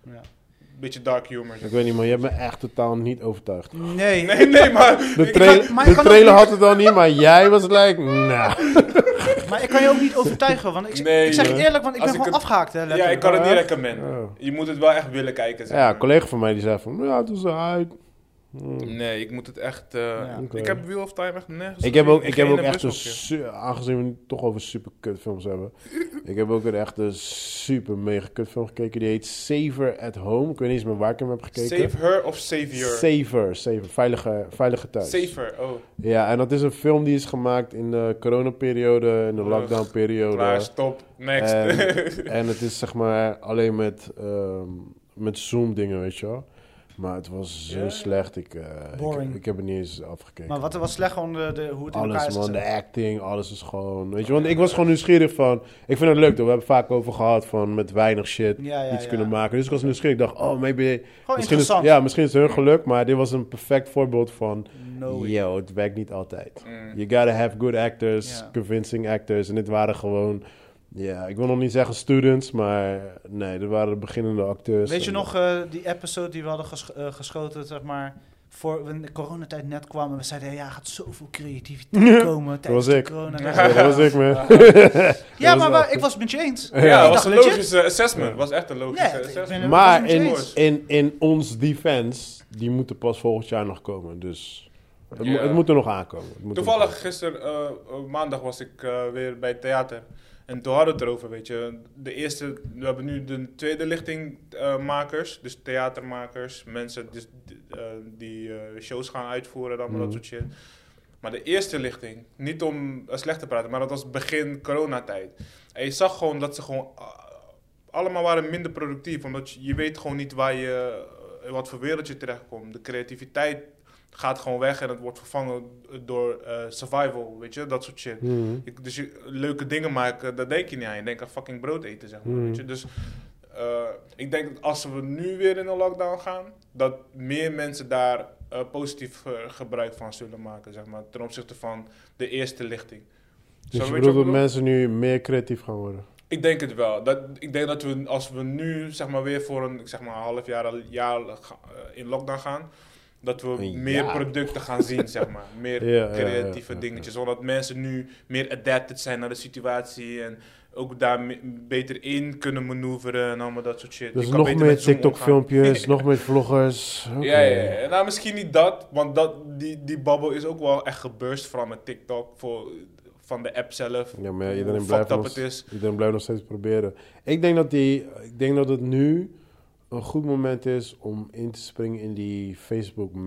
Speaker 1: Ja.
Speaker 3: een beetje dark humor.
Speaker 2: Ik weet niet, maar je hebt me echt totaal niet overtuigd.
Speaker 1: Nee.
Speaker 3: Nee, nee, maar...
Speaker 2: De,
Speaker 3: ik-
Speaker 2: trail-
Speaker 1: kan- maar
Speaker 2: de
Speaker 1: ik kan ook
Speaker 2: trailer
Speaker 1: niet-
Speaker 2: had het al niet, maar jij was like, nou.
Speaker 1: Maar ik kan je ook niet overtuigen. Want ik,
Speaker 3: Nee,
Speaker 1: ik zeg
Speaker 3: joh.
Speaker 1: het eerlijk, want ik
Speaker 3: Als
Speaker 1: ben
Speaker 3: ik
Speaker 1: gewoon afgehaakt. Hè,
Speaker 3: ja, ik
Speaker 1: letterlijk.
Speaker 3: kan het niet
Speaker 2: Ah.
Speaker 3: recommenden.
Speaker 2: Oh.
Speaker 3: Je moet het wel echt willen kijken, zeg
Speaker 2: Ja,
Speaker 3: maar.
Speaker 2: een collega van mij die zei van, ja, het is uit. Hmm.
Speaker 3: Nee, ik moet het echt... eh,
Speaker 1: Ja.
Speaker 2: Oké.
Speaker 3: Ik heb Wheel of Time echt nergens
Speaker 2: Ik heb ook,
Speaker 3: gezien.
Speaker 2: ik heb ook
Speaker 3: ene
Speaker 2: echt een,
Speaker 3: bushokje.
Speaker 2: su- aangezien we het toch over super kutfilms hebben. ik heb ook een echte super mega kutfilm gekeken. Die heet Saver at Home. Ik weet niet eens meer waar ik hem heb gekeken.
Speaker 3: Save her of save your?
Speaker 2: Saver, Saver, veilige, veilige thuis.
Speaker 3: Safer, oh.
Speaker 2: Ja, en dat is een film die is gemaakt in de coronaperiode, in de
Speaker 3: Ugh, Klaar,
Speaker 2: lockdownperiode.
Speaker 3: stop, next.
Speaker 2: En- En het is zeg maar alleen met, ehm, met Zoom dingen, weet je wel. Maar het was zo
Speaker 3: Ja.
Speaker 2: slecht, ik, eh, ik,
Speaker 1: Boring.
Speaker 2: ik heb het niet eens afgekeken.
Speaker 1: Maar wat was slecht gewoon de, de, hoe het in elkaar
Speaker 2: Alles
Speaker 1: is
Speaker 2: man,
Speaker 1: gezet.
Speaker 2: de acting, alles is gewoon... Weet je, want ik was gewoon nieuwsgierig van... Ik vind het leuk, toch? We hebben het vaak over gehad van met weinig shit
Speaker 1: Ja, ja,
Speaker 2: iets
Speaker 1: ja.
Speaker 2: kunnen maken. Dus ik was nieuwsgierig. Ik dacht, oh, maybe...
Speaker 1: Gewoon
Speaker 2: Misschien is,
Speaker 1: interessant.
Speaker 2: ja, misschien is het hun geluk, maar dit was een perfect voorbeeld van...
Speaker 1: No way.
Speaker 2: Yo, het werkt niet altijd.
Speaker 3: Mm.
Speaker 2: You gotta have good actors,
Speaker 1: Ja.
Speaker 2: convincing actors. En dit waren gewoon... Ja, ik wil nog niet zeggen students, maar... Nee, dit waren de beginnende acteurs.
Speaker 1: Weet je
Speaker 2: En-
Speaker 1: nog eh, die episode die we hadden gesch- eh, geschoten, zeg maar, voor wanneer de coronatijd net kwam en we zeiden, ja, er gaat zoveel creativiteit komen tijdens
Speaker 2: was
Speaker 1: de
Speaker 2: ik.
Speaker 1: corona.
Speaker 2: Ja, dat was ik, man.
Speaker 1: Ja,
Speaker 2: was
Speaker 1: maar
Speaker 2: wel
Speaker 1: waar- ik was het met je eens.
Speaker 3: ja,
Speaker 1: Ik
Speaker 3: was
Speaker 1: dacht
Speaker 3: een
Speaker 1: legit-
Speaker 3: logische assessment. Was echt een logische
Speaker 1: Nee, ik
Speaker 3: assessment.
Speaker 1: ben er-
Speaker 2: Maar
Speaker 1: was het met je
Speaker 2: in,
Speaker 1: eens.
Speaker 2: in, in ons defense, die moeten pas volgend jaar nog komen. Dus het, mo-
Speaker 3: Ja.
Speaker 2: het moet er nog aankomen. Het moet er nog
Speaker 3: Toevallig gisteren, eh, eh, maandag was ik eh, weer bij het theater. En toen hadden we het erover, weet je. De eerste, we hebben nu de tweede lichting eh, makers. Dus theatermakers, mensen dus, d- eh, die eh, shows gaan uitvoeren en allemaal
Speaker 2: Mhm.
Speaker 3: dat soort shit. Maar de eerste lichting, niet om eh, slecht te praten, maar dat was begin coronatijd. En je zag gewoon dat ze gewoon ah, allemaal waren minder productief. Omdat je, je weet gewoon niet waar je, in wat voor wereld je terechtkomt. De creativiteit gaat gewoon weg en het wordt vervangen door eh, survival, weet je, dat soort shit.
Speaker 2: komen. Mhm.
Speaker 3: Ik- dus je, leuke dingen maken, daar denk je niet aan. Je denkt aan fucking brood eten, zeg maar,
Speaker 2: Mm.
Speaker 3: weet je. Dus eh, ik denk dat als we nu weer in een lockdown gaan, dat meer mensen daar eh, positief eh, gebruik van zullen maken, zeg maar, ten opzichte van de eerste lichting.
Speaker 2: Dus
Speaker 3: Zo, weet
Speaker 2: je
Speaker 3: je
Speaker 2: bedoelt
Speaker 3: wat ik
Speaker 2: dat
Speaker 3: bedoel?
Speaker 2: mensen nu meer creatief gaan worden?
Speaker 3: Ik denk het wel. Dat, ik denk dat we, als we nu zeg maar, weer voor een, zeg maar, een half jaar, een jaar ga- eh, in lockdown gaan, dat we
Speaker 2: Een
Speaker 3: meer
Speaker 2: jaar.
Speaker 3: producten gaan zien, zeg maar. Meer
Speaker 2: Ja, ja,
Speaker 3: creatieve
Speaker 2: ja, ja,
Speaker 3: dingetjes. Zodat mensen nu meer adapted zijn naar de situatie en ook daar me- beter in kunnen manoeuvren en allemaal dat soort shit.
Speaker 2: Dus
Speaker 3: Je kan
Speaker 2: nog
Speaker 3: beter
Speaker 2: meer
Speaker 3: met Zoom
Speaker 2: TikTok-filmpjes, nog meer vloggers. Oké.
Speaker 3: omgaan. Ja, ja, ja. Nou, misschien niet dat, want dat, die, die babbel is ook wel echt geburst, vooral met TikTok, voor, van de app zelf.
Speaker 2: Ja, maar
Speaker 3: Hoe
Speaker 2: iedereen
Speaker 3: fucked
Speaker 2: blijft,
Speaker 3: up
Speaker 2: nog,
Speaker 3: het is.
Speaker 2: iedereen blijft nog steeds proberen. Ik denk, dat die, ik denk dat het nu een goed moment is om in te springen in die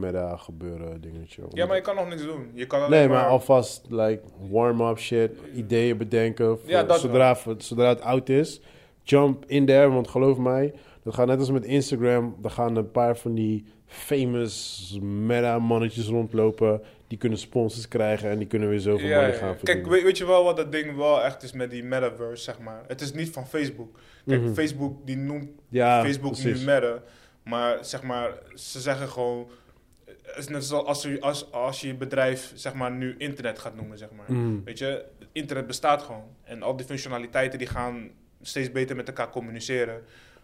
Speaker 2: Facebook-meta-gebeuren dingetje.
Speaker 3: Ja, maar je kan nog niks doen. Je kan alleen
Speaker 2: Nee, maar alvast like warm-up shit, ideeën bedenken. voor-
Speaker 3: Ja, dat
Speaker 2: zodra, zodra het oud is, jump in there, want geloof mij, dat gaat net als met Instagram. Er gaan een paar van die famous meta-mannetjes rondlopen. Die kunnen sponsors krijgen en die kunnen weer zoveel
Speaker 3: Ja,
Speaker 2: money
Speaker 3: ja.
Speaker 2: gaan verdienen.
Speaker 3: Kijk, weet, weet je wel wat dat ding wel echt is met die metaverse, zeg maar? Het is niet van Facebook. Kijk,
Speaker 2: Mhm.
Speaker 3: Facebook die noemt
Speaker 2: ja,
Speaker 3: Facebook
Speaker 2: precies.
Speaker 3: nu meta. Maar zeg maar, ze zeggen gewoon... Het is net zoals als je, als, als je je bedrijf zeg maar, nu internet gaat noemen, zeg maar.
Speaker 2: Mhm.
Speaker 3: Weet je, internet bestaat gewoon. En al die functionaliteiten die gaan steeds beter met elkaar communiceren.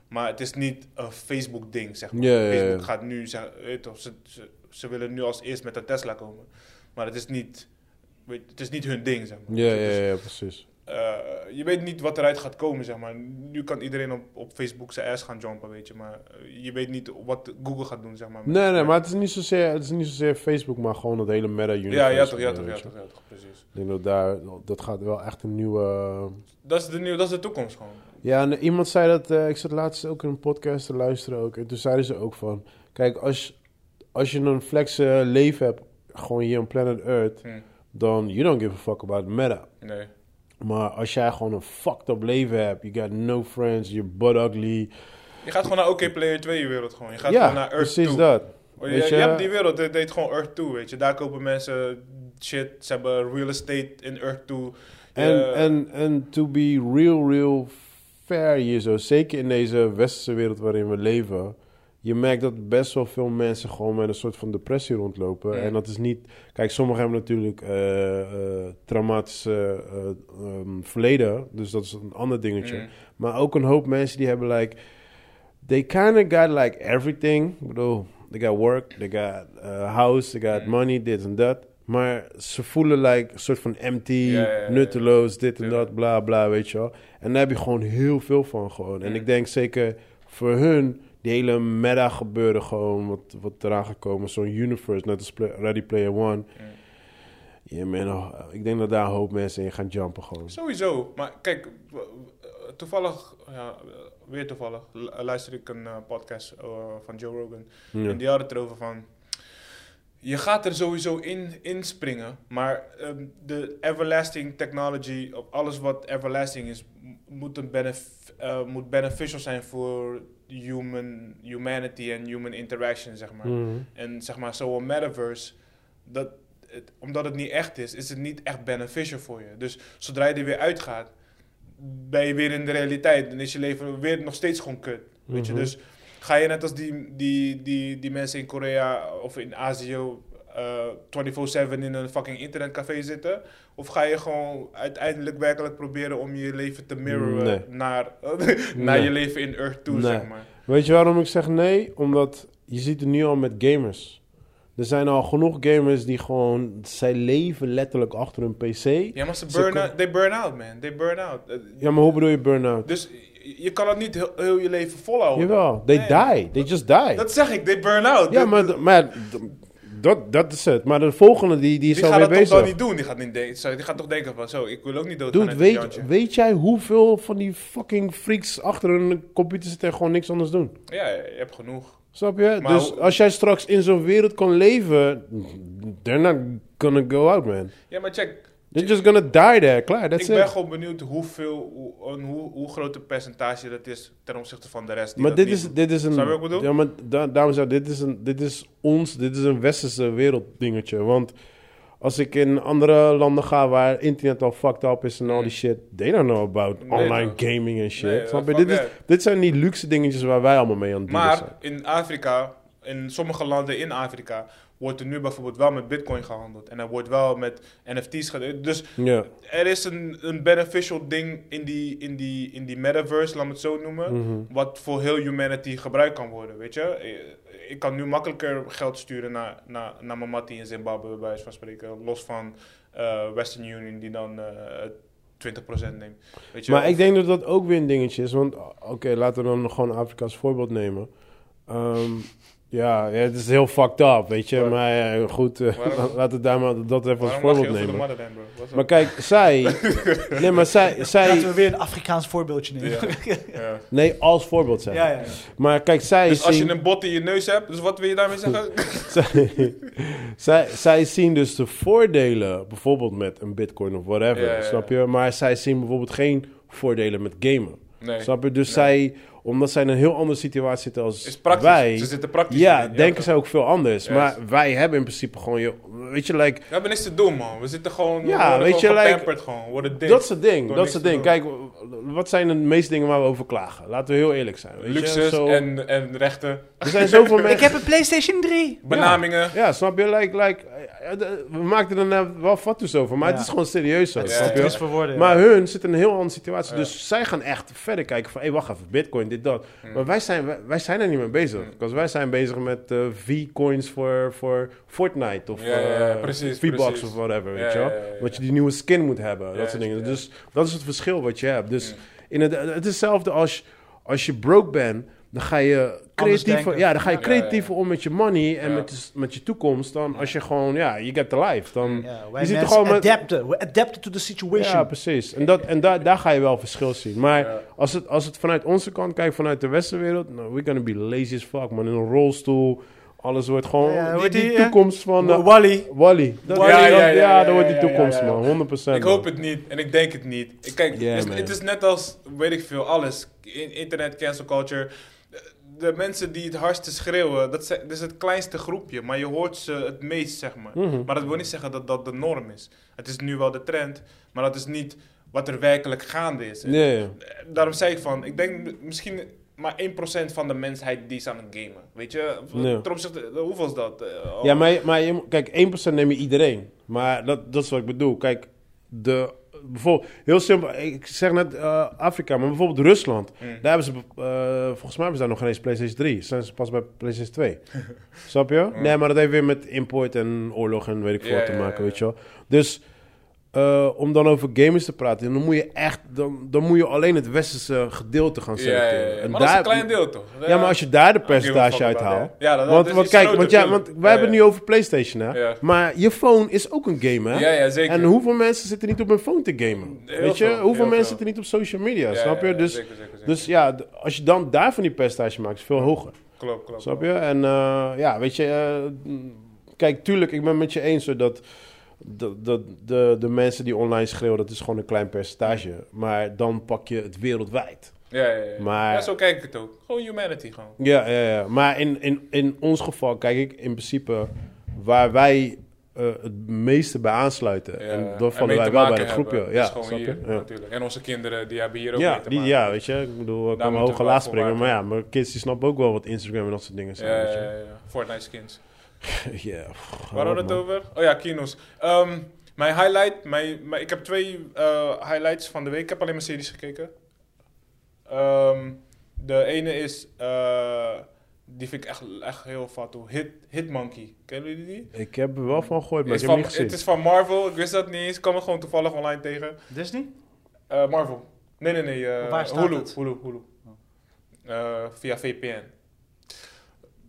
Speaker 3: Maar het is niet een Facebook-ding, zeg maar.
Speaker 2: Ja, ja, ja.
Speaker 3: Facebook gaat nu, zeg, weet je toch, ze, ze, ze willen nu als eerst met de Tesla komen. Maar het is niet, weet, het is niet hun ding, zeg maar.
Speaker 2: Ja,
Speaker 3: Dus,
Speaker 2: ja, ja, precies.
Speaker 3: eh, je weet niet wat eruit gaat komen, zeg maar. Nu kan iedereen op, op Facebook zijn ass gaan jumpen, weet je. Maar eh, je weet niet wat Google gaat doen, zeg maar.
Speaker 2: Nee, nee, maar het is niet zozeer, het is niet zozeer Facebook, maar gewoon het hele meta-universe.
Speaker 3: Ja, ja toch, ja
Speaker 2: weet
Speaker 3: toch, ja
Speaker 2: je.
Speaker 3: toch, ja toch, precies.
Speaker 2: Ik denk dat daar, dat gaat wel echt een nieuwe...
Speaker 3: Dat is de, nieuw, dat is de toekomst gewoon.
Speaker 2: Ja, en iemand zei dat, eh, ik zat laatst ook in een podcast te luisteren ook. En toen zeiden ze ook van, kijk, als, als je een flexe leven hebt, gewoon hier op planet Earth,
Speaker 3: Hm.
Speaker 2: dan you don't give a fuck about meta.
Speaker 3: Nee.
Speaker 2: Maar als jij gewoon een fucked up leven hebt, you got no friends, you're butt ugly.
Speaker 3: Je gaat gewoon naar OK Player 2 je wereld gewoon. Je gaat
Speaker 2: ja,
Speaker 3: gewoon naar Earth
Speaker 2: precies
Speaker 3: 2.
Speaker 2: dat.
Speaker 3: Je,
Speaker 2: Weet
Speaker 3: je
Speaker 2: je?
Speaker 3: hebt die wereld, dit deed gewoon Earth 2, weet je. Daar kopen mensen shit, ze hebben real estate in Earth 2.
Speaker 2: En,
Speaker 3: Eh,
Speaker 2: en, en to be real, real fair hier zo, zeker in deze westerse wereld waarin we leven, je merkt dat best wel veel mensen gewoon met een soort van depressie rondlopen.
Speaker 3: Ja.
Speaker 2: En dat is niet, kijk, sommigen hebben natuurlijk eh, eh, traumatische eh, ehm, verleden, dus dat is een ander dingetje.
Speaker 3: mm.
Speaker 2: Maar ook een hoop mensen die hebben like... They kind of got like everything. Ik bedoel, they got work, they got eh, house, they got
Speaker 3: Mm.
Speaker 2: money, dit en dat. Maar ze voelen like een soort van empty,
Speaker 3: Ja, ja, ja, ja.
Speaker 2: nutteloos, dit en
Speaker 3: Tuurlijk.
Speaker 2: dat, bla bla, weet je wel. En daar heb je gewoon heel veel van gewoon. En
Speaker 3: Mm.
Speaker 2: ik denk zeker voor hun, die hele meta gebeuren gewoon, wat, wat eraan gekomen, zo'n universe, net als Play- Ready Player One.
Speaker 3: Mm.
Speaker 2: Ja man, oh, ik denk dat daar een hoop mensen in gaan jumpen gewoon.
Speaker 3: Sowieso, maar kijk, w- w- eh, toevallig, ja, eh, weer toevallig, lu- eh, luister ik een eh, podcast eh, van Joe Rogan.
Speaker 2: Ja.
Speaker 3: En die hadden het erover van. Je gaat er sowieso in inspringen, maar ehm, de everlasting technology, op alles wat everlasting is, m- moet, een benef- eh, moet beneficial zijn voor human, humanity en human interaction, zeg maar.
Speaker 2: Mhm.
Speaker 3: En zeg maar, zo'n metaverse, dat, het- omdat het niet echt is, is het niet echt beneficial voor je. Dus zodra je er weer uitgaat, ben je weer in de realiteit. Dan is je leven weer nog steeds gewoon kut. Weet je,
Speaker 2: Mhm.
Speaker 3: dus ga je net als die, die, die, die mensen in Korea of in Azië eh, 24-7 in een fucking internetcafé zitten? Of ga je gewoon uiteindelijk werkelijk proberen om je leven te mirroren
Speaker 2: Nee.
Speaker 3: naar, naar
Speaker 2: Nee.
Speaker 3: je leven in Earth 2,
Speaker 2: Nee.
Speaker 3: zeg maar?
Speaker 2: Weet je waarom ik zeg nee? Omdat je ziet het nu al met gamers. Er zijn al genoeg gamers die gewoon... Zij leven letterlijk achter hun pc.
Speaker 3: Ja, maar ze
Speaker 2: Ze
Speaker 3: burn
Speaker 2: kom-
Speaker 3: out, they burn out, man. They burn out. Eh,
Speaker 2: Ja, maar hoe bedoel je burn-out?
Speaker 3: Dus je kan dat niet heel, heel je leven volhouden.
Speaker 2: Jawel, they
Speaker 3: Oh. Nee.
Speaker 2: die. They just die.
Speaker 3: Dat zeg ik, they burn out.
Speaker 2: ja,
Speaker 3: Die-
Speaker 2: maar, d- maar d- dat, dat is het. Maar de volgende, die, die is
Speaker 3: die gaat
Speaker 2: alweer
Speaker 3: dat toch dan
Speaker 2: bezig.
Speaker 3: niet doen. Die gaat, niet de- zo, die gaat toch denken van zo, ik wil ook niet dood
Speaker 2: Dude, weet, weet jij hoeveel van die fucking freaks achter hun computer zitten en gewoon niks anders doen?
Speaker 3: Ja, je hebt genoeg.
Speaker 2: Snap je?
Speaker 3: Maar
Speaker 2: dus
Speaker 3: hoe-
Speaker 2: als jij straks in zo'n wereld kan leven, they're not gonna go out, man.
Speaker 3: Ja, maar check.
Speaker 2: They're just gonna die there. Klaar,
Speaker 3: ik
Speaker 2: that's
Speaker 3: ben
Speaker 2: it.
Speaker 3: gewoon benieuwd hoeveel, hoe, een, hoe, hoe groot een percentage dat is ten opzichte van de rest. die
Speaker 2: Maar
Speaker 3: dat
Speaker 2: dit
Speaker 3: niet
Speaker 2: is,
Speaker 3: doet.
Speaker 2: dit is een...
Speaker 3: Snap je wat ik bedoel?
Speaker 2: Ja, maar da daarom zeg ik, dit is, een, dit is ons, dit is een westerse werelddingetje. Want als ik in andere landen ga waar internet al fucked up is en al die shit... They don't know about
Speaker 3: Nee,
Speaker 2: online
Speaker 3: toch?
Speaker 2: gaming en shit.
Speaker 3: Nee,
Speaker 2: snap je?
Speaker 3: fuck
Speaker 2: Dit, is,
Speaker 3: that.
Speaker 2: dit zijn die luxe dingetjes waar wij allemaal mee aan het dealen zijn.
Speaker 3: Maar in Afrika, in sommige landen in Afrika, wordt er nu bijvoorbeeld wel met bitcoin gehandeld. En er wordt wel met NFT's gehandeld. Dus
Speaker 2: Ja.
Speaker 3: er is een, een beneficial ding in die, in, die, in die metaverse, laat me het zo noemen.
Speaker 2: Mhm.
Speaker 3: Wat voor heel humanity gebruikt kan worden, weet je. Eh, Ik kan nu makkelijker geld sturen naar, naar, naar mijn mattie in Zimbabwe, bij wijze van spreken. Los van eh, Western Union, die dan eh 20% neemt. Weet je?
Speaker 2: Maar ik denk dat dat ook weer een dingetje is. Want, oké, laten we dan gewoon Afrika als voorbeeld nemen. Ehm, ja, ja, het is heel fucked up, weet je.
Speaker 3: Waar-
Speaker 2: Maar ja, goed, eh,
Speaker 3: Waarom-
Speaker 2: laten we daar maar dat even als
Speaker 3: Waarom lach je
Speaker 2: voorbeeld
Speaker 3: over de
Speaker 2: nemen.
Speaker 3: motherland, bro? What's up?
Speaker 2: Maar kijk, zij... nee, maar zij...
Speaker 1: Laten we
Speaker 2: zij
Speaker 1: weer een Afrikaans voorbeeldje nemen.
Speaker 3: Ja.
Speaker 1: Ja,
Speaker 3: Ja.
Speaker 2: nee, als voorbeeld zijn.
Speaker 1: ja, ja.
Speaker 2: Maar kijk, zij
Speaker 3: Dus als je
Speaker 2: zien...
Speaker 3: een bot in je neus hebt, dus wat wil je daarmee zeggen?
Speaker 2: zij, zij, zij zien dus de voordelen, bijvoorbeeld met een bitcoin of whatever,
Speaker 3: Ja, ja, ja.
Speaker 2: snap je? Maar zij zien bijvoorbeeld geen voordelen met gamen.
Speaker 3: Nee.
Speaker 2: Snap je? Dus
Speaker 3: Nee.
Speaker 2: zij, omdat zij in een heel andere situatie zitten als
Speaker 3: Is praktisch.
Speaker 2: wij...
Speaker 3: Ze zitten praktisch.
Speaker 2: ja,
Speaker 3: in.
Speaker 2: denken
Speaker 3: toch.
Speaker 2: zij ook veel anders.
Speaker 3: Juist.
Speaker 2: Maar wij hebben in principe gewoon... Je, weet je, like,
Speaker 3: We hebben niks te doen, man. We zitten gewoon.
Speaker 2: Ja,
Speaker 3: we worden
Speaker 2: weet
Speaker 3: gewoon
Speaker 2: je, like-
Speaker 3: gepamperd gewoon. We worden dik.
Speaker 2: dat is het ding.
Speaker 3: Door
Speaker 2: Dat
Speaker 3: niks
Speaker 2: is het
Speaker 3: te
Speaker 2: ding.
Speaker 3: doen.
Speaker 2: Kijk, wat zijn de meeste dingen waar we over klagen? Laten we heel eerlijk zijn. Weet je?
Speaker 3: Luxus
Speaker 2: Zo-
Speaker 3: en, en rechten.
Speaker 2: Er zijn zoveel mensen...
Speaker 1: Ik heb een PlayStation 3.
Speaker 3: Benamingen.
Speaker 2: Ja, snap je? Like, like, eh, eh, de- we maakten er nou wel fatsoen over, maar
Speaker 1: Ja.
Speaker 2: het is gewoon serieus zo.
Speaker 1: Het is
Speaker 2: snap
Speaker 1: te
Speaker 2: je?
Speaker 1: triest voor woorden. ja.
Speaker 2: Maar hun zitten in een heel andere situatie.
Speaker 3: Oh, Ja.
Speaker 2: Dus zij gaan echt verder kijken van... hé, wacht even, bitcoin, dit, dat.
Speaker 3: Hmm.
Speaker 2: Maar wij zijn, wij, wij zijn er niet mee bezig.
Speaker 3: Hmm.
Speaker 2: Want wij zijn bezig met eh, V-coins voor, voor Fortnite of
Speaker 3: Ja, ja, ja,
Speaker 2: eh,
Speaker 3: precies,
Speaker 2: V-bucks
Speaker 3: precies.
Speaker 2: of whatever,
Speaker 3: Ja,
Speaker 2: weet je wel.
Speaker 3: ja, ja, ja.
Speaker 2: Dat je die nieuwe skin moet hebben, dat
Speaker 3: Juist,
Speaker 2: soort dingen.
Speaker 3: ja.
Speaker 2: Dus dat is het verschil wat je hebt. Dus
Speaker 3: Hmm.
Speaker 2: in het, het is hetzelfde als, als je broke bent... Dan ga je creatiever,
Speaker 1: denken.
Speaker 2: ja, dan ga je
Speaker 3: Ja, ja, ja.
Speaker 2: creatiever om met je money en
Speaker 3: Ja.
Speaker 2: met, je, met je toekomst. Dan als je gewoon, ja, you get the life. Dan,
Speaker 1: Ja, wij
Speaker 2: Je ziet er
Speaker 1: mensen
Speaker 2: gewoon met-
Speaker 1: adapten. We adapten to the situation.
Speaker 2: ja, precies. En, dat, en da, daar ga je wel verschil zien. Maar
Speaker 3: Ja.
Speaker 2: als, het, als het vanuit onze kant kijkt, vanuit de westenwereld... Nou, we're gonna be lazy as fuck, man. In een rolstoel, alles wordt gewoon...
Speaker 1: Ja,
Speaker 2: die,
Speaker 1: hoe
Speaker 2: die
Speaker 1: die, eh,
Speaker 2: toekomst van... eh,
Speaker 1: Wally.
Speaker 2: Wally. Dat,
Speaker 3: Wally,
Speaker 2: ja,
Speaker 3: ja,
Speaker 2: dat-
Speaker 3: ja,
Speaker 2: ja,
Speaker 3: ja,
Speaker 2: dat wordt
Speaker 3: ja,
Speaker 2: die
Speaker 3: ja,
Speaker 2: toekomst,
Speaker 3: ja, ja.
Speaker 2: man. 100%.
Speaker 3: Ik hoop het niet en ik denk het niet. Ik kijk,
Speaker 2: Yeah,
Speaker 3: het,
Speaker 2: man.
Speaker 3: is, het is net als, weet ik veel, alles. In, internet, cancel culture. De, de mensen die het hardste schreeuwen, dat, zijn, dat is het kleinste groepje. Maar je hoort ze het meest, zeg maar.
Speaker 2: man. Mhm.
Speaker 3: Maar dat wil niet zeggen dat dat de norm is. Het is nu wel de trend, maar dat is niet wat er werkelijk gaande is.
Speaker 2: Ja, ja.
Speaker 3: Eh, Daarom zei ik van, ik denk m- misschien maar 1% van de mensheid die is aan het gamen. Weet je,
Speaker 2: Ja.
Speaker 3: ten opzichte, hoeveel is dat? Eh, oh.
Speaker 2: Ja, maar, maar je, moet- kijk, 1% neem je iedereen. Maar dat, dat is wat ik bedoel. Kijk, de, bijvoorbeeld, heel simpel. Ik zeg net eh, Afrika, maar bijvoorbeeld Rusland.
Speaker 3: Mm.
Speaker 2: Daar hebben ze, eh, volgens mij hebben ze daar nog geen eens PlayStation 3. Zijn ze pas bij PlayStation 2. Snap je? Nee, maar dat heeft weer met import en oorlog en weet ik veel
Speaker 3: Ja,
Speaker 2: wat te
Speaker 3: ja,
Speaker 2: maken,
Speaker 3: ja,
Speaker 2: weet je wel. Dus eh, om dan over gamers te praten, dan moet je echt, dan, dan moet je alleen het westerse gedeelte gaan
Speaker 3: Ja, ja,
Speaker 2: selecteren.
Speaker 3: ja, ja.
Speaker 2: En
Speaker 3: Maar dat is een
Speaker 2: daar-
Speaker 3: klein deel toch?
Speaker 2: Ja, maar als je daar de percentage
Speaker 3: fuck
Speaker 2: uit
Speaker 3: about that.
Speaker 2: haalt.
Speaker 3: Ja, dat- dat
Speaker 2: want,
Speaker 3: is
Speaker 2: want
Speaker 3: iets
Speaker 2: kijk,
Speaker 3: groter,
Speaker 2: want, ja, want
Speaker 3: tuurlijk.
Speaker 2: wij
Speaker 3: Ja,
Speaker 2: hebben het
Speaker 3: ja.
Speaker 2: nu over PlayStation, hè?
Speaker 3: Ja.
Speaker 2: Maar je phone is ook een game, hè?
Speaker 3: Ja, ja, zeker.
Speaker 2: En hoeveel mensen zitten niet op hun phone te gamen?
Speaker 3: Heel
Speaker 2: Weet je,
Speaker 3: veel,
Speaker 2: hoeveel
Speaker 3: heel
Speaker 2: mensen
Speaker 3: veel.
Speaker 2: zitten niet op social media?
Speaker 3: Ja,
Speaker 2: snap je?
Speaker 3: ja, ja,
Speaker 2: dus,
Speaker 3: zeker, zeker, zeker.
Speaker 2: dus ja, d- als je dan daarvan die percentage maakt, is veel hoger.
Speaker 3: Klopt, klopt.
Speaker 2: Snap
Speaker 3: klopt.
Speaker 2: je? En eh, ja, weet je, eh, mm, kijk, tuurlijk, ik ben met je eens hoor, dat. dat- dat de, de mensen die online schreeuwen, dat is gewoon een klein percentage. Maar dan pak je het wereldwijd.
Speaker 3: Ja, ja, ja.
Speaker 2: Maar-
Speaker 3: ja, zo kijk ik het ook. Gewoon humanity gewoon.
Speaker 2: Ja, ja, ja. maar in, in, in ons geval, kijk ik, in principe waar wij eh, het meeste bij aansluiten.
Speaker 3: Ja,
Speaker 2: en dan
Speaker 3: mee
Speaker 2: vallen wij
Speaker 3: te
Speaker 2: wel bij
Speaker 3: maken
Speaker 2: dat groepje.
Speaker 3: hebben.
Speaker 2: Ja,
Speaker 3: Dat is
Speaker 2: snap
Speaker 3: gewoon
Speaker 2: je?
Speaker 3: hier,
Speaker 2: Ja.
Speaker 3: natuurlijk. En onze kinderen, die hebben hier ook
Speaker 2: Ja,
Speaker 3: mee te
Speaker 2: die,
Speaker 3: maken.
Speaker 2: ja, weet je, ik bedoel, ik kan
Speaker 3: moeten
Speaker 2: hoog
Speaker 3: we
Speaker 2: en laag
Speaker 3: wel
Speaker 2: springen, maar
Speaker 3: volwaardig.
Speaker 2: ja, mijn kids die snappen ook wel wat Instagram en dat soort dingen zijn.
Speaker 3: Ja,
Speaker 2: weet je.
Speaker 3: ja, ja, ja. Fortnite skins.
Speaker 2: Ja, pff,
Speaker 3: Waar hadden we
Speaker 2: man.
Speaker 3: het over? Oh ja, kino's. Ehm, mijn highlight, mijn, mijn- ik heb twee eh, highlights van de week. Ik heb alleen maar series gekeken. Ehm, de ene is, eh, die vind ik echt, echt heel fat. hoor. Hit, Hitmonkey. Kennen jullie die?
Speaker 2: Ik heb er wel van gehoord, maar ik
Speaker 3: Is
Speaker 2: heb hem
Speaker 3: van,
Speaker 2: niet gezien.
Speaker 3: het is van Marvel, ik wist dat niet eens. Ik kwam het gewoon toevallig online tegen.
Speaker 1: Disney?
Speaker 3: Eh, Marvel. Nee, nee, nee. eh,
Speaker 1: Op waar staat
Speaker 3: Hulu,
Speaker 1: het?
Speaker 3: Hulu, Hulu. Eh, via VPN.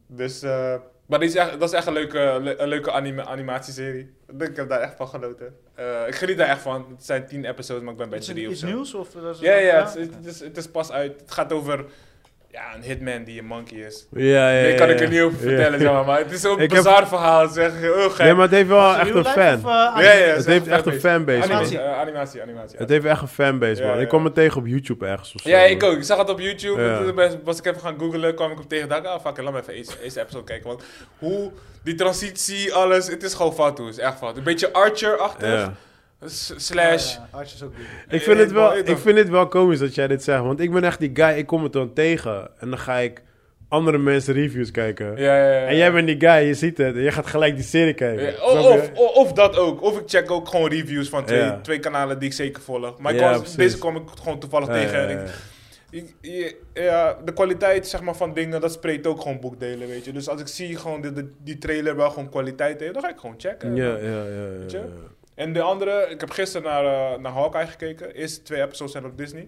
Speaker 3: Dus, eh, maar die is echt, dat is echt een leuke, le- een leuke anime, animatieserie. Ik heb daar echt van genoten. Eh, ik geniet daar echt van. Het zijn tien episodes, maar ik ben bij
Speaker 1: Is het
Speaker 3: drie of
Speaker 1: iets
Speaker 3: zo.
Speaker 1: nieuws? Of, eh, dat is-
Speaker 3: Ja, ja, het, is-
Speaker 1: Oké.
Speaker 3: het is, het is pas uit. Het gaat over ja, een hitman die een monkey is.
Speaker 2: Ja, ja, ja.
Speaker 3: Nee, kan ik
Speaker 2: ja.
Speaker 3: er niet over
Speaker 2: Ja.
Speaker 3: vertellen, zeg maar. maar het is zo'n
Speaker 2: Ik heb-
Speaker 3: bizar verhaal. Zeg, heel gek.
Speaker 2: Nee, maar het heeft wel
Speaker 3: Oh,
Speaker 1: Is
Speaker 2: echt
Speaker 1: real
Speaker 2: een
Speaker 1: life
Speaker 2: fan.
Speaker 1: of, eh,
Speaker 3: ja,
Speaker 1: anime?
Speaker 3: ja, het
Speaker 2: het
Speaker 3: is
Speaker 2: heeft echt een
Speaker 3: fanbase.
Speaker 2: fanbase, man.
Speaker 3: Animatie, eh, animatie, animatie.
Speaker 2: Het heeft echt een fanbase,
Speaker 3: Ja,
Speaker 2: man.
Speaker 3: ja.
Speaker 2: Ik kwam het tegen op YouTube ergens of zo.
Speaker 3: Ja,
Speaker 2: man.
Speaker 3: ik ook. Ik zag het op YouTube.
Speaker 2: Ja.
Speaker 3: En Toen ben- was ik even gaan googlen, kwam ik op tegen. Dacht, ik, ah, fuck it, laat me even eerst- eerst de episode kijken. Want hoe, die transitie, alles, het is gewoon fout, hoor. Het is echt fout. Een beetje Archer-achtig.
Speaker 2: Ja.
Speaker 3: S- Slash.
Speaker 1: Ja, ja, Arch is ook goed.
Speaker 2: Ik vind, het wel,
Speaker 3: Eh,
Speaker 2: ik vind het wel komisch dat jij dit zegt. Want ik ben echt die guy, ik kom het dan tegen. En dan ga ik andere mensen reviews kijken.
Speaker 3: Ja, ja, ja.
Speaker 2: En jij bent die guy, je ziet het. En je gaat gelijk die serie kijken.
Speaker 3: Ja, oh, o-
Speaker 2: Snap je?
Speaker 3: of, o- of dat ook. Of ik check ook gewoon reviews van twee,
Speaker 2: Ja.
Speaker 3: twee kanalen die ik zeker volg. Maar ik
Speaker 2: Ja,
Speaker 3: was-
Speaker 2: precies.
Speaker 3: deze kwam ik gewoon toevallig
Speaker 2: Ja,
Speaker 3: tegen.
Speaker 2: ja,
Speaker 3: En
Speaker 2: ja.
Speaker 3: ik, ik- je- ja, de kwaliteit zeg maar, van dingen, dat spreekt ook gewoon boekdelen, weet je. Dus als ik zie gewoon dat de- die trailer wel gewoon kwaliteit heeft, dan ga ik gewoon checken.
Speaker 2: Ja, ja, ja, ja,
Speaker 3: je?
Speaker 2: ja.
Speaker 3: En de andere, ik heb gisteren naar, eh, naar Hawkeye gekeken. Eerste twee episodes zijn op Disney.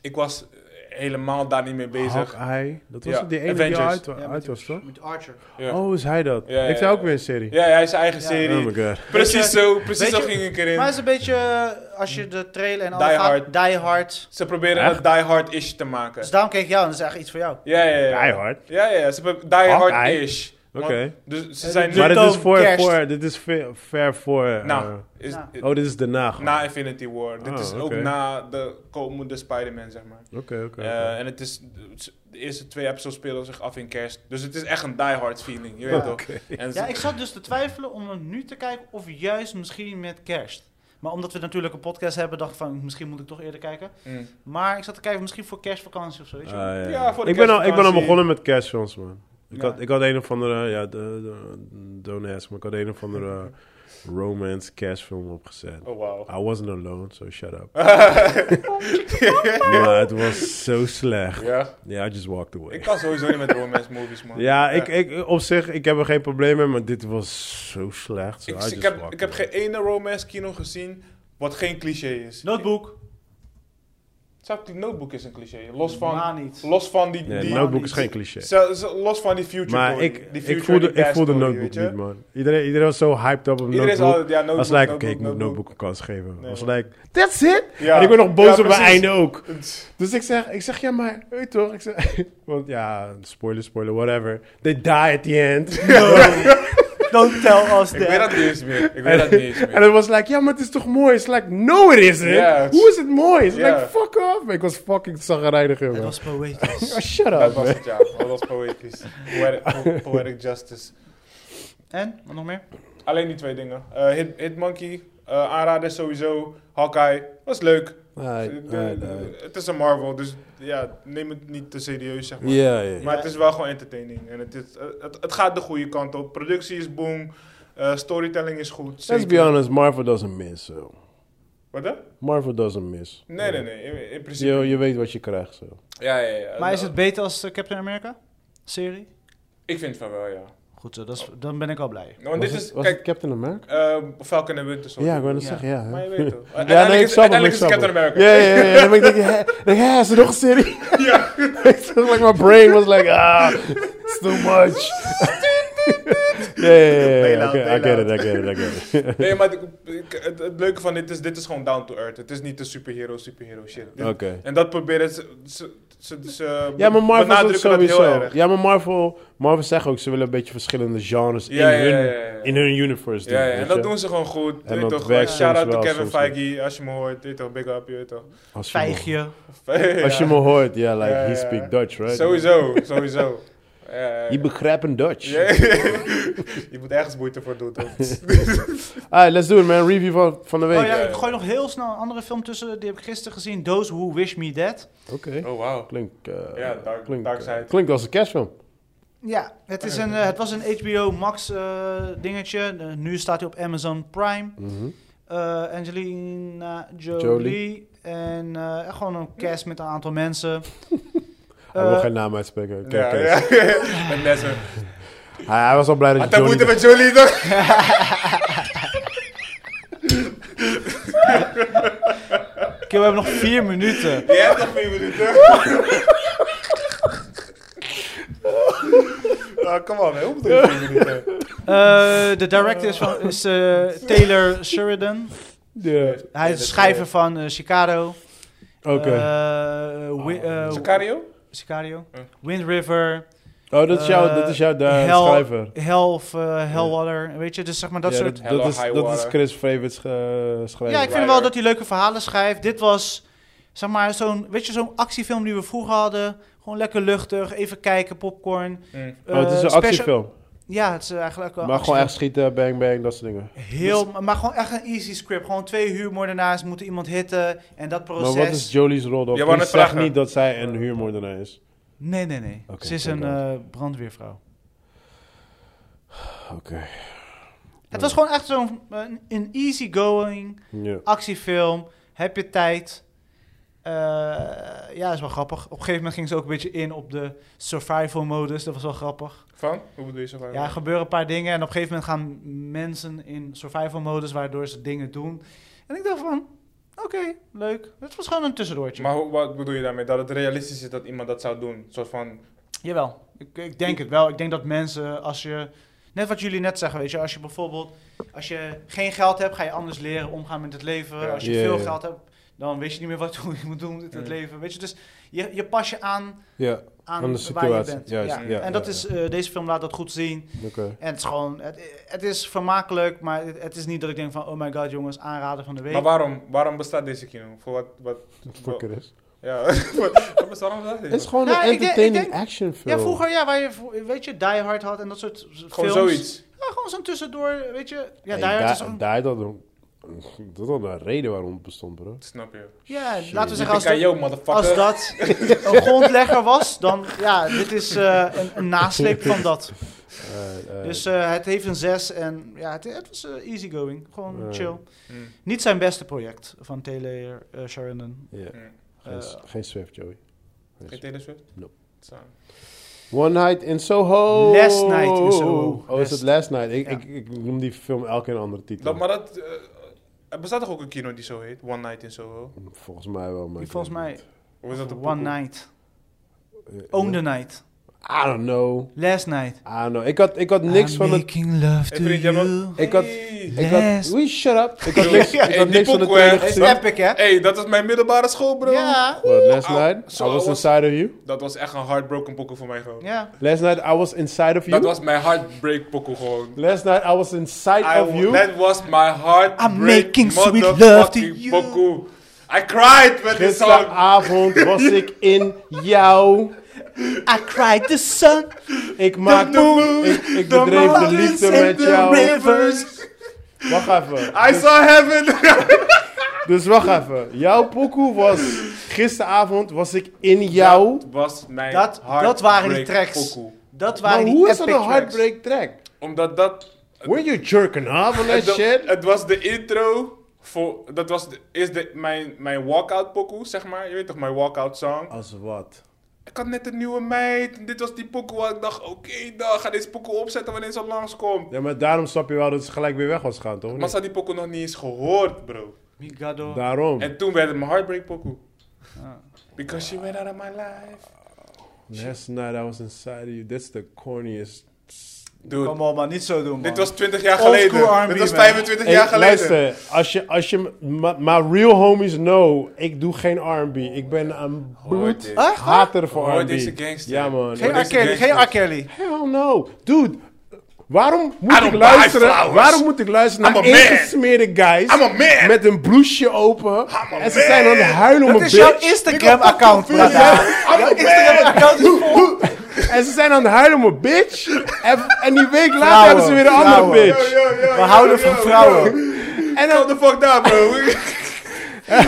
Speaker 3: Ik was eh, helemaal daar niet mee bezig.
Speaker 2: Hawkeye, dat was
Speaker 3: Ja,
Speaker 2: het, die ene die
Speaker 3: Avengers.
Speaker 2: uit,
Speaker 1: Ja, met
Speaker 2: uit
Speaker 1: die-
Speaker 2: was, toch?
Speaker 1: Met Archer.
Speaker 3: Ja.
Speaker 2: Oh, is hij dat?
Speaker 3: Ja, ja,
Speaker 2: Heeft hij ook
Speaker 3: ja.
Speaker 2: weer een serie?
Speaker 3: Ja, hij is zijn eigen
Speaker 1: Ja.
Speaker 2: Oh
Speaker 3: serie.
Speaker 2: my god.
Speaker 3: Precies
Speaker 1: Weet
Speaker 3: zo, precies
Speaker 1: weet
Speaker 3: zo
Speaker 1: je-
Speaker 3: ging ik erin.
Speaker 1: Maar het is een beetje, eh, als je de trailer en alles
Speaker 3: Die
Speaker 1: gaat-
Speaker 3: Hard.
Speaker 1: Die Hard.
Speaker 3: Ze proberen
Speaker 2: Echt?
Speaker 3: het Die Hard-ish te maken.
Speaker 1: Dus daarom keek ik jou en dat is eigenlijk iets voor jou.
Speaker 3: Ja, ja, ja.
Speaker 2: Die Hard?
Speaker 3: Ja, ja, ja. Ze hebben Die
Speaker 2: Hawkeye?
Speaker 3: Hard-ish. Want-
Speaker 2: Oké.
Speaker 3: Dus ze
Speaker 1: Eh,
Speaker 3: zijn nu...
Speaker 2: Maar dit is
Speaker 1: Newton,
Speaker 2: voor,
Speaker 1: kerst.
Speaker 2: voor, dit is ver, ver voor... eh,
Speaker 3: Nou, is,
Speaker 1: Nou.
Speaker 3: eh,
Speaker 2: oh, dit is daarna gewoon.
Speaker 3: na Infinity War. Dit
Speaker 2: Ah,
Speaker 3: is ook
Speaker 2: oké.
Speaker 3: na de komende Spider-Man, zeg maar.
Speaker 2: Oké, oké.
Speaker 3: Eh,
Speaker 2: oké.
Speaker 3: en het is... De eerste twee episodes spelen zich af in kerst. Dus het is echt een Die Hard feeling, je weet
Speaker 1: Ja.
Speaker 3: toch? En ze-
Speaker 1: Ja, ik zat dus te twijfelen om het nu te kijken of juist misschien met kerst. Maar omdat we natuurlijk een podcast hebben, dacht ik van misschien moet ik toch eerder kijken.
Speaker 3: Mm.
Speaker 1: Maar ik zat te kijken misschien voor kerstvakantie of zo. Weet je? wel.
Speaker 2: Ah, ja.
Speaker 3: Ja, voor de
Speaker 2: ik, ben al, ik ben al
Speaker 3: kerstvakantie.
Speaker 2: begonnen met kerstfilms, man. Ik,
Speaker 1: Ja.
Speaker 2: had, ik had een of andere, ja, de, de, don't ask, maar ik had een of andere eh, romance cash film opgezet.
Speaker 3: Oh, wauw.
Speaker 2: I wasn't alone, so shut up. maar het was zo slecht.
Speaker 3: ja.
Speaker 2: Ja, I just walked away.
Speaker 3: Ik kan sowieso niet met romance movies, man.
Speaker 2: Ja, ik, ik, op zich, ik heb er geen probleem mee, maar dit was zo slecht. so
Speaker 3: Ik,
Speaker 2: I
Speaker 3: ik
Speaker 2: just
Speaker 3: heb,
Speaker 2: walked
Speaker 3: ik heb
Speaker 2: away.
Speaker 3: geen ene romance kino gezien wat geen cliché is.
Speaker 1: Notebook.
Speaker 3: Snap je, Notebook is een cliché. Los van,
Speaker 1: Maar niet.
Speaker 3: los van die...
Speaker 2: Nee,
Speaker 3: die
Speaker 2: Notebook is geen cliché.
Speaker 3: Zo- zo- Los van die future
Speaker 2: Maar
Speaker 3: story.
Speaker 2: ik,
Speaker 3: Die
Speaker 2: ik
Speaker 3: future,
Speaker 2: voelde,
Speaker 3: die
Speaker 2: ik
Speaker 3: past
Speaker 2: voelde
Speaker 3: story,
Speaker 2: Notebook
Speaker 3: weet je?
Speaker 2: niet, man. Iedereen, iedereen was zo hyped up op
Speaker 3: Iedereen is
Speaker 2: Notebook.
Speaker 3: al... Ja, notebook,
Speaker 2: was like, oké,
Speaker 3: Notebook,
Speaker 2: ik moet Notebook een kans geven.
Speaker 3: Nee,
Speaker 2: was
Speaker 3: man.
Speaker 2: like, that's it?
Speaker 3: Ja.
Speaker 2: En ik ben nog boos
Speaker 3: Ja,
Speaker 2: op mijn
Speaker 3: precies.
Speaker 2: einde ook.
Speaker 3: Het-
Speaker 2: Dus ik zeg, ik zeg ja, maar, weet toch? Ik zeg, want ja, spoiler, spoiler, whatever. They die at the end.
Speaker 1: Don't tell us
Speaker 3: Ik weet dat
Speaker 1: that.
Speaker 3: niet eens meer. Ik weet dat niet eens
Speaker 2: En
Speaker 3: meer.
Speaker 2: het was like, ja, maar het is toch mooi? It's like, no it isn't.
Speaker 3: Ja, het-
Speaker 2: Hoe is het mooi? It's
Speaker 3: Ja.
Speaker 2: like, fuck off. Ik was fucking zagrijdig,
Speaker 1: Het
Speaker 2: jongen.
Speaker 1: was poëtisch.
Speaker 2: Oh, shut
Speaker 3: Dat
Speaker 2: up,
Speaker 3: was
Speaker 2: man.
Speaker 3: het, ja. Dat was poëtisch. Poetic, po- poetic justice.
Speaker 1: En? Wat nog meer?
Speaker 3: Alleen die twee dingen. Eh, Hit, Hitmonkey, eh aanrader sowieso. Hawkeye, was leuk.
Speaker 2: Alright,
Speaker 3: Eh, de-
Speaker 2: alright, alright.
Speaker 3: Het is een Marvel, dus ja, neem het niet te serieus, zeg maar.
Speaker 2: Ja, ja.
Speaker 3: Maar het is wel gewoon entertaining. En het, is, eh, het, het gaat de goede kant op. Productie is boom. eh, storytelling is goed.
Speaker 2: Let's
Speaker 3: zeker.
Speaker 2: be honest, Marvel doesn't miss, so.
Speaker 3: Wat dan?
Speaker 2: Marvel doesn't miss.
Speaker 3: Nee, nee, nee. In, in principe.
Speaker 2: Je, je weet wat je krijgt, zo.
Speaker 3: Ja, ja, ja. Nou,
Speaker 1: Maar is het beter als eh, Captain America? Serie?
Speaker 3: Ik vind van wel, ja.
Speaker 1: Goed zo, dat is, dan ben ik al blij.
Speaker 3: Want
Speaker 2: Was
Speaker 3: Nou, dit
Speaker 2: het-
Speaker 3: is,
Speaker 2: was
Speaker 3: kijk,
Speaker 2: het Captain America?
Speaker 3: eh, Falcon en Winter Soldier.
Speaker 2: Ja, ik wou net
Speaker 1: Ja.
Speaker 2: zeggen, ja. hè.
Speaker 3: Maar je weet
Speaker 2: Ja,
Speaker 3: toch.
Speaker 2: nee, ik
Speaker 3: Uiteindelijk is,
Speaker 2: snap hem, ik
Speaker 3: uiteindelijk is
Speaker 2: snap
Speaker 3: het Captain
Speaker 2: hem.
Speaker 3: Amerika.
Speaker 2: Ja, ja, ja. Dan ben ik denk, hè, denk, hè, is er nog een serie?
Speaker 3: Ja.
Speaker 2: Ik zat like, my brain was like, ah, it's too much. Ja, ja, ja, ja, ja.
Speaker 3: Bailout,
Speaker 2: Oké, I get it, I
Speaker 3: bailout.
Speaker 2: get it, I get it.
Speaker 3: Nee, maar ik- ik- het, het leuke van dit is, dit is gewoon down to earth. Het is niet de superhero, superhero shit. Dit-
Speaker 2: Oké.
Speaker 3: En dat proberen ze, ze, ze, ze
Speaker 2: Ja, maar Marvel doet het
Speaker 3: benadrukken dat heel
Speaker 2: sowieso.
Speaker 3: erg.
Speaker 2: Ja, maar Marvel, Marvel zegt ook, ze willen een beetje verschillende genres
Speaker 3: Ja,
Speaker 2: in,
Speaker 3: ja,
Speaker 2: hun,
Speaker 3: ja, ja, ja.
Speaker 2: in hun universe doen.
Speaker 3: Ja, ja,
Speaker 2: weet
Speaker 3: en dat
Speaker 2: je?
Speaker 3: doen ze gewoon goed.
Speaker 2: En
Speaker 3: Weet
Speaker 2: dat
Speaker 3: toch,
Speaker 2: werkt
Speaker 3: shout out
Speaker 2: soms wel,
Speaker 3: to Kevin
Speaker 2: soms niet.
Speaker 3: Feige, als je me hoort. Weet toch, big up, je weet toch.
Speaker 2: Als je, me,
Speaker 1: Vijgje.
Speaker 2: als je
Speaker 3: Ja.
Speaker 2: me hoort, ja, like,
Speaker 3: Ja,
Speaker 2: he
Speaker 3: ja,
Speaker 2: speak
Speaker 3: ja.
Speaker 2: Dutch, right?
Speaker 3: Sowieso, sowieso. Ja, ja, ja.
Speaker 2: Je begrijpt een Dutch.
Speaker 3: Ja, je moet ergens moeite voor doen, toch?
Speaker 2: Alright, let's do it, man. Review van, van de week.
Speaker 1: Oh ja, ik gooi nog heel snel een andere film tussen. Die heb ik gisteren gezien. Those Who Wish Me Dead.
Speaker 2: Oké.
Speaker 3: Oh, wauw.
Speaker 2: Klinkt, eh,
Speaker 3: Ja, Dark-
Speaker 2: klinkt,
Speaker 3: Dark
Speaker 2: eh,
Speaker 3: Side.
Speaker 2: klinkt als een cashfilm.
Speaker 1: Ja, het, is een, eh, het was een HBO Max eh, dingetje. Eh, nu staat hij op Amazon Prime. Eh, Angelina Jolie.
Speaker 2: Jolie.
Speaker 1: En eh, echt gewoon een cast met een aantal mensen.
Speaker 2: Hij wil
Speaker 1: Eh,
Speaker 2: geen naam uitspreken. Oké,
Speaker 3: Ja,
Speaker 2: oké.
Speaker 3: ja. Met mensen.
Speaker 2: Hij, hij was al blij dat
Speaker 3: Had
Speaker 2: je
Speaker 3: hij
Speaker 2: Johnny...
Speaker 3: moeite met Jolie, toch?
Speaker 1: Oké, we hebben nog vier minuten.
Speaker 3: Jij hebt nog vier minuten. Ah, Kom op, hè. Hoe bedoel je vier minuten?
Speaker 1: Eh, de director is, van, is eh, Taylor Sheridan.
Speaker 2: Ja.
Speaker 1: Hij is de schrijver van eh, Chicago.
Speaker 2: Oké. Oh,
Speaker 1: Eh, Wi- eh,
Speaker 3: Sicario?
Speaker 1: Sicario.
Speaker 3: Hm.
Speaker 1: Wind River.
Speaker 2: oh, dat is jouw,
Speaker 1: eh,
Speaker 2: dat is jouw de,
Speaker 1: Hell-
Speaker 2: schrijver.
Speaker 1: Hell of eh, Hellwater. Weet je, dus zeg maar dat
Speaker 2: Ja,
Speaker 1: soort...
Speaker 2: dat,
Speaker 3: Hello,
Speaker 2: is,
Speaker 3: High
Speaker 2: dat is
Speaker 3: Water.
Speaker 2: Chris Favits eh, schrijver.
Speaker 1: Ja, ik vind wel dat hij leuke verhalen schrijft. Dit was, zeg maar, zo'n, weet je, zo'n actiefilm die we vroeger hadden. Gewoon lekker luchtig, even kijken, popcorn.
Speaker 3: Hm.
Speaker 2: oh,
Speaker 1: Eh,
Speaker 2: het is een
Speaker 1: special-
Speaker 2: actiefilm.
Speaker 1: Ja, het is eigenlijk wel
Speaker 2: Maar gewoon Dus- echt schieten, bang bang, dat soort dingen.
Speaker 1: Heel, maar gewoon echt een easy script. Gewoon twee huurmoordenaars moeten iemand hitten en dat proces.
Speaker 2: Maar wat is Jolie's rol dan?
Speaker 3: Ja, wou
Speaker 2: Ik
Speaker 3: net
Speaker 2: zeg
Speaker 3: vragen.
Speaker 2: niet dat zij een huurmoordenaar is.
Speaker 1: Nee, nee, nee.
Speaker 2: Oké,
Speaker 1: Ze is
Speaker 2: oké.
Speaker 1: een eh, brandweervrouw.
Speaker 2: Oké.
Speaker 1: Het was gewoon echt zo'n een, een easygoing
Speaker 2: Ja.
Speaker 1: actiefilm. Heb je tijd? Eh, ja, is wel grappig. Op een gegeven moment ging ze ook een beetje in op de survival modus. Dat was wel grappig.
Speaker 3: Van? Hoe bedoel je Sicario?
Speaker 1: Ja, er gebeuren een paar dingen en op een gegeven moment gaan mensen in survival modus waardoor ze dingen doen. En ik dacht van, oké, leuk. Het was gewoon een tussendoortje.
Speaker 3: Maar hoe- wat bedoel je daarmee? Dat het realistisch is dat iemand dat zou doen? Een soort van...
Speaker 1: Jawel, ik, ik denk het wel. Ik denk dat mensen, als je, net wat jullie net zeggen, weet je, als je bijvoorbeeld, als je geen geld hebt, ga je anders leren omgaan met het leven.
Speaker 3: Ja.
Speaker 1: Als je
Speaker 2: Ja,
Speaker 1: veel
Speaker 2: ja.
Speaker 1: geld hebt, dan weet je niet meer wat hoe je moet doen met het
Speaker 3: Ja.
Speaker 1: leven. Weet je, dus je, je pas je aan
Speaker 2: Ja,
Speaker 1: aan
Speaker 2: Aan de
Speaker 1: waar je
Speaker 2: situatie,
Speaker 1: bent.
Speaker 2: juist,
Speaker 1: ja.
Speaker 2: ja,
Speaker 1: en dat
Speaker 2: ja,
Speaker 1: is, eh, deze film laat dat goed zien.
Speaker 2: oké.
Speaker 1: En het is gewoon, het, het is vermakelijk, maar het, het is niet dat ik denk van, oh my god jongens, aanrader van de week.
Speaker 3: Maar waarom? Waarom bestaat deze kino? Voor wat... wat
Speaker 2: Fuck it is.
Speaker 3: Ja, wat- wat bestaat- waarom bestaat deze?
Speaker 2: Het is gewoon
Speaker 1: Nou,
Speaker 2: een
Speaker 1: ik denk- ik
Speaker 2: entertaining
Speaker 1: denk-
Speaker 2: actionfilm.
Speaker 1: ja, vroeger, ja, waar je, vro- weet je, Die Hard had en dat soort z- films.
Speaker 3: Gewoon zoiets.
Speaker 1: Ja, gewoon zo'n tussendoor, weet je. Ja,
Speaker 2: Hey,
Speaker 1: Die Hard is
Speaker 2: Die-
Speaker 1: een...
Speaker 2: Die Hard had een- een Dat had een reden waarom het bestond, bro.
Speaker 3: Snap je?
Speaker 1: Ja,
Speaker 2: Shit.
Speaker 1: laten we
Speaker 2: Die
Speaker 1: zeggen, als dat,
Speaker 4: Yo, motherfucker.
Speaker 1: als dat een grondlegger was, dan ja, dit is eh, een, een nasleep van dat.
Speaker 2: Eh, eh,
Speaker 1: Dus eh, het heeft een 6 en ja, het, het was eh, easygoing. Gewoon
Speaker 2: Ja.
Speaker 1: chill.
Speaker 3: Hm.
Speaker 1: Niet zijn beste project van Taylor eh, Sheridan.
Speaker 2: ja.
Speaker 3: Hm.
Speaker 2: geen, s-
Speaker 1: eh,
Speaker 2: geen Swift, Joey. Geen
Speaker 3: Geen
Speaker 2: Swift.
Speaker 3: Taylor Swift?
Speaker 2: Nope.
Speaker 3: Zo.
Speaker 2: One Night in Soho.
Speaker 1: Last Night in Soho.
Speaker 2: Oh, is het
Speaker 1: Last-
Speaker 2: Last Night? Ik,
Speaker 1: Ja.
Speaker 2: ik, ik noem die film elke keer een andere titel.
Speaker 3: Dat, maar dat... eh, er bestaat toch ook een kino die zo heet? One Night in Soho?
Speaker 2: Volgens mij wel, maar...
Speaker 1: Die
Speaker 2: ik
Speaker 1: volgens
Speaker 2: weet
Speaker 1: mij
Speaker 2: het
Speaker 3: Of is dat een
Speaker 1: One
Speaker 3: pokoe?
Speaker 1: Night.
Speaker 2: niet. Eh,
Speaker 1: Own the Night.
Speaker 2: I don't know.
Speaker 1: Last Night.
Speaker 2: I don't know. Ik had, ik had niks
Speaker 1: I'm
Speaker 2: van het...
Speaker 1: making love
Speaker 3: Hey,
Speaker 1: to
Speaker 3: vriend, jij mag-
Speaker 1: you.
Speaker 2: Ik had...
Speaker 3: Hey.
Speaker 2: Ik had...
Speaker 1: Last-
Speaker 2: Will you shut up? Ik had
Speaker 3: Hey,
Speaker 2: niks, ik
Speaker 3: die
Speaker 2: had niks van de
Speaker 3: pokoe, hè?
Speaker 2: tweede
Speaker 1: Is
Speaker 2: gezien.
Speaker 1: epic, hè?
Speaker 3: Hey, dat is mijn middelbare school, bro.
Speaker 1: Ja.
Speaker 2: What, Last
Speaker 3: Oeh,
Speaker 2: Night?
Speaker 3: au.
Speaker 2: I was
Speaker 3: Zo,
Speaker 2: inside of you.
Speaker 3: Dat was echt een heartbroken pokoe voor mij gewoon.
Speaker 1: Ja.
Speaker 2: Last night I was inside of you.
Speaker 3: Dat was mijn heartbreak pokoe gewoon.
Speaker 2: Last night I was inside
Speaker 3: I,
Speaker 2: of you.
Speaker 3: That was my heart.
Speaker 1: I'm making sweet love to you.
Speaker 3: Pokoe. I cried when this song.
Speaker 2: Gisteravond was ik in jou.
Speaker 1: I cried the sun.
Speaker 2: Ik maak ik, ik bedreef de liefde met jou.
Speaker 1: rivers.
Speaker 2: Wacht even.
Speaker 3: I saw heaven.
Speaker 2: Dus wacht even. Jouw pokoe was gisteravond was ik in jou.
Speaker 3: Dat was mijn
Speaker 1: Dat, dat waren die
Speaker 3: heartbreak
Speaker 1: tracks.
Speaker 3: pokoe.
Speaker 1: Dat waren
Speaker 2: Maar
Speaker 1: die
Speaker 2: hoe is
Speaker 1: epic
Speaker 2: dat een
Speaker 1: tracks.
Speaker 2: heartbreak track?
Speaker 3: Omdat dat...
Speaker 2: Were you jerking off on that
Speaker 3: dat-
Speaker 2: shit?
Speaker 3: Het was de intro voor... Dat was de, is de, mijn, mijn walkout pokoe, zeg maar. Je weet toch, mijn walkout song.
Speaker 2: Als wat?
Speaker 3: Ik had net een nieuwe meid. Dit was die pokoe waar ik dacht, oké, dan ga deze pokoe opzetten wanneer ze langskomt.
Speaker 2: Ja, maar daarom snap je wel dat ze gelijk weer weg was gaan, toch?
Speaker 3: Maar ze had die pokoe nog niet eens gehoord, bro.
Speaker 1: Migado.
Speaker 2: Daarom.
Speaker 3: En toen werd het mijn heartbreak pokoe.
Speaker 1: Ah.
Speaker 3: Because she went out of my life.
Speaker 2: Last night I was inside of you. That's the corniest.
Speaker 3: Dude,
Speaker 1: Kom op, man. Niet zo doen, man.
Speaker 3: dit was 20 jaar
Speaker 1: Old school
Speaker 3: geleden.
Speaker 1: R&B,
Speaker 3: Dit was
Speaker 1: man.
Speaker 3: 25
Speaker 2: Hey,
Speaker 3: jaar geleden.
Speaker 2: Luister, als je, als je ma- maar real homies know, ik doe geen R&B. Ik ben een bloed
Speaker 3: dit.
Speaker 1: Echt, waar?
Speaker 2: hater van
Speaker 3: Hoor
Speaker 2: R&B.
Speaker 3: deze gangster.
Speaker 2: Ja man.
Speaker 1: Geen
Speaker 3: Hoor
Speaker 1: R.
Speaker 2: Ik-
Speaker 3: deze
Speaker 1: Kelly. Geen
Speaker 3: gangsters.
Speaker 1: R. Kelly.
Speaker 2: Hell no, dude. Waarom moet
Speaker 3: don't
Speaker 2: ik
Speaker 3: buy
Speaker 2: luisteren?
Speaker 3: flowers.
Speaker 2: Waarom moet ik luisteren
Speaker 3: I'm
Speaker 2: naar
Speaker 3: a man.
Speaker 2: ingesmeerde guys
Speaker 3: I'm a man.
Speaker 2: met een blouseje open
Speaker 3: a
Speaker 2: en ze
Speaker 3: man.
Speaker 2: zijn aan het huilen om
Speaker 1: Dat
Speaker 2: een
Speaker 1: is jouw
Speaker 2: bitch
Speaker 1: Instagram-account, Prada. Jouw Instagram-account is vol.
Speaker 2: en ze zijn aan het huilen om een bitch en, en die week later hebben ze weer een andere
Speaker 1: vrouwen.
Speaker 2: bitch.
Speaker 1: We houden van vrouwen.
Speaker 2: En
Speaker 3: Calm
Speaker 2: dan,
Speaker 3: the fuck down, bro.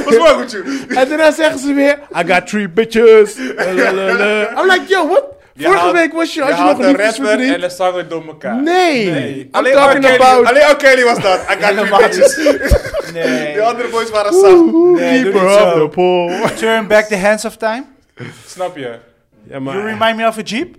Speaker 3: What's wrong with you?
Speaker 2: En daarna zeggen ze weer, I got three bitches. Lalalala. I'm like, yo, what? Vorige
Speaker 3: had-
Speaker 2: week was je, had je,
Speaker 3: had
Speaker 2: nog
Speaker 3: een
Speaker 2: liefdes met
Speaker 3: rapper
Speaker 2: die?
Speaker 3: en een zanger door elkaar.
Speaker 2: Nee.
Speaker 3: Nee.
Speaker 2: I'm
Speaker 3: Alleen R.
Speaker 2: talking
Speaker 3: Kelly-
Speaker 2: about...
Speaker 3: Alleen R. Kelly was dat. I got three
Speaker 1: Helemaal
Speaker 3: bitches.
Speaker 1: Nee.
Speaker 3: De andere boys waren zacht.
Speaker 2: Ooh,
Speaker 1: Nee, doe
Speaker 2: keeper
Speaker 1: niet
Speaker 2: of
Speaker 1: zo.
Speaker 2: the pool.
Speaker 1: Turn back the hands of time.
Speaker 3: Snap je?
Speaker 2: Ja,
Speaker 1: You
Speaker 2: maar...
Speaker 1: remind me of a jeep.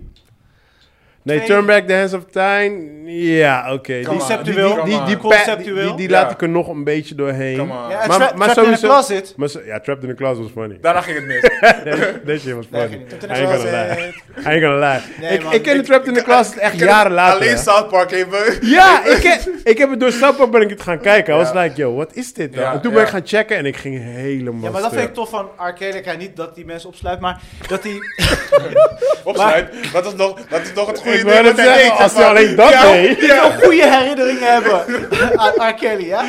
Speaker 2: Nee, turn back the hands of time. Ja, oké. Die-
Speaker 3: Come on,
Speaker 1: Conceptueel.
Speaker 3: come
Speaker 2: Die,
Speaker 3: on.
Speaker 2: die, pa- die,
Speaker 1: Conceptueel.
Speaker 2: die, die
Speaker 3: Ja.
Speaker 2: laat ik er nog een beetje doorheen.
Speaker 3: Come on.
Speaker 1: Ja, het
Speaker 2: Maar-
Speaker 1: tra-
Speaker 2: maar
Speaker 1: Trapped in a
Speaker 2: sowieso-
Speaker 1: Closet.
Speaker 2: Maar zo- ja, Trapped in the Closet was funny.
Speaker 3: Daarna ging het mis.
Speaker 2: That shit was funny. I ain't
Speaker 1: Trapped in the
Speaker 2: gonna lie. I ain't gonna lie.
Speaker 1: Nee,
Speaker 2: ik,
Speaker 1: man.
Speaker 2: ik ken de Trapped in the Closet echt jaren later.
Speaker 3: Alleen
Speaker 2: hè.
Speaker 3: South Park even.
Speaker 2: Ja, ik, he- ik heb het door Sappa ben ik het gaan kijken. I was like, yo, wat is dit dan?
Speaker 3: Ja,
Speaker 2: en toen
Speaker 3: ja.
Speaker 2: ben ik gaan checken en ik ging helemaal
Speaker 1: Ja, maar dat
Speaker 2: stuk.
Speaker 1: vind ik tof van R. Kelly. Ik ga niet dat die mensen opsluit, maar dat die...
Speaker 3: Opsluit. Dat is nog, dat is nog het goede
Speaker 2: Ik wou net
Speaker 3: wat hij
Speaker 2: zeggen,
Speaker 3: deed,
Speaker 2: als
Speaker 3: zeg
Speaker 2: hij
Speaker 3: maar.
Speaker 2: alleen dat
Speaker 3: Ja.
Speaker 2: deed.
Speaker 1: een goede herinneringen hebben aan R. Kelly, ja?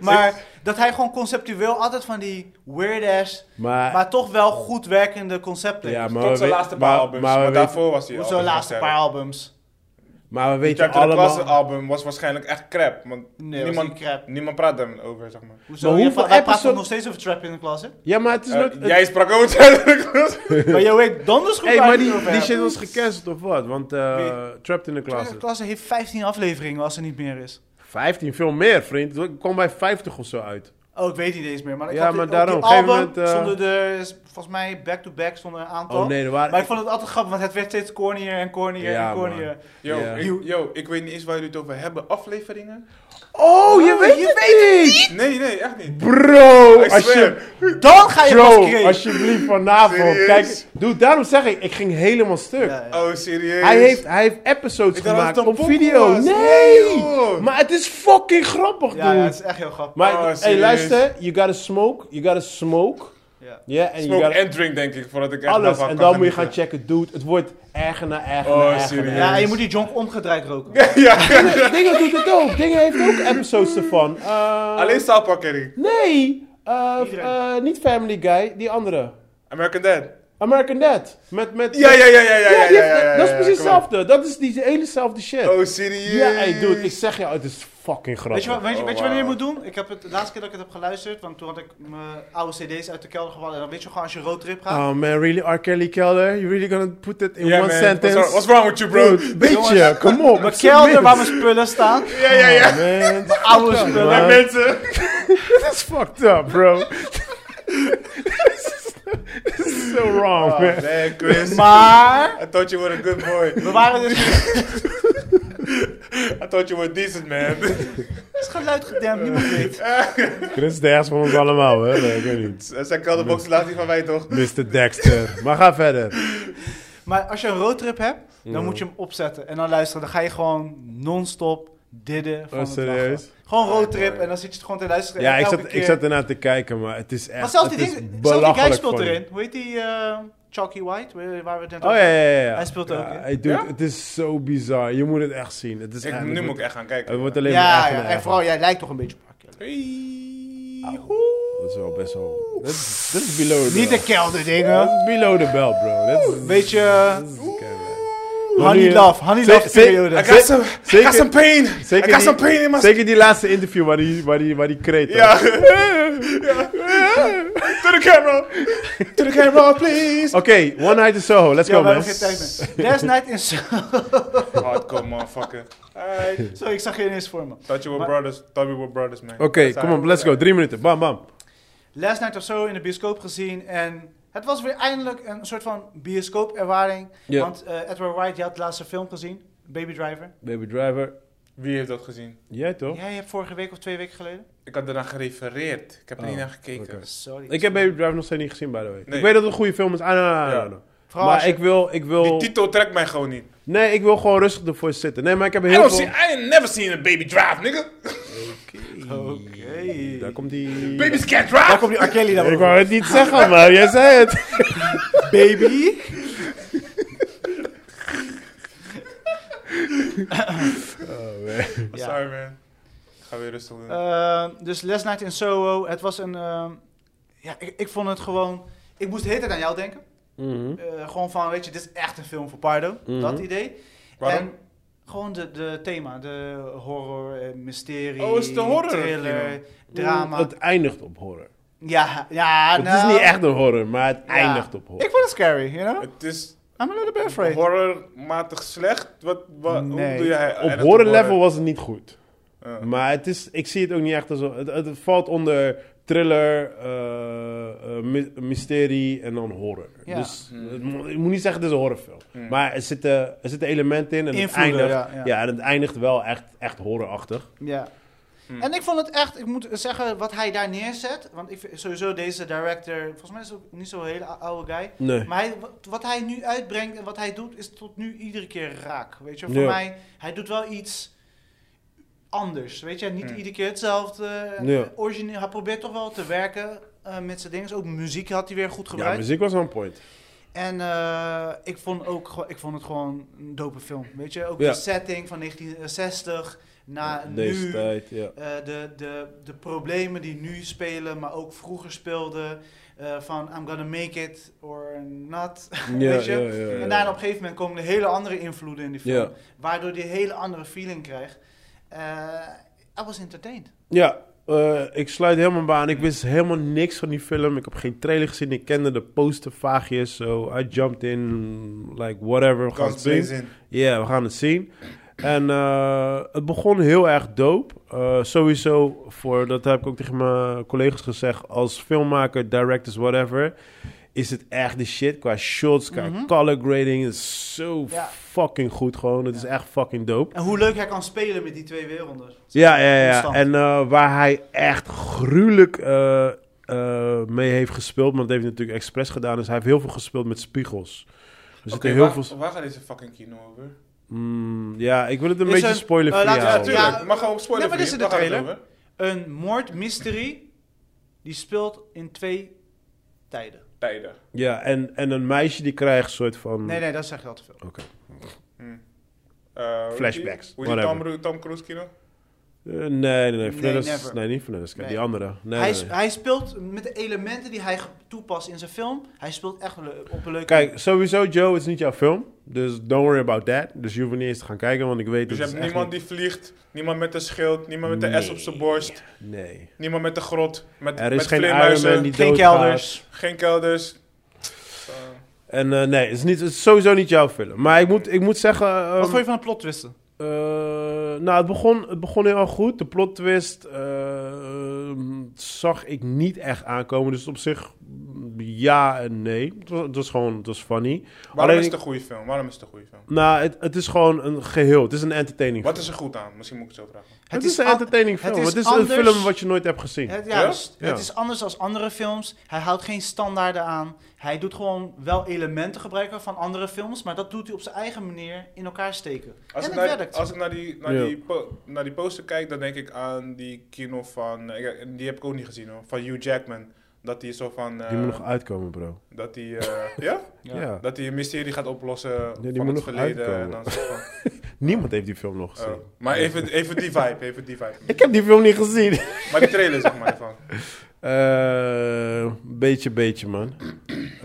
Speaker 1: maar dat hij gewoon conceptueel altijd van die weird-ass,
Speaker 2: Maar,
Speaker 1: maar toch wel goed werkende concepten
Speaker 2: ja,
Speaker 1: heeft.
Speaker 2: maar,
Speaker 3: Tot
Speaker 2: we,
Speaker 3: zijn
Speaker 2: we-
Speaker 3: laatste paar
Speaker 2: maar,
Speaker 3: albums.
Speaker 2: maar, we
Speaker 3: Maar
Speaker 2: weten,
Speaker 3: daarvoor was hij
Speaker 1: Op
Speaker 3: al.
Speaker 1: Zo'n laatste paar albums.
Speaker 2: maar we weten
Speaker 3: Chapter allemaal...
Speaker 2: allemaal...
Speaker 3: album was waarschijnlijk echt crap. Want
Speaker 1: Nee, was
Speaker 3: niemand,
Speaker 1: niet crap.
Speaker 3: niemand praat daarover, zeg maar.
Speaker 1: Hoezo?
Speaker 2: Maar
Speaker 1: Ja,
Speaker 2: hoeveel
Speaker 1: wij praten
Speaker 2: episode-
Speaker 1: nog steeds over Trap in the Closet.
Speaker 2: Ja, maar het is
Speaker 3: Eh,
Speaker 2: nooit... het-
Speaker 3: jij sprak ook hetzelfde.
Speaker 1: maar je weet donders goed
Speaker 2: hey,
Speaker 1: waar
Speaker 2: maar
Speaker 1: je het
Speaker 2: die,
Speaker 1: over
Speaker 2: die
Speaker 1: hebt.
Speaker 2: shit was gecanceld of wat? Want eh,
Speaker 1: Wie?
Speaker 2: Trapped in the
Speaker 1: Trap in the
Speaker 2: Closet.
Speaker 1: Closet heeft 15 afleveringen als er niet meer is.
Speaker 2: 15, veel meer, vriend. Ik kwam bij 50 of zo uit.
Speaker 1: Oh, ik weet niet eens meer. Maar ik
Speaker 2: Ja,
Speaker 1: had die-
Speaker 2: maar
Speaker 1: ook die
Speaker 2: daarom, op een
Speaker 1: album
Speaker 2: gegeven moment, eh,
Speaker 1: stonden er, volgens mij, back-to-back stonden er een aantal.
Speaker 2: Oh nee, er waren...
Speaker 1: Maar ik vond het altijd grappig, want het werd steeds cornier en cornier
Speaker 2: Ja,
Speaker 1: en cornier.
Speaker 3: Yo,
Speaker 2: Ja.
Speaker 3: ik, yo, ik weet niet eens waar jullie het over hebben. Afleveringen?
Speaker 2: Oh, je weet het niet!
Speaker 3: Nee, nee, echt niet.
Speaker 2: Bro,
Speaker 3: I
Speaker 2: als je...
Speaker 3: swear.
Speaker 1: Dan ga je pas
Speaker 2: Bro,
Speaker 1: creëren.
Speaker 2: alsjeblieft vanavond.
Speaker 3: Serieus?
Speaker 2: Kijk, dude, daarom zeg ik, ik ging helemaal stuk.
Speaker 1: Ja, ja.
Speaker 3: Oh, serieus?
Speaker 2: Hij heeft, hij heeft episodes
Speaker 3: Ik dacht dat
Speaker 2: gemaakt
Speaker 3: het een
Speaker 2: op
Speaker 3: pokoe
Speaker 2: video.
Speaker 3: was.
Speaker 2: Nee!
Speaker 3: Nee, joh.
Speaker 2: maar het is fucking grappig,
Speaker 1: Ja, ja,
Speaker 2: dude.
Speaker 1: het is echt heel grappig.
Speaker 2: maar
Speaker 3: Oh,
Speaker 2: hey,
Speaker 3: serieus.
Speaker 2: luister, you gotta smoke, you gotta smoke.
Speaker 1: Ja.
Speaker 2: Yeah, en you
Speaker 3: Smoke
Speaker 2: gotta
Speaker 3: en drink, denk ik, voordat ik echt
Speaker 2: alles.
Speaker 3: daarvan
Speaker 2: En
Speaker 3: kan
Speaker 2: dan moet je gaan
Speaker 3: genieten.
Speaker 2: checken, dude. Het wordt erger na erger
Speaker 3: Oh,
Speaker 2: na erger.
Speaker 3: serieus.
Speaker 1: ja,
Speaker 2: Ja,
Speaker 1: en je moet die jonk omgedraaid roken.
Speaker 2: Dingen doet het ook. Dingen heeft ook episodes ervan. Eh,
Speaker 3: Alleen staalparkering.
Speaker 2: Nee, eh,
Speaker 1: Iedereen.
Speaker 2: eh, niet Family Guy, die andere.
Speaker 3: American Dad.
Speaker 2: American Dad. Met, met,
Speaker 3: Ja, ja, ja, ja, ja,
Speaker 2: Ja,
Speaker 3: ja,
Speaker 2: die
Speaker 3: ja,
Speaker 2: heeft-
Speaker 3: ja, ja,
Speaker 2: Dat is
Speaker 3: ja,
Speaker 2: precies
Speaker 3: kom op.
Speaker 2: hetzelfde. Dat is die hele zelfde shit.
Speaker 3: Oh, serieus?
Speaker 2: ja, hey, dude, ik zeg jou, het is fucking
Speaker 1: Weet
Speaker 2: grappig.
Speaker 1: je, wat- weet je,
Speaker 3: Oh,
Speaker 1: weet je wanneer je
Speaker 3: wauw.
Speaker 1: moet doen? Ik heb het de laatste keer dat ik het heb geluisterd, want toen had ik mijn oude cd's uit de kelder gehaald. En dan weet je gewoon als je roadtrip gaat.
Speaker 2: Oh man, really, R. Kelly Kelder? You really gonna put that in
Speaker 3: Ja,
Speaker 2: one
Speaker 3: man.
Speaker 2: sentence?
Speaker 3: What's, what's wrong with you, bro?
Speaker 2: Dude, beetje, kom op.
Speaker 1: mijn kelder waar mijn spullen staan.
Speaker 3: Ja, ja, ja.
Speaker 2: Oh, Man,
Speaker 1: Oude
Speaker 2: man.
Speaker 1: spullen.
Speaker 3: Ja, mensen.
Speaker 2: This is fucked up, bro. this, is, this is so wrong,
Speaker 3: Oh,
Speaker 2: man.
Speaker 3: man, Chris.
Speaker 1: Maar
Speaker 3: I thought you were a good boy.
Speaker 1: we waren dus
Speaker 3: I thought you were decent, man.
Speaker 1: het is geluid gedempt, niemand weet.
Speaker 2: Chris is de ergste van ons allemaal, hè? Nee, ik weet niet.
Speaker 3: Zijn kelderbox laat die van mij, toch?
Speaker 2: Mr. Dexter. Maar ga verder.
Speaker 1: Maar als je een roadtrip hebt,
Speaker 2: Mm.
Speaker 1: dan moet je hem opzetten en dan luisteren. Dan ga je gewoon non-stop didden van
Speaker 2: Oh,
Speaker 1: het
Speaker 2: serieus? Oh,
Speaker 1: lachen. Gewoon roadtrip en dan zit je het gewoon te luisteren.
Speaker 2: Ja,
Speaker 1: en
Speaker 2: ik
Speaker 1: elke
Speaker 2: zat,
Speaker 1: keer-
Speaker 2: ik zat ernaar te kijken, maar het is echt.
Speaker 1: Maar zelfs die,
Speaker 2: het is
Speaker 1: ding, zelfs die
Speaker 2: belachelijk
Speaker 1: guy speelt
Speaker 2: funny.
Speaker 1: erin. Hoe heet die eh, Chalky White, waar waar we het net
Speaker 2: Oh ja, ja, ja, ja.
Speaker 1: Hij speelt er
Speaker 2: Ja,
Speaker 1: ook in.
Speaker 2: hey, dude,
Speaker 3: Ja?
Speaker 2: Het is zo bizar. Je moet het echt zien. Het is
Speaker 3: Ik,
Speaker 2: echt-
Speaker 3: nu
Speaker 2: het
Speaker 3: moet ik
Speaker 2: wordt-
Speaker 3: echt gaan kijken.
Speaker 2: Het wordt alleen maar
Speaker 1: Ja,
Speaker 2: echt
Speaker 1: ja,
Speaker 2: een
Speaker 1: en
Speaker 2: echt.
Speaker 1: vooral jij lijkt toch een beetje op R. Kelly.
Speaker 3: Hey.
Speaker 2: Dat is wel best wel... Dat is, dat is below the
Speaker 1: Niet
Speaker 2: belt.
Speaker 1: de kelder
Speaker 2: Dat
Speaker 1: dingen.
Speaker 2: is below the belt, bro. Dat is...
Speaker 1: Weet je,
Speaker 2: dat is oké, man.
Speaker 1: eh, honey
Speaker 2: Wanneer-
Speaker 1: love, honey
Speaker 2: Ze-
Speaker 1: love
Speaker 2: ze-
Speaker 3: I
Speaker 1: periode.
Speaker 3: got some, I
Speaker 2: zeker-
Speaker 3: got some pain.
Speaker 2: Zeker
Speaker 3: I
Speaker 2: die-
Speaker 3: got some pain in my...
Speaker 2: Zeker die laatste interview waar die, waar die, waar die kreet. was.
Speaker 3: Ja. To the camera. To the camera, please.
Speaker 2: Oké, One Night in Soho. Let's
Speaker 1: Ja,
Speaker 2: go,
Speaker 1: we
Speaker 2: man.
Speaker 1: hebben geen tijd meer. Last night in Soho.
Speaker 3: Hardcore, motherfucker. I
Speaker 1: Sorry, ik zag je ineens voor me.
Speaker 3: thought you were
Speaker 1: Maar-
Speaker 3: brothers. Thought we were brothers, man.
Speaker 2: Oké, kom op. Let's go.
Speaker 3: eh,
Speaker 2: Drie minuten. Bam, bam.
Speaker 1: Last night of Soho in de bioscoop gezien en het was weer eindelijk een soort van bioscoopervaring.
Speaker 2: Ja.
Speaker 1: Want eh, Edward Wright, je had de laatste film gezien, Baby Driver.
Speaker 2: Baby Driver.
Speaker 3: Wie heeft dat gezien?
Speaker 2: Jij toch?
Speaker 1: Jij hebt vorige week of twee weken geleden.
Speaker 3: Ik had eraan gerefereerd. Ik heb er
Speaker 2: Oh,
Speaker 3: niet naar gekeken.
Speaker 2: oké.
Speaker 1: Sorry.
Speaker 2: Ik heb Baby Driver nog steeds niet gezien, by the way.
Speaker 3: Nee.
Speaker 2: Ik weet dat het een goede film is. Ah, no, no, no,
Speaker 3: Ja.
Speaker 2: no, no.
Speaker 1: Vooral als
Speaker 2: Maar
Speaker 1: je-
Speaker 2: ik wil, ik
Speaker 3: Die
Speaker 2: wil...
Speaker 3: titel trekt mij gewoon niet.
Speaker 2: Nee, ik wil gewoon rustig ervoor zitten. Nee, maar ik heb
Speaker 3: I
Speaker 2: heel
Speaker 3: don't
Speaker 2: veel...
Speaker 3: see, I ain't never seen a baby drive, nigga.
Speaker 2: Oké.
Speaker 1: Oké.
Speaker 2: Daar komt die...
Speaker 3: Babies can't
Speaker 1: Daar
Speaker 3: drive.
Speaker 1: komt die R. Kelly dan
Speaker 2: Ik
Speaker 1: wel.
Speaker 2: wou het niet zeggen, maar jij zei het.
Speaker 1: Baby. Ja.
Speaker 3: Oh, Sorry, man. Ik ga weer rustig doen.
Speaker 1: Eh, dus Last Night in Soho, het was een... ehm, ja, ik, ik vond het gewoon... Ik moest de hele tijd aan jou denken. Eh, gewoon van, weet je, dit is echt een film voor Pardo.
Speaker 2: Mhm.
Speaker 1: Dat idee.
Speaker 3: Waarom?
Speaker 1: En gewoon de, de thema, de horror, eh, mysterie,
Speaker 3: Oh, is het een horror
Speaker 1: thriller,
Speaker 3: film?
Speaker 1: drama.
Speaker 2: Het eindigt op horror.
Speaker 1: Ja, ja,
Speaker 2: het
Speaker 1: nou...
Speaker 2: is niet echt een horror, maar het
Speaker 1: Ja.
Speaker 2: eindigt op horror.
Speaker 1: Ik vond het scary, you know?
Speaker 3: Het is
Speaker 1: I'm a little bit afraid.
Speaker 3: horrormatig slecht. Wat, wat,
Speaker 1: Nee.
Speaker 3: Hoe doe jij
Speaker 2: op horror, level was het niet goed.
Speaker 3: Ja.
Speaker 2: Maar het is, ik zie het ook niet echt als... Het, het valt onder thriller, eh, eh, my- mysterie en dan horror.
Speaker 1: Ja. Mhm.
Speaker 2: Dus het, mo- ik moet niet zeggen het is een horrorfilm.
Speaker 3: Hm.
Speaker 2: Maar er zitten, er zitten elementen in en het
Speaker 1: Invloeden,
Speaker 2: eindigt...
Speaker 1: ja,
Speaker 2: Ja,
Speaker 1: ja.
Speaker 2: en het eindigt wel echt, echt horrorachtig.
Speaker 1: Ja. En ik vond het echt, ik moet zeggen, wat hij daar neerzet. Want ik vind sowieso deze director, volgens mij is het ook niet zo'n hele oude guy.
Speaker 2: Nee.
Speaker 1: Maar hij, wat- wat hij nu uitbrengt en wat hij doet, is tot nu iedere keer raak. Weet je, voor
Speaker 2: Ja.
Speaker 1: mij, hij doet wel iets anders. Weet je, niet
Speaker 3: Ja.
Speaker 1: iedere keer hetzelfde. eh,
Speaker 2: Ja.
Speaker 1: Origineel, hij probeert toch wel te werken eh, met zijn dingen. Ook muziek had hij weer goed
Speaker 2: Ja,
Speaker 1: gebruikt.
Speaker 2: muziek was on point.
Speaker 1: en eh, ik vond ook, gewoon- ik vond het gewoon een dope film. Weet je, ook
Speaker 2: Ja.
Speaker 1: de setting van 1960 naar
Speaker 2: Deze
Speaker 1: nu.
Speaker 2: tijd, ja.
Speaker 1: Eh, de, de, de problemen die nu spelen, maar ook vroeger speelden. eh, van I'm gonna make it or not. Weet je? En daarna op een gegeven moment komen er hele andere invloeden in die film.
Speaker 2: Ja.
Speaker 1: Waardoor die een hele andere feeling krijgt. Eh I was entertained.
Speaker 2: Ja, eh, ik sluit helemaal bij aan. Ik wist helemaal niks van die film. Ik heb geen trailer gezien. Ik kende de poster vaagjes. So I jumped in, like whatever. We gaan
Speaker 3: Kan
Speaker 2: het zien.
Speaker 3: zin.
Speaker 2: Ja, we gaan het zien. En eh, het begon heel erg dope. Eh, sowieso, voor, dat heb ik ook tegen mijn collega's gezegd. Als filmmaker, directors, whatever. Is het echt de shit qua shots, qua
Speaker 1: Mhm.
Speaker 2: color grading. Het is zo
Speaker 1: Ja.
Speaker 2: fucking goed gewoon. Het is echt fucking dope.
Speaker 1: En hoe leuk hij kan spelen met die twee werelden.
Speaker 2: Ja, ja, ja.
Speaker 1: Constant.
Speaker 2: En eh, waar hij echt gruwelijk eh, eh, mee heeft gespeeld, maar dat heeft hij natuurlijk expres gedaan, is hij heeft heel veel gespeeld met spiegels. Er zitten
Speaker 3: Oké,
Speaker 2: heel
Speaker 3: waar,
Speaker 2: veel...
Speaker 3: waar gaat deze fucking kino over?
Speaker 2: Mm, ja, ik wil het een
Speaker 1: Is
Speaker 2: beetje
Speaker 1: een-
Speaker 2: spoilen
Speaker 1: eh,
Speaker 2: voor
Speaker 1: laten we-
Speaker 2: jou.
Speaker 3: Ja, tuurlijk.
Speaker 1: Ja,
Speaker 3: maar gewoon op spoiler
Speaker 1: nee, maar
Speaker 3: voor
Speaker 1: dit
Speaker 3: je.
Speaker 1: is in de
Speaker 3: Waar gaat het over?
Speaker 1: Een moordmysterie die speelt in twee tijden.
Speaker 3: Tijden.
Speaker 2: Ja, en, en een meisje die krijgt een soort van...
Speaker 1: Nee, nee, dat zeg je al te veel.
Speaker 2: Oké.
Speaker 3: Hm. Eh, hoe heet die?
Speaker 2: Flashbacks,
Speaker 3: Hoe heet die
Speaker 2: whatever.
Speaker 3: Tom, Tom Cruise kino?
Speaker 2: Eh, nee, nee, nee.
Speaker 1: Nee,
Speaker 2: Fernandes, nee,
Speaker 1: never.
Speaker 2: niet Fernandes. Kijk,
Speaker 1: Nee.
Speaker 2: Die andere. Nee,
Speaker 1: hij,
Speaker 2: nee,
Speaker 1: s-
Speaker 2: nee.
Speaker 1: hij speelt met de elementen die hij ge- toepast in zijn film. Hij speelt echt le- op een leuke
Speaker 2: Kijk, sowieso, Joe, het is niet jouw film. Dus don't worry about that. Dus je hoeft niet eens te gaan kijken, want ik weet
Speaker 3: Dus je
Speaker 2: dat het
Speaker 3: hebt
Speaker 2: is echt
Speaker 3: niemand die vliegt, niemand met een schild, niemand met de S op zijn
Speaker 2: Nee.
Speaker 3: borst,
Speaker 2: Nee.
Speaker 3: niemand met de grot, met,
Speaker 2: Er is
Speaker 3: met
Speaker 2: geen Iron
Speaker 3: vleermuizen,
Speaker 2: Man die
Speaker 1: Geen
Speaker 2: doodgaat.
Speaker 1: kelders.
Speaker 3: geen kelders. Eh,
Speaker 2: En eh, nee, het is, niet, het is sowieso niet jouw film. Maar ik moet, ik moet zeggen... ehm,
Speaker 1: Wat vond je van de plot twisten?
Speaker 2: eh, nou, het begon, het begon heel erg goed. De plot twist eh, zag ik niet echt aankomen. Dus op zich mm, ja en nee. Het was, het was gewoon het was funny.
Speaker 3: waarom
Speaker 2: Alleen
Speaker 3: is
Speaker 2: ik-
Speaker 3: het een goede film? Waarom is het een goede film?
Speaker 2: Nou, het, het is gewoon een geheel. Het is een entertaining
Speaker 3: Wat is er goed aan? Misschien moet ik het zo vragen.
Speaker 2: Het, is, een
Speaker 1: an-
Speaker 2: entertaining
Speaker 1: het
Speaker 2: film. Het is,
Speaker 1: is
Speaker 2: een
Speaker 1: anders-
Speaker 2: film wat je nooit hebt gezien.
Speaker 1: Het,
Speaker 3: Ja?
Speaker 1: juist.
Speaker 2: Ja.
Speaker 1: het is anders dan andere films. Hij houdt geen standaarden aan. Hij doet gewoon wel elementen gebruiken van andere films, maar dat doet hij op zijn eigen manier in elkaar steken.
Speaker 3: Als,
Speaker 1: en
Speaker 3: ik
Speaker 1: het
Speaker 3: naar,
Speaker 1: werkt.
Speaker 3: als ik naar die, naar,
Speaker 2: Ja.
Speaker 3: die po- naar die poster kijk, dan denk ik aan die kino van... eh, ik- die heb ik ook niet gezien hoor. Van Hugh Jackman. Dat hij zo van... eh,
Speaker 2: Die moet nog uitkomen, bro.
Speaker 3: dat hij... eh, ja?
Speaker 2: Ja.
Speaker 3: Dat hij een mysterie gaat oplossen
Speaker 2: die
Speaker 3: van
Speaker 2: moet
Speaker 3: het
Speaker 2: nog
Speaker 3: verleden.
Speaker 2: uitkomen.
Speaker 3: En dan zo van,
Speaker 2: Niemand heeft die film nog gezien.
Speaker 3: oh. Maar even, even die vibe. Even die vibe.
Speaker 2: Ik heb die film niet gezien.
Speaker 3: Maar die trailer zeg maar van.
Speaker 2: Eh, beetje, beetje, man.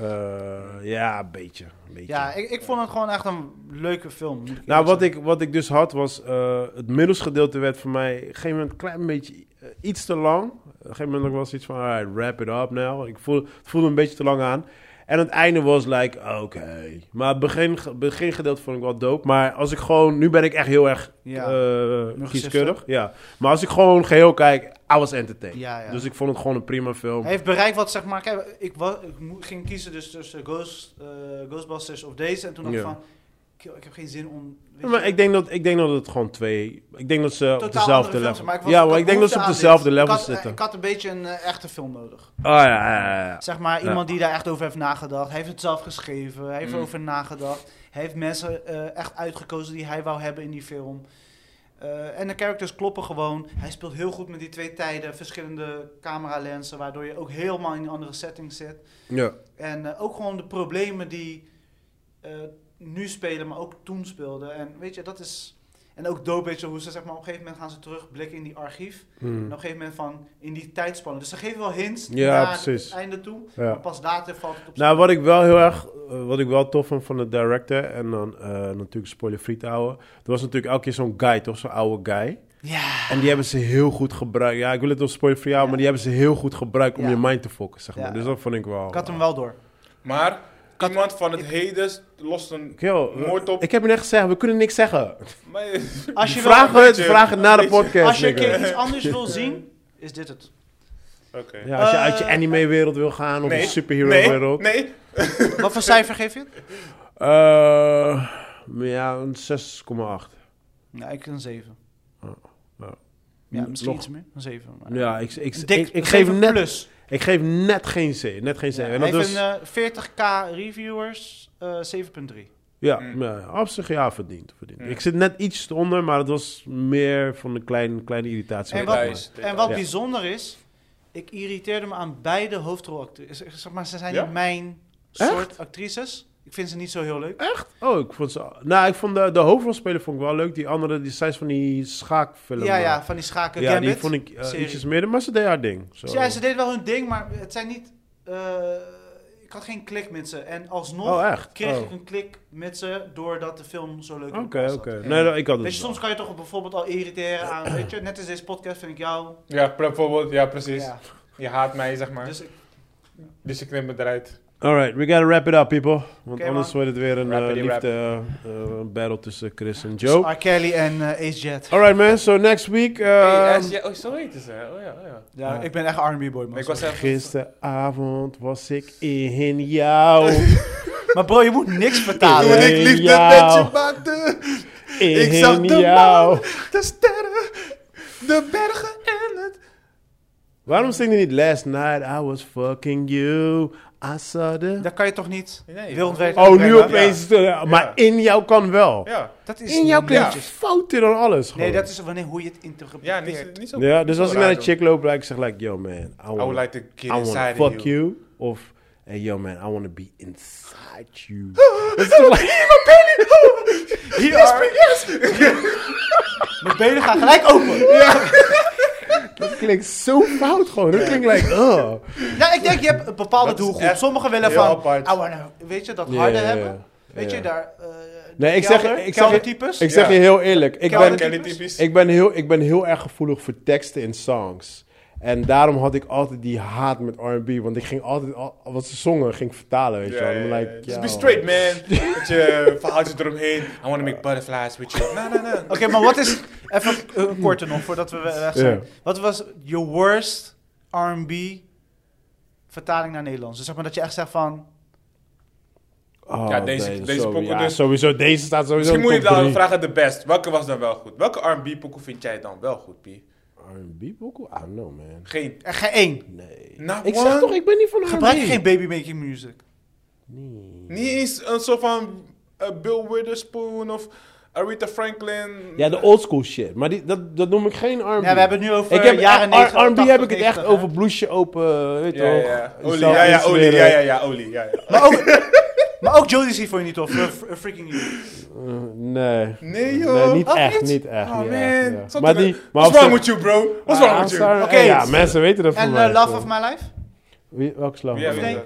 Speaker 2: Eh, ja, beetje. beetje.
Speaker 1: Ja, ik, ik vond het gewoon echt een leuke film. moet ik
Speaker 2: nou,
Speaker 1: eerlijk
Speaker 2: wat ik, wat ik dus had was... eh, het middelgedeelte werd voor mij... Op een gegeven moment een klein beetje... eh, iets te lang. Op een gegeven moment was iets van... Alright, wrap it up now. Ik voel, het voelde een beetje te lang aan. En het einde was like, oké. Maar het begin, begingedeelte vond ik wel dope. Maar als ik gewoon... Nu ben ik echt heel erg
Speaker 1: Ja.
Speaker 2: eh,
Speaker 1: Nog
Speaker 2: kieskeurig. Ja. Maar als ik gewoon geheel kijk... I was entertained.
Speaker 1: Ja, ja.
Speaker 2: Dus ik vond het gewoon een prima film.
Speaker 1: Hij heeft bereikt wat, zeg maar... Kijk, ik, wa- ik mo- ging kiezen dus tussen Ghost, eh, Ghostbusters of deze. En toen dacht ik
Speaker 2: Ja.
Speaker 1: van... "Kill, Ik heb geen zin om... weet
Speaker 2: Ja,
Speaker 1: je,
Speaker 2: maar ik denk, dat, ik denk dat het gewoon twee... Ik denk dat ze op
Speaker 1: totaal andere
Speaker 2: dezelfde
Speaker 1: films,
Speaker 2: level...
Speaker 1: maar ik was-
Speaker 2: ja,
Speaker 1: ik
Speaker 2: maar
Speaker 1: had
Speaker 2: ik denk dat ze op
Speaker 1: behoefte aan
Speaker 2: dezelfde
Speaker 1: dit.
Speaker 2: level
Speaker 1: Ik had-
Speaker 2: zitten.
Speaker 1: Ik had een beetje een eh, echte film nodig.
Speaker 2: Oh ja, ja, ja, ja.
Speaker 1: Zeg maar,
Speaker 2: Ja.
Speaker 1: iemand die daar echt over heeft nagedacht. Hij heeft het zelf geschreven, hij heeft
Speaker 3: Mm.
Speaker 1: erover nagedacht. Hij heeft mensen eh, echt uitgekozen die hij wou hebben in die film. Eh, en de characters kloppen gewoon. Hij speelt heel goed met die twee tijden, verschillende cameralensen, waardoor je ook helemaal in een andere setting zit.
Speaker 2: ja.
Speaker 1: En eh, ook gewoon de problemen die eh, nu spelen, maar ook toen speelden. En weet je, dat is. En ook dope, weet je, hoe ze zeg maar op een gegeven moment gaan ze terugblikken in die archief. En
Speaker 2: Hmm.
Speaker 1: op een gegeven moment van in die tijdspanne. Dus ze geven wel hints
Speaker 2: Ja,
Speaker 1: naar
Speaker 2: precies.
Speaker 1: het einde toe.
Speaker 2: Ja.
Speaker 1: Maar pas later valt het op
Speaker 2: Nou, wat ik wel heel erg... eh, wat ik wel tof vond van de director... En dan eh, natuurlijk spoiler-free te houden. Er was natuurlijk elke keer zo'n guy, toch? Zo'n oude guy.
Speaker 1: Ja.
Speaker 2: En die hebben ze heel goed gebruikt. Ja, ik wil het wel spoiler-free houden... Maar die hebben ze heel goed gebruikt om
Speaker 1: Ja.
Speaker 2: je mind te fokken, zeg maar.
Speaker 1: Ja.
Speaker 2: Dus dat vond ik wel...
Speaker 1: Ik had hem wel door.
Speaker 3: Maar
Speaker 1: had-
Speaker 3: iemand van het heden lost een...
Speaker 2: Yo, we-
Speaker 3: Moord op.
Speaker 2: Ik heb je net gezegd, we kunnen niks zeggen.
Speaker 3: Maar-
Speaker 1: Als je,
Speaker 2: Vraag
Speaker 1: wil,
Speaker 2: het,
Speaker 3: beetje-
Speaker 2: vraag het na de
Speaker 3: een beetje.
Speaker 2: podcast.
Speaker 1: als je een
Speaker 2: nigga.
Speaker 1: keer iets anders wil zien, is dit het.
Speaker 3: Oké.
Speaker 2: Ja, als je uit je
Speaker 1: Eh,
Speaker 2: anime-wereld wil gaan of
Speaker 3: Nee,
Speaker 2: een superhero-wereld.
Speaker 3: Nee, nee.
Speaker 1: Wat voor cijfer geef je het?
Speaker 2: Eh, ja, een 6,8.
Speaker 1: Nou, ik een 7. Ja,
Speaker 2: Oh, nou. Nog-
Speaker 1: misschien iets meer. Een 7. maar-
Speaker 2: Nou Ja, ik, ik,
Speaker 1: Een
Speaker 2: ik,
Speaker 1: dik
Speaker 2: ik,
Speaker 1: een
Speaker 2: geef
Speaker 1: 7
Speaker 2: net,
Speaker 1: plus.
Speaker 2: ik geef net geen C. Net geen C.
Speaker 1: Ja,
Speaker 2: en
Speaker 1: hij
Speaker 2: dat dus,
Speaker 1: heeft een eh, 40k reviewers, eh 7.3.
Speaker 2: ja,
Speaker 3: Mm.
Speaker 2: ja, op zich ja, verdiend. verdiend.
Speaker 3: Mm.
Speaker 2: Ik zit net iets onder, maar het was meer van een klein, kleine irritatie.
Speaker 1: En
Speaker 2: wat ik
Speaker 1: wat,
Speaker 2: had.
Speaker 3: Details,
Speaker 1: en wat
Speaker 2: Ja.
Speaker 1: bijzonder is, ik irriteerde me aan beide hoofdrolactrices. Zeg maar, ze zijn
Speaker 3: Ja?
Speaker 1: niet mijn
Speaker 2: Echt?
Speaker 1: soort actrices. Ik vind ze niet zo heel leuk.
Speaker 2: Oh, ik vond ze... Nou, ik vond de, de hoofdrolspeler vond ik wel leuk. Die andere, die zij is van die schaakfilm.
Speaker 1: ja,
Speaker 2: eh,
Speaker 1: ja, van die schaken
Speaker 2: ja
Speaker 1: Gambit.
Speaker 2: die vond ik eh,
Speaker 1: serie.
Speaker 2: ietsjes meer, maar ze deed haar ding. Zo.
Speaker 1: Dus ja, ze deden wel hun ding, maar het zijn niet... eh, ik had geen klik met ze. En alsnog
Speaker 2: Oh, echt?
Speaker 1: kreeg
Speaker 2: Oh.
Speaker 1: ik een klik met ze doordat de film zo leuk in
Speaker 2: Oké,
Speaker 1: elkaar
Speaker 2: oké.
Speaker 1: zat.
Speaker 2: Nee, nou, ik had het
Speaker 1: Weet je,
Speaker 2: wel.
Speaker 1: soms kan je toch bijvoorbeeld al irriteren aan... Weet je, net als deze podcast vind ik jou...
Speaker 3: Ja, bijvoorbeeld. Ja, precies.
Speaker 1: Ja,
Speaker 3: Je haat mij, zeg maar. Dus,
Speaker 1: dus ik-
Speaker 3: ik neem het eruit.
Speaker 2: Alright, we gotta wrap it up, people. Want
Speaker 1: Oké,
Speaker 2: anders
Speaker 1: man.
Speaker 2: wordt het weer een eh,
Speaker 3: Wrappity wrap.
Speaker 2: liefde eh, eh, battle tussen Chris
Speaker 1: Dus
Speaker 2: en Joe.
Speaker 1: R. Kelly en eh, Ace Jet.
Speaker 2: Alright, man. So next week. ehm,
Speaker 3: oh, zo heet ze. Oh ja, oh ja.
Speaker 1: Ja,
Speaker 2: Ja.
Speaker 1: ik ben echt R&B boy, man.
Speaker 3: ik was even...
Speaker 2: gisteravond was ik in jou.
Speaker 1: Maar bro, je moet niks
Speaker 2: vertalen.
Speaker 1: vertalen.
Speaker 3: Toen ik liefde met je
Speaker 2: Jou.
Speaker 3: maakte,
Speaker 2: In
Speaker 3: ik zag de
Speaker 2: jou.
Speaker 3: maan, de sterren, de bergen en het...
Speaker 2: Waarom zing je niet Last Night I Was Fucking You? I saw the...
Speaker 1: Dat kan je toch niet
Speaker 3: Nee.
Speaker 1: wereldwijd
Speaker 2: Oh, nu
Speaker 1: uitbrengen?
Speaker 2: opeens. eh, Maar in jou kan wel.
Speaker 3: Ja,
Speaker 1: Dat is
Speaker 2: In jou klinkt
Speaker 1: netjes.
Speaker 2: fouter dan alles.
Speaker 1: Nee,
Speaker 2: gewoon.
Speaker 1: dat is wanneer hoe je het
Speaker 3: ja
Speaker 1: interpreteert.
Speaker 3: niet, niet zo
Speaker 2: Ja, dus als ik naar
Speaker 3: raar
Speaker 2: een chick loop, ik zeg like, yo man, I
Speaker 3: doen. I
Speaker 2: want
Speaker 3: would like to get
Speaker 2: I
Speaker 3: inside
Speaker 2: wanna
Speaker 3: of
Speaker 2: fuck you. Of Hey yo man, I want to be inside you. It's so like,
Speaker 1: Hier Mijn benen gaan gelijk open.
Speaker 2: dat klinkt zo fout gewoon. Dat klinkt like, oh.
Speaker 1: Ja, Nou, ik denk, je hebt een bepaalde
Speaker 3: Dat is
Speaker 1: doelgroep.
Speaker 3: echt
Speaker 1: Sommigen willen
Speaker 3: heel
Speaker 1: van,
Speaker 3: apart.
Speaker 1: I wanna- weet je, dat
Speaker 2: Ja,
Speaker 1: harde
Speaker 2: ja, ja.
Speaker 1: hebben. Weet
Speaker 2: Ja.
Speaker 1: je, daar... eh,
Speaker 2: Nee, ik zeg,
Speaker 1: kelder-
Speaker 2: ik zeg,
Speaker 1: keldertypes.
Speaker 2: ik zeg je
Speaker 3: Ja.
Speaker 2: heel eerlijk. Ik ben,
Speaker 1: Kelder-
Speaker 3: Kelly typisch.
Speaker 2: ik, ben heel, ik ben heel erg gevoelig voor teksten in songs. En daarom had ik altijd die haat met R&B. Want ik ging altijd, al, wat ze zongen, ging ik vertalen, weet je wel.
Speaker 3: Ja,
Speaker 2: I'm
Speaker 3: ja,
Speaker 2: like,
Speaker 3: ja.
Speaker 2: yo.
Speaker 3: Just be straight, man. Met je verhaaltje eromheen. I want to make butterflies with you. Na, na, na.
Speaker 1: Oké, maar wat is... Even eh, een korter nog, voordat we weg zijn.
Speaker 2: Ja.
Speaker 1: Wat was your worst R&B vertaling naar Nederlands? Dus zeg maar dat je echt zegt van...
Speaker 2: Oh,
Speaker 3: Ja, deze- deze
Speaker 2: sowieso,
Speaker 3: pokoe
Speaker 2: ja,
Speaker 3: dus.
Speaker 2: sowieso, deze staat sowieso
Speaker 3: Misschien moet je
Speaker 2: in de
Speaker 3: dan
Speaker 2: top
Speaker 3: vragen de best. Welke was dan wel goed? Welke R&B pokoe vind jij dan wel goed, P?
Speaker 2: drie. R&B pokoe? I don't know, man.
Speaker 3: Geen.
Speaker 1: Er geen één.
Speaker 2: Nee.
Speaker 3: Not
Speaker 2: Ik
Speaker 3: one.
Speaker 2: zeg toch, ik ben niet van R&B.
Speaker 1: Gebruik geen baby making music.
Speaker 2: Nee.
Speaker 3: Niet eens een soort van eh, Bill Witherspoon of Aretha Franklin.
Speaker 2: Ja, de oldschool shit. Maar die, dat, dat noem ik geen R&B.
Speaker 1: Ja, we hebben het nu over
Speaker 2: ik heb
Speaker 1: jaren
Speaker 2: R-
Speaker 1: 90.
Speaker 2: R&B heb ik het
Speaker 1: 80,
Speaker 2: echt
Speaker 1: 90,
Speaker 2: over
Speaker 1: hè?
Speaker 2: bloesje open, weet je
Speaker 3: Ja,
Speaker 2: wel.
Speaker 3: ja. Olie,
Speaker 2: Zelf
Speaker 3: ja, ja, olie,
Speaker 2: insmeren.
Speaker 3: ja, ja, ja, olie, ja, ja.
Speaker 1: Maar ook, maar ook Jodeci vond je niet tof. eh, fr- eh, freaking you.
Speaker 2: Eh, Nee.
Speaker 3: Nee,
Speaker 2: Nee,
Speaker 3: joh.
Speaker 2: niet
Speaker 1: Oh,
Speaker 2: echt,
Speaker 1: niet?
Speaker 2: niet echt.
Speaker 3: Oh,
Speaker 2: niet
Speaker 3: man.
Speaker 2: echt, ja.
Speaker 3: Zat
Speaker 2: Maar
Speaker 3: er-
Speaker 2: die...
Speaker 3: What's
Speaker 2: maar Ah,
Speaker 3: wrong with you, bro? What's wrong with you?
Speaker 2: Oké.
Speaker 1: Oké.
Speaker 2: Ja, mensen weten dat
Speaker 1: En
Speaker 2: van mij.
Speaker 1: eh, Love of My Life?
Speaker 2: Wie, welke slag?
Speaker 3: Ja,
Speaker 1: Of
Speaker 3: weet
Speaker 1: nee?
Speaker 3: dat.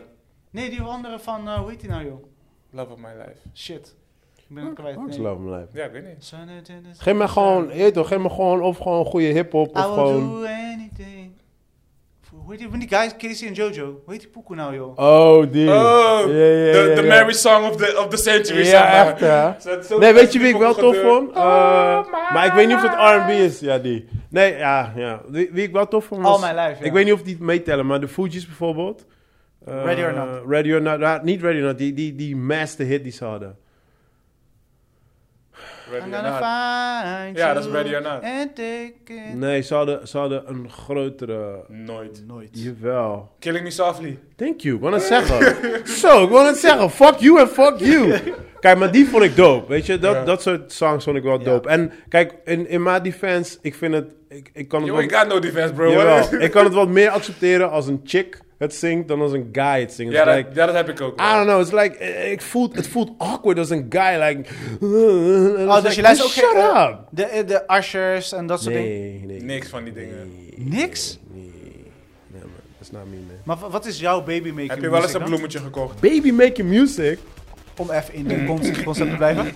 Speaker 1: Nee, die andere van... eh, hoe heet die nou, joh?
Speaker 3: Love of my life.
Speaker 1: Shit. Ik ben hem kwijt.
Speaker 2: Welke
Speaker 1: Nee.
Speaker 2: slag van mij?
Speaker 3: Ja, ik weet niet.
Speaker 1: Sun it in the
Speaker 2: Geef me gewoon, je weet toch, geef me gewoon of gewoon goede hip-hop
Speaker 1: I
Speaker 2: of
Speaker 1: will
Speaker 2: gewoon.
Speaker 1: do anything. Hoe heet die, van die guys, Casey en Jojo? Hoe heet die pokoe nou, joh?
Speaker 2: Oh, die.
Speaker 3: Oh,
Speaker 2: Ja, ja,
Speaker 3: the,
Speaker 2: ja,
Speaker 3: the
Speaker 2: ja.
Speaker 3: marriage song of the, of the century. zeg
Speaker 2: Ja,
Speaker 3: maar.
Speaker 2: echt hè.
Speaker 3: Zo- zo-
Speaker 2: Nee, weet je
Speaker 3: die
Speaker 2: wie ik wel
Speaker 3: pokoe
Speaker 2: tof
Speaker 3: gebeurt. Oh
Speaker 2: vond? Eh, maar ik weet niet of het R&B is. Ja, die. Nee, ja, ja. Wie, wie ik wel tof vond was...
Speaker 1: All my life, ja.
Speaker 2: Ik weet niet of die het meetellen, maar de Fuji's bijvoorbeeld. Eh,
Speaker 1: Ready or Not.
Speaker 2: Ready or Not. ja, niet Ready or Not, die, die, die master hit die ze hadden.
Speaker 3: Ready
Speaker 1: I'm
Speaker 3: or
Speaker 1: gonna
Speaker 3: not.
Speaker 1: find
Speaker 3: Ja,
Speaker 1: you
Speaker 3: dat is Ready or Not.
Speaker 1: And take it.
Speaker 2: Nee, ze hadden, ze hadden een grotere...
Speaker 3: Nooit.
Speaker 1: Nooit.
Speaker 2: Jawel.
Speaker 3: Killing Me Softly.
Speaker 2: Thank you, ik wou het zeggen. Zo, ik wou het zeggen. Fuck you en fuck you. Kijk, maar die vond ik dope. Weet je, dat,
Speaker 3: Ja.
Speaker 2: dat soort songs vond ik wel
Speaker 1: Ja.
Speaker 2: dope. En kijk, in, in mijn defense, ik vind het... Ik, ik kan het
Speaker 3: Yo,
Speaker 2: wel-
Speaker 3: ik got no defense, bro.
Speaker 2: Jawel, ik kan het wat meer accepteren als een chick het zingt dan als een guy het zingt.
Speaker 3: ja,
Speaker 2: It's
Speaker 3: dat,
Speaker 2: like,
Speaker 3: ja, dat heb ik ook.
Speaker 2: I
Speaker 3: wel.
Speaker 2: don't know, it's like, eh, ik voel, het voelt awkward als een guy, like... eh,
Speaker 1: Oh, dus je luistert ook
Speaker 2: Shut
Speaker 1: geen... eh,
Speaker 2: up!
Speaker 1: De, eh, de ushers en dat soort dingen.
Speaker 2: Nee, nee.
Speaker 3: Niks van die dingen.
Speaker 1: Niks?
Speaker 2: Nee, nee man, that's not me, man.
Speaker 1: Maar wa- wat is jouw baby making
Speaker 3: Heb je wel eens
Speaker 1: music
Speaker 3: een
Speaker 1: dan?
Speaker 3: bloemetje gekocht?
Speaker 2: Baby making music?
Speaker 1: Om even in
Speaker 3: Mm.
Speaker 1: de concept, concept te blijven.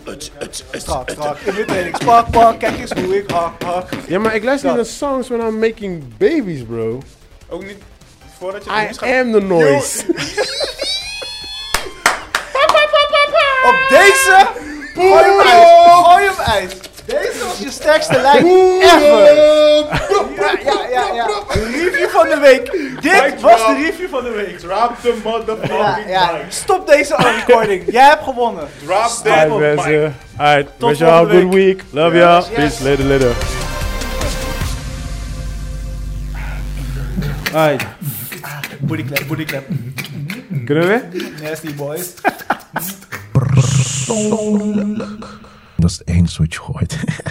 Speaker 1: Strak, strak, in mijn training. Pak, pak, kijk eens hoe ik hak, hak.
Speaker 2: Ja, maar ik luister niet naar
Speaker 1: Dat.
Speaker 2: songs when I'm making babies, bro.
Speaker 3: Ook niet voordat je het nieuws
Speaker 2: I
Speaker 3: gaat-
Speaker 2: am the noise.
Speaker 1: Op deze gooi hem uit. Gooi hem uit. Deze was je sterkste lijn ever. Ja, ja, ja, ja. De review van de week. Dit was de review van de week.
Speaker 3: Drop the
Speaker 1: Ja,
Speaker 3: motherfucking
Speaker 1: ja.
Speaker 3: mic.
Speaker 1: Stop deze recording. Jij hebt gewonnen.
Speaker 3: Drop that
Speaker 2: Alright
Speaker 3: mic.
Speaker 2: mensen, alright, wish
Speaker 1: Oh volgende
Speaker 2: y'all a good
Speaker 1: week.
Speaker 2: week. Love
Speaker 3: Yes,
Speaker 2: y'all,
Speaker 1: yes.
Speaker 2: peace, later, later. Alright,
Speaker 1: Bodyclap, bodyclap.
Speaker 2: kunnen we?
Speaker 1: Nasty boys.
Speaker 4: Dat is het enige wat je gooit.